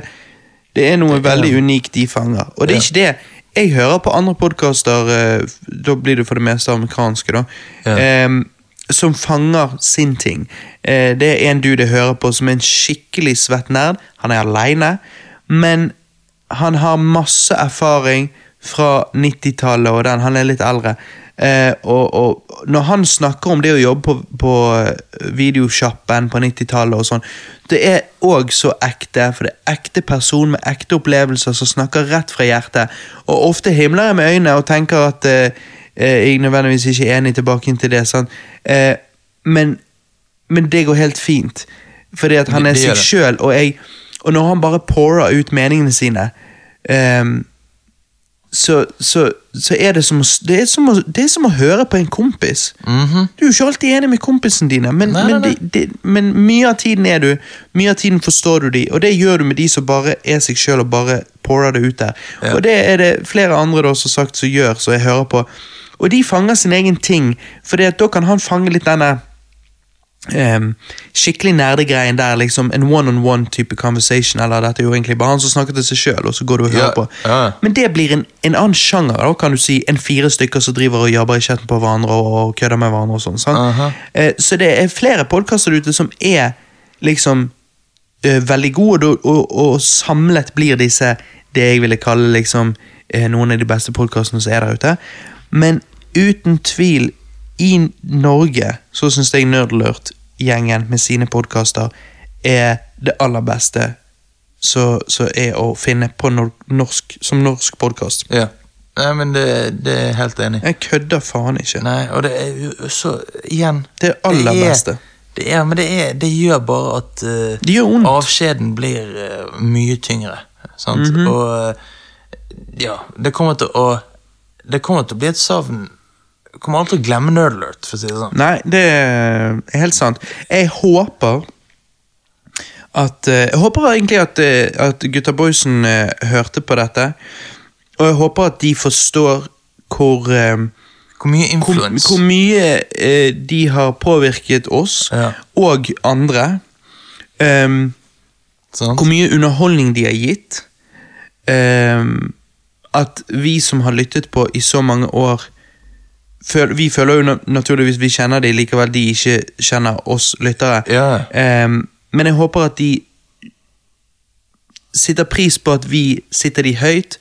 det er noe veldig unikt de fanger. Og det er
Ja.
ikke det. Jeg hører på andre podkaster, da blir det for det meste amerikanske, da.
Ja.
em, som fanger sin ting. Eh, det er en dude jeg hører på som er en skikkelig svett nerd. Han er aleine, men han har masse erfaring fra 90-tallet og den. Han er litt eldre. Eh, og, og når han snakker om det å jobbe på, på eh, videosjappen på 90-tallet og sånn, det er òg så ekte, for det er ekte person med ekte opplevelser som snakker rett fra hjertet. Og ofte himler jeg med øynene og tenker at eh, eh, jeg nødvendigvis ikke er enig tilbake inn til det, sant? Eh, men, men det går helt fint, fordi at han er
Det- det gjør
seg
det.
sjøl, og, jeg- og når han bare pourer ut meningene sine ehm, så, så, så er det som, å s- det er som å, det er som å høre på en kompis. Du er jo ikke alltid enig med kompisene dine, men,
Mhm. Nei, nei,
men,
nei.
De, de, men mye av tiden er du. Mye av tiden forstår du de, og det gjør du med de som bare er seg sjøl og bare pourer det ut der.
Ja.
Og det er det flere andre da som sagt som gjør, som jeg hører på. Og de fanger sin egen ting, for da kan han fange litt denne Ehm, skikkelig nerdegreien der, liksom en one-on-one-type conversation, eller dette er jo egentlig bare han som snakker til seg sjøl, og så går du og hører
Ja,
på.
ja.
Men det blir en, en annen sjanger, da, kan du si, enn fire stykker som driver og jabber i kjeften på hverandre og, og kødder med hverandre og sånn. sant?
Aha.
Eh, så det er flere podkaster ute som er liksom eh, veldig gode, og, og, og samlet blir disse det jeg ville kalle liksom eh, noen av de beste podkastene som er der ute. Men uten tvil, i Norge så syns jeg Nerdlurt-gjengen med sine podkaster er det aller beste som som er å finne på nor norsk, som norsk podkast.
Ja. Nei, men det, det er jeg helt enig i.
Jeg kødder faen ikke.
Nei, og det er jo så Igjen.
Det er aller beste.
Det er, men det, er, det gjør bare at eh,
Det gjør vondt.
avskjeden blir eh, mye tyngre. Sant?
Mhm.
Og eh, ja, det kommer til å Det kommer til å bli et savn. Jeg kommer aldri til å glemme Nerdlert, for å si det sånn.
Nei, det er helt sant. Jeg håper at eh, Jeg håper egentlig at, eh, at gutta boysen eh, hørte på dette. Og jeg håper at de forstår hvor eh,
Hvor mye
hvor,
influens
hvor mye eh, de har påvirket oss
Ja.
og andre. Ehm,
sant?
hvor mye underholdning de har gitt. Ehm, at vi som har lyttet på i så mange år, føl- vi føler jo na- naturligvis vi kjenner de, likevel de ikke kjenner oss lyttere.
Ja.
Ehm, men jeg håper at de sitter pris på at vi sitter de høyt,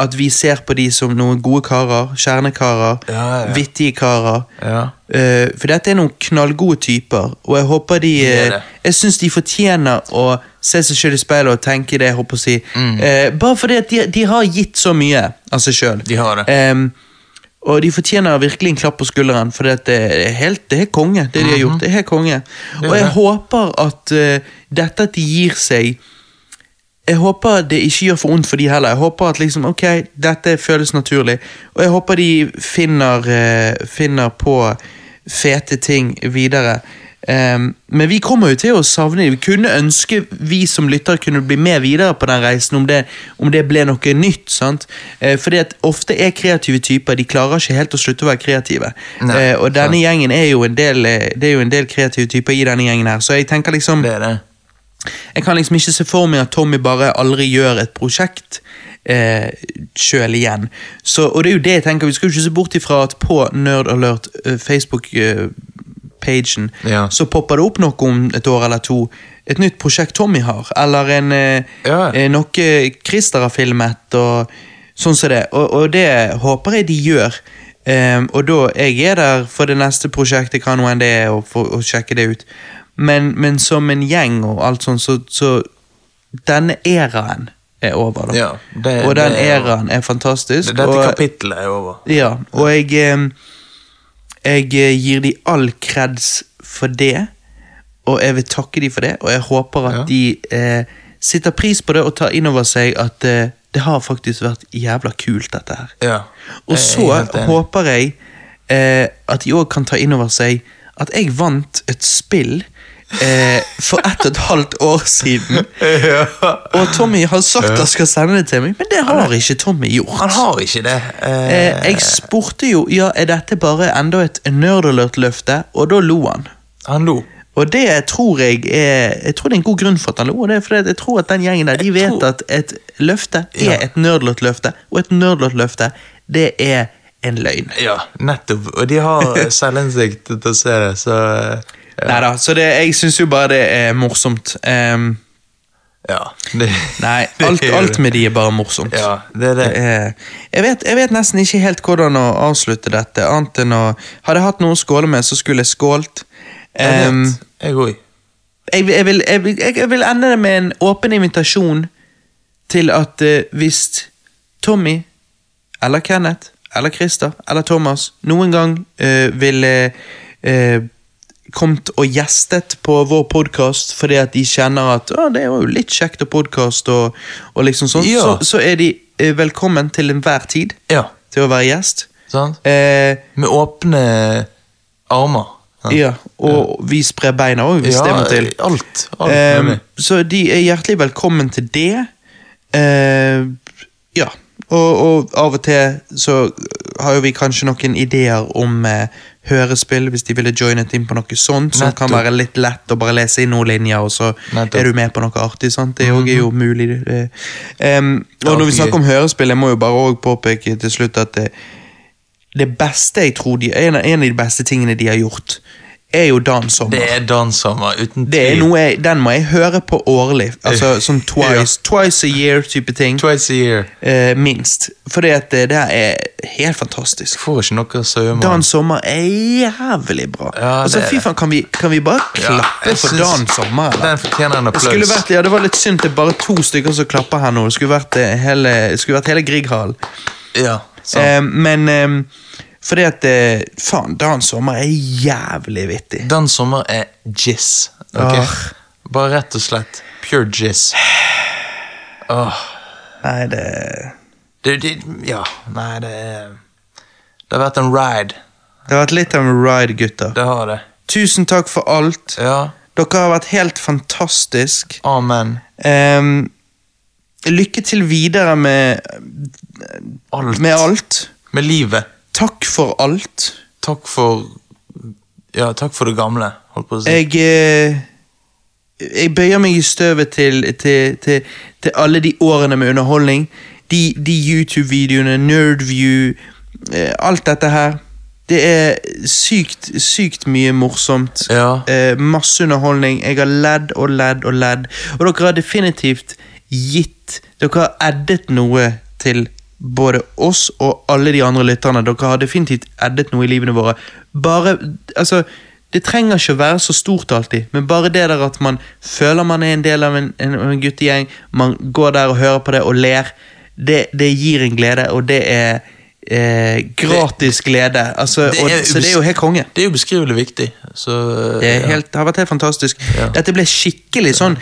at vi ser på de som noen gode karer, kjernekarer,
Ja, ja.
vittige karer.
Ja.
Eh, for dette er noen knallgode typer, og jeg håper de
Det er det.
eh, Jeg syns de fortjener å se seg sjøl i speilet og tenke det, jeg håper å si.
Mm.
Eh, bare fordi at de, de har gitt så mye av seg sjøl.
De har det.
og de fortjener virkelig en klapp på skulderen, for det er helt det er konge. det de har gjort, det er helt konge.
er
Og jeg
Mhm. det.
håper at eh, dette at de gir seg jeg håper det ikke gjør for ondt for de heller. Jeg håper at liksom, ok, dette føles naturlig. Og jeg håper de finner, eh, finner på fete ting videre. Ehm, men vi kommer jo til å savne dem. Vi kunne ønske vi som lyttere kunne bli med videre på den reisen, om det, om det ble noe nytt. sant? Eh, fordi at ofte er kreative typer, de klarer ikke helt å slutte å være kreative.
Nei,
Eh, og denne gjengen er jo, en del, eh, det er jo en del kreative typer i denne gjengen her, så jeg tenker liksom
Det er det.
jeg kan liksom ikke se for meg at Tommy bare aldri gjør et prosjekt eh, sjøl igjen. Så, og det er jo det jeg tenker, vi skal jo ikke se bort ifra at på Nerd Alert eh, Facebook-pagen
Ja.
så popper det opp noe om et år eller to. Et nytt prosjekt Tommy har, eller en, eh,
Ja.
eh, noe Christer har filmet. og sånn som det. Og, og det håper jeg de gjør. Ehm, og da jeg er der for det neste prosjektet, hva nå enn det er, og, for, og sjekke det ut. Men, men som en gjeng og alt sånt, så, så Denne æraen er over, da.
Ja, det-
og den
det er-
æraen er fantastisk.
Det- Dette
og,
kapittelet er over.
ja, og jeg eh, Jeg eh, gir de all kreds for det, og jeg vil takke de for det, og jeg håper at
Ja.
de eh, sitter pris på det og tar inn over seg at eh, det har faktisk vært jævla kult, dette her. (laughs)
Ja.
Og
Jeg er helt
så
enig.
håper jeg eh, at de òg kan ta inn over seg at jeg vant et spill eh, for ett og et halvt år siden. Og Tommy har sagt han skal sende det til meg, men det har ikke Tommy gjort.
Han har ikke det.
Eh,
Eh,
jeg spurte jo ja, er dette bare enda et nerdalert-løfte, og da lo han.
han lo.
Og det tror jeg er, jeg tror det er en god grunn for at han lo. og Det er fordi jeg tror at den gjengen der, de vet
tror-
at et løfte er
Ja.
et nerdalert-løfte, og et nerdalert-løfte, det er en løgn.
Ja, nettopp. Og de
(laughs)
har selvinnsikt til å se det, så eh,
Neida, så det, jeg syns jo bare det er morsomt. Ehm,
Ja. Det,
nei,
(laughs) det
alt,
er jo
alt
det.
med de er bare morsomt.
Ja, det er det.
Eh, Jeg vet, jeg vet nesten ikke helt hvordan å avslutte dette, annet enn å Hadde jeg hatt noe å skåle med, så skulle jeg skålt.
Jeg
Ehm,
vet. Jeg òg.
jeg, vil- jeg, vil, jeg, vil, jeg- jeg vil ende det med en åpen invitasjon til at eh, hvis Tommy, eller Kenneth, eller Christer, eller Thomas noen gang eh, ville eh, kommet og gjestet på vår podkast fordi at de kjenner at «Å, det er jo litt kjekt å podkaste og, og liksom sånn,
Ja.
så, så er de eh, velkommen til enhver tid
Ja.
til å være gjest.
Sant?
Eh,
Med åpne armer. sant?
ja, og vi sprer beina òg, hvis
Ja,
det må til.
Alt. alt
Ehm,
mulig.
så de er hjertelig velkommen til det. Ehm, ja. Og, og av og til så har jo vi kanskje noen ideer om eh, hørespill, hvis de ville joinet inn på noe sånt, som kan
Nettopp.
være litt lett å bare lese inn noen linjer, og så
Nettopp. Mhm.
er du med på noe artig. sant? Det òg er jo mulig. det. Ehm, og når vi
Alltid
snakker om hørespill, jeg må jo bare òg påpeke til slutt at det, det beste jeg tror de, en, av- en av de beste tingene de har gjort, er jo Dan Sommer.
Det er danssommer, uten
Det er
tvil.
noe jeg, Den må jeg høre på årlig.
Eh,
Altså sånn twice, twice a year-type ting.
Twice a year.
Eh, minst. Fordi at eh, det der er helt fantastisk.
Får ikke noe sømme.
Dan Sommer er jævlig bra.
Ja,
altså,
det er
fy
det.
faen, kan vi, kan vi bare klappe
jeg
for
syns-
Dan Sommer? eller?
Den fortjener en
Det skulle
applaus.
vært, ja, det var litt synd det er bare to stykker som klapper her nå. Det skulle vært eh, hele, det skulle vært hele Grieghallen.
Ja, sant.
Eh, men eh, fordi at eh, Faen, Dan Sommer er jævlig vittig.
Den sommer er jizz. ok?
Ah.
Bare rett og slett pure jizz. Åh,
Nei, det
det, det, ja, nei, det er Det har vært en ride.
Det har vært litt av en ride, gutter.
Det har det.
Tusen takk for alt.
Ja.
Dere har vært helt fantastisk.
Amen.
Ehm, lykke til videre med,
Alt.
med alt.
Med livet.
Takk for alt.
Takk for Ja, takk for det gamle, holdt på å si.
Jeg, eh, jeg bøyer meg i støvet til, til, til, til alle de årene med underholdning. De, de YouTube-videoene, Nerdview, eh, alt dette her. Det er sykt, sykt mye morsomt.
Ja.
Eh, masse underholdning. Jeg har ledd og ledd og ledd. Og dere har definitivt gitt Dere har eddet noe til både oss og alle de andre lytterne. Dere har definitivt eddet noe i livene våre. Bare Altså, det trenger ikke å være så stort alltid, men bare det der at man føler man er en del av en, en, en guttegjeng, man går der og hører på det og ler, det, det gir en glede, og det er eh, gratis glede. Altså,
Det
og,
er
så det er jo helt konge.
Det er ubeskrivelig viktig. Så,
Det, er
ja.
helt, det har vært helt fantastisk.
Ja.
Dette ble skikkelig sånn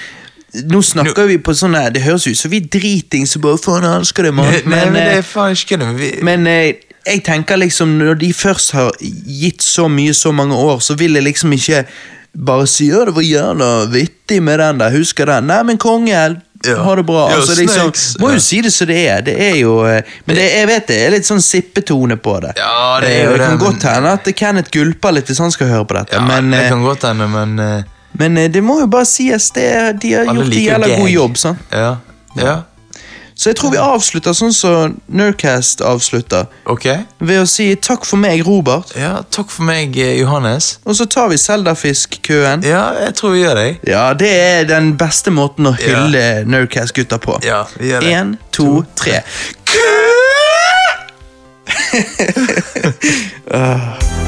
Nå snakker vi på sånn her, Det høres ut som vi er dritings og bare faen jeg elsker det, mann.
Nei, (laughs) men,
Men,
det er
eh,
faen ikke det. men Vi,
men eh, jeg tenker liksom når de først har gitt så mye så mange år, så vil jeg liksom ikke bare si ja, det var jævla vittig med den der, husker den? Nei, men konge,
Ja.
ha det bra.
Ja,
altså, liksom,
snakes.
må
Ja.
jo si det som det er. Det er jo eh, Men det, jeg vet det er litt sånn sippetone på det.
Ja, det er jo
Eh,
det,
kan
men-
godt hende at Kenneth gulper litt hvis han skal høre på dette,
ja,
men
det
eh,
kan godt hende, men eh,
men eh, det må jo bare sies, det, de har
alle
gjort en
liker jo
jævla
gag.
god jobb. sant?
Ja, ja,
Så jeg tror vi avslutter sånn som Nerdcast avslutter.
ok.
Ved å si takk for meg, Robert.
Ja, takk for meg, eh, Johannes.
Og så tar vi Seldafisk-køen.
Ja, jeg tror vi gjør det.
Ja, det er den beste måten å hylle Nerdcast-gutta på.
Ja, vi gjør det.
Én, to, tre. Kø!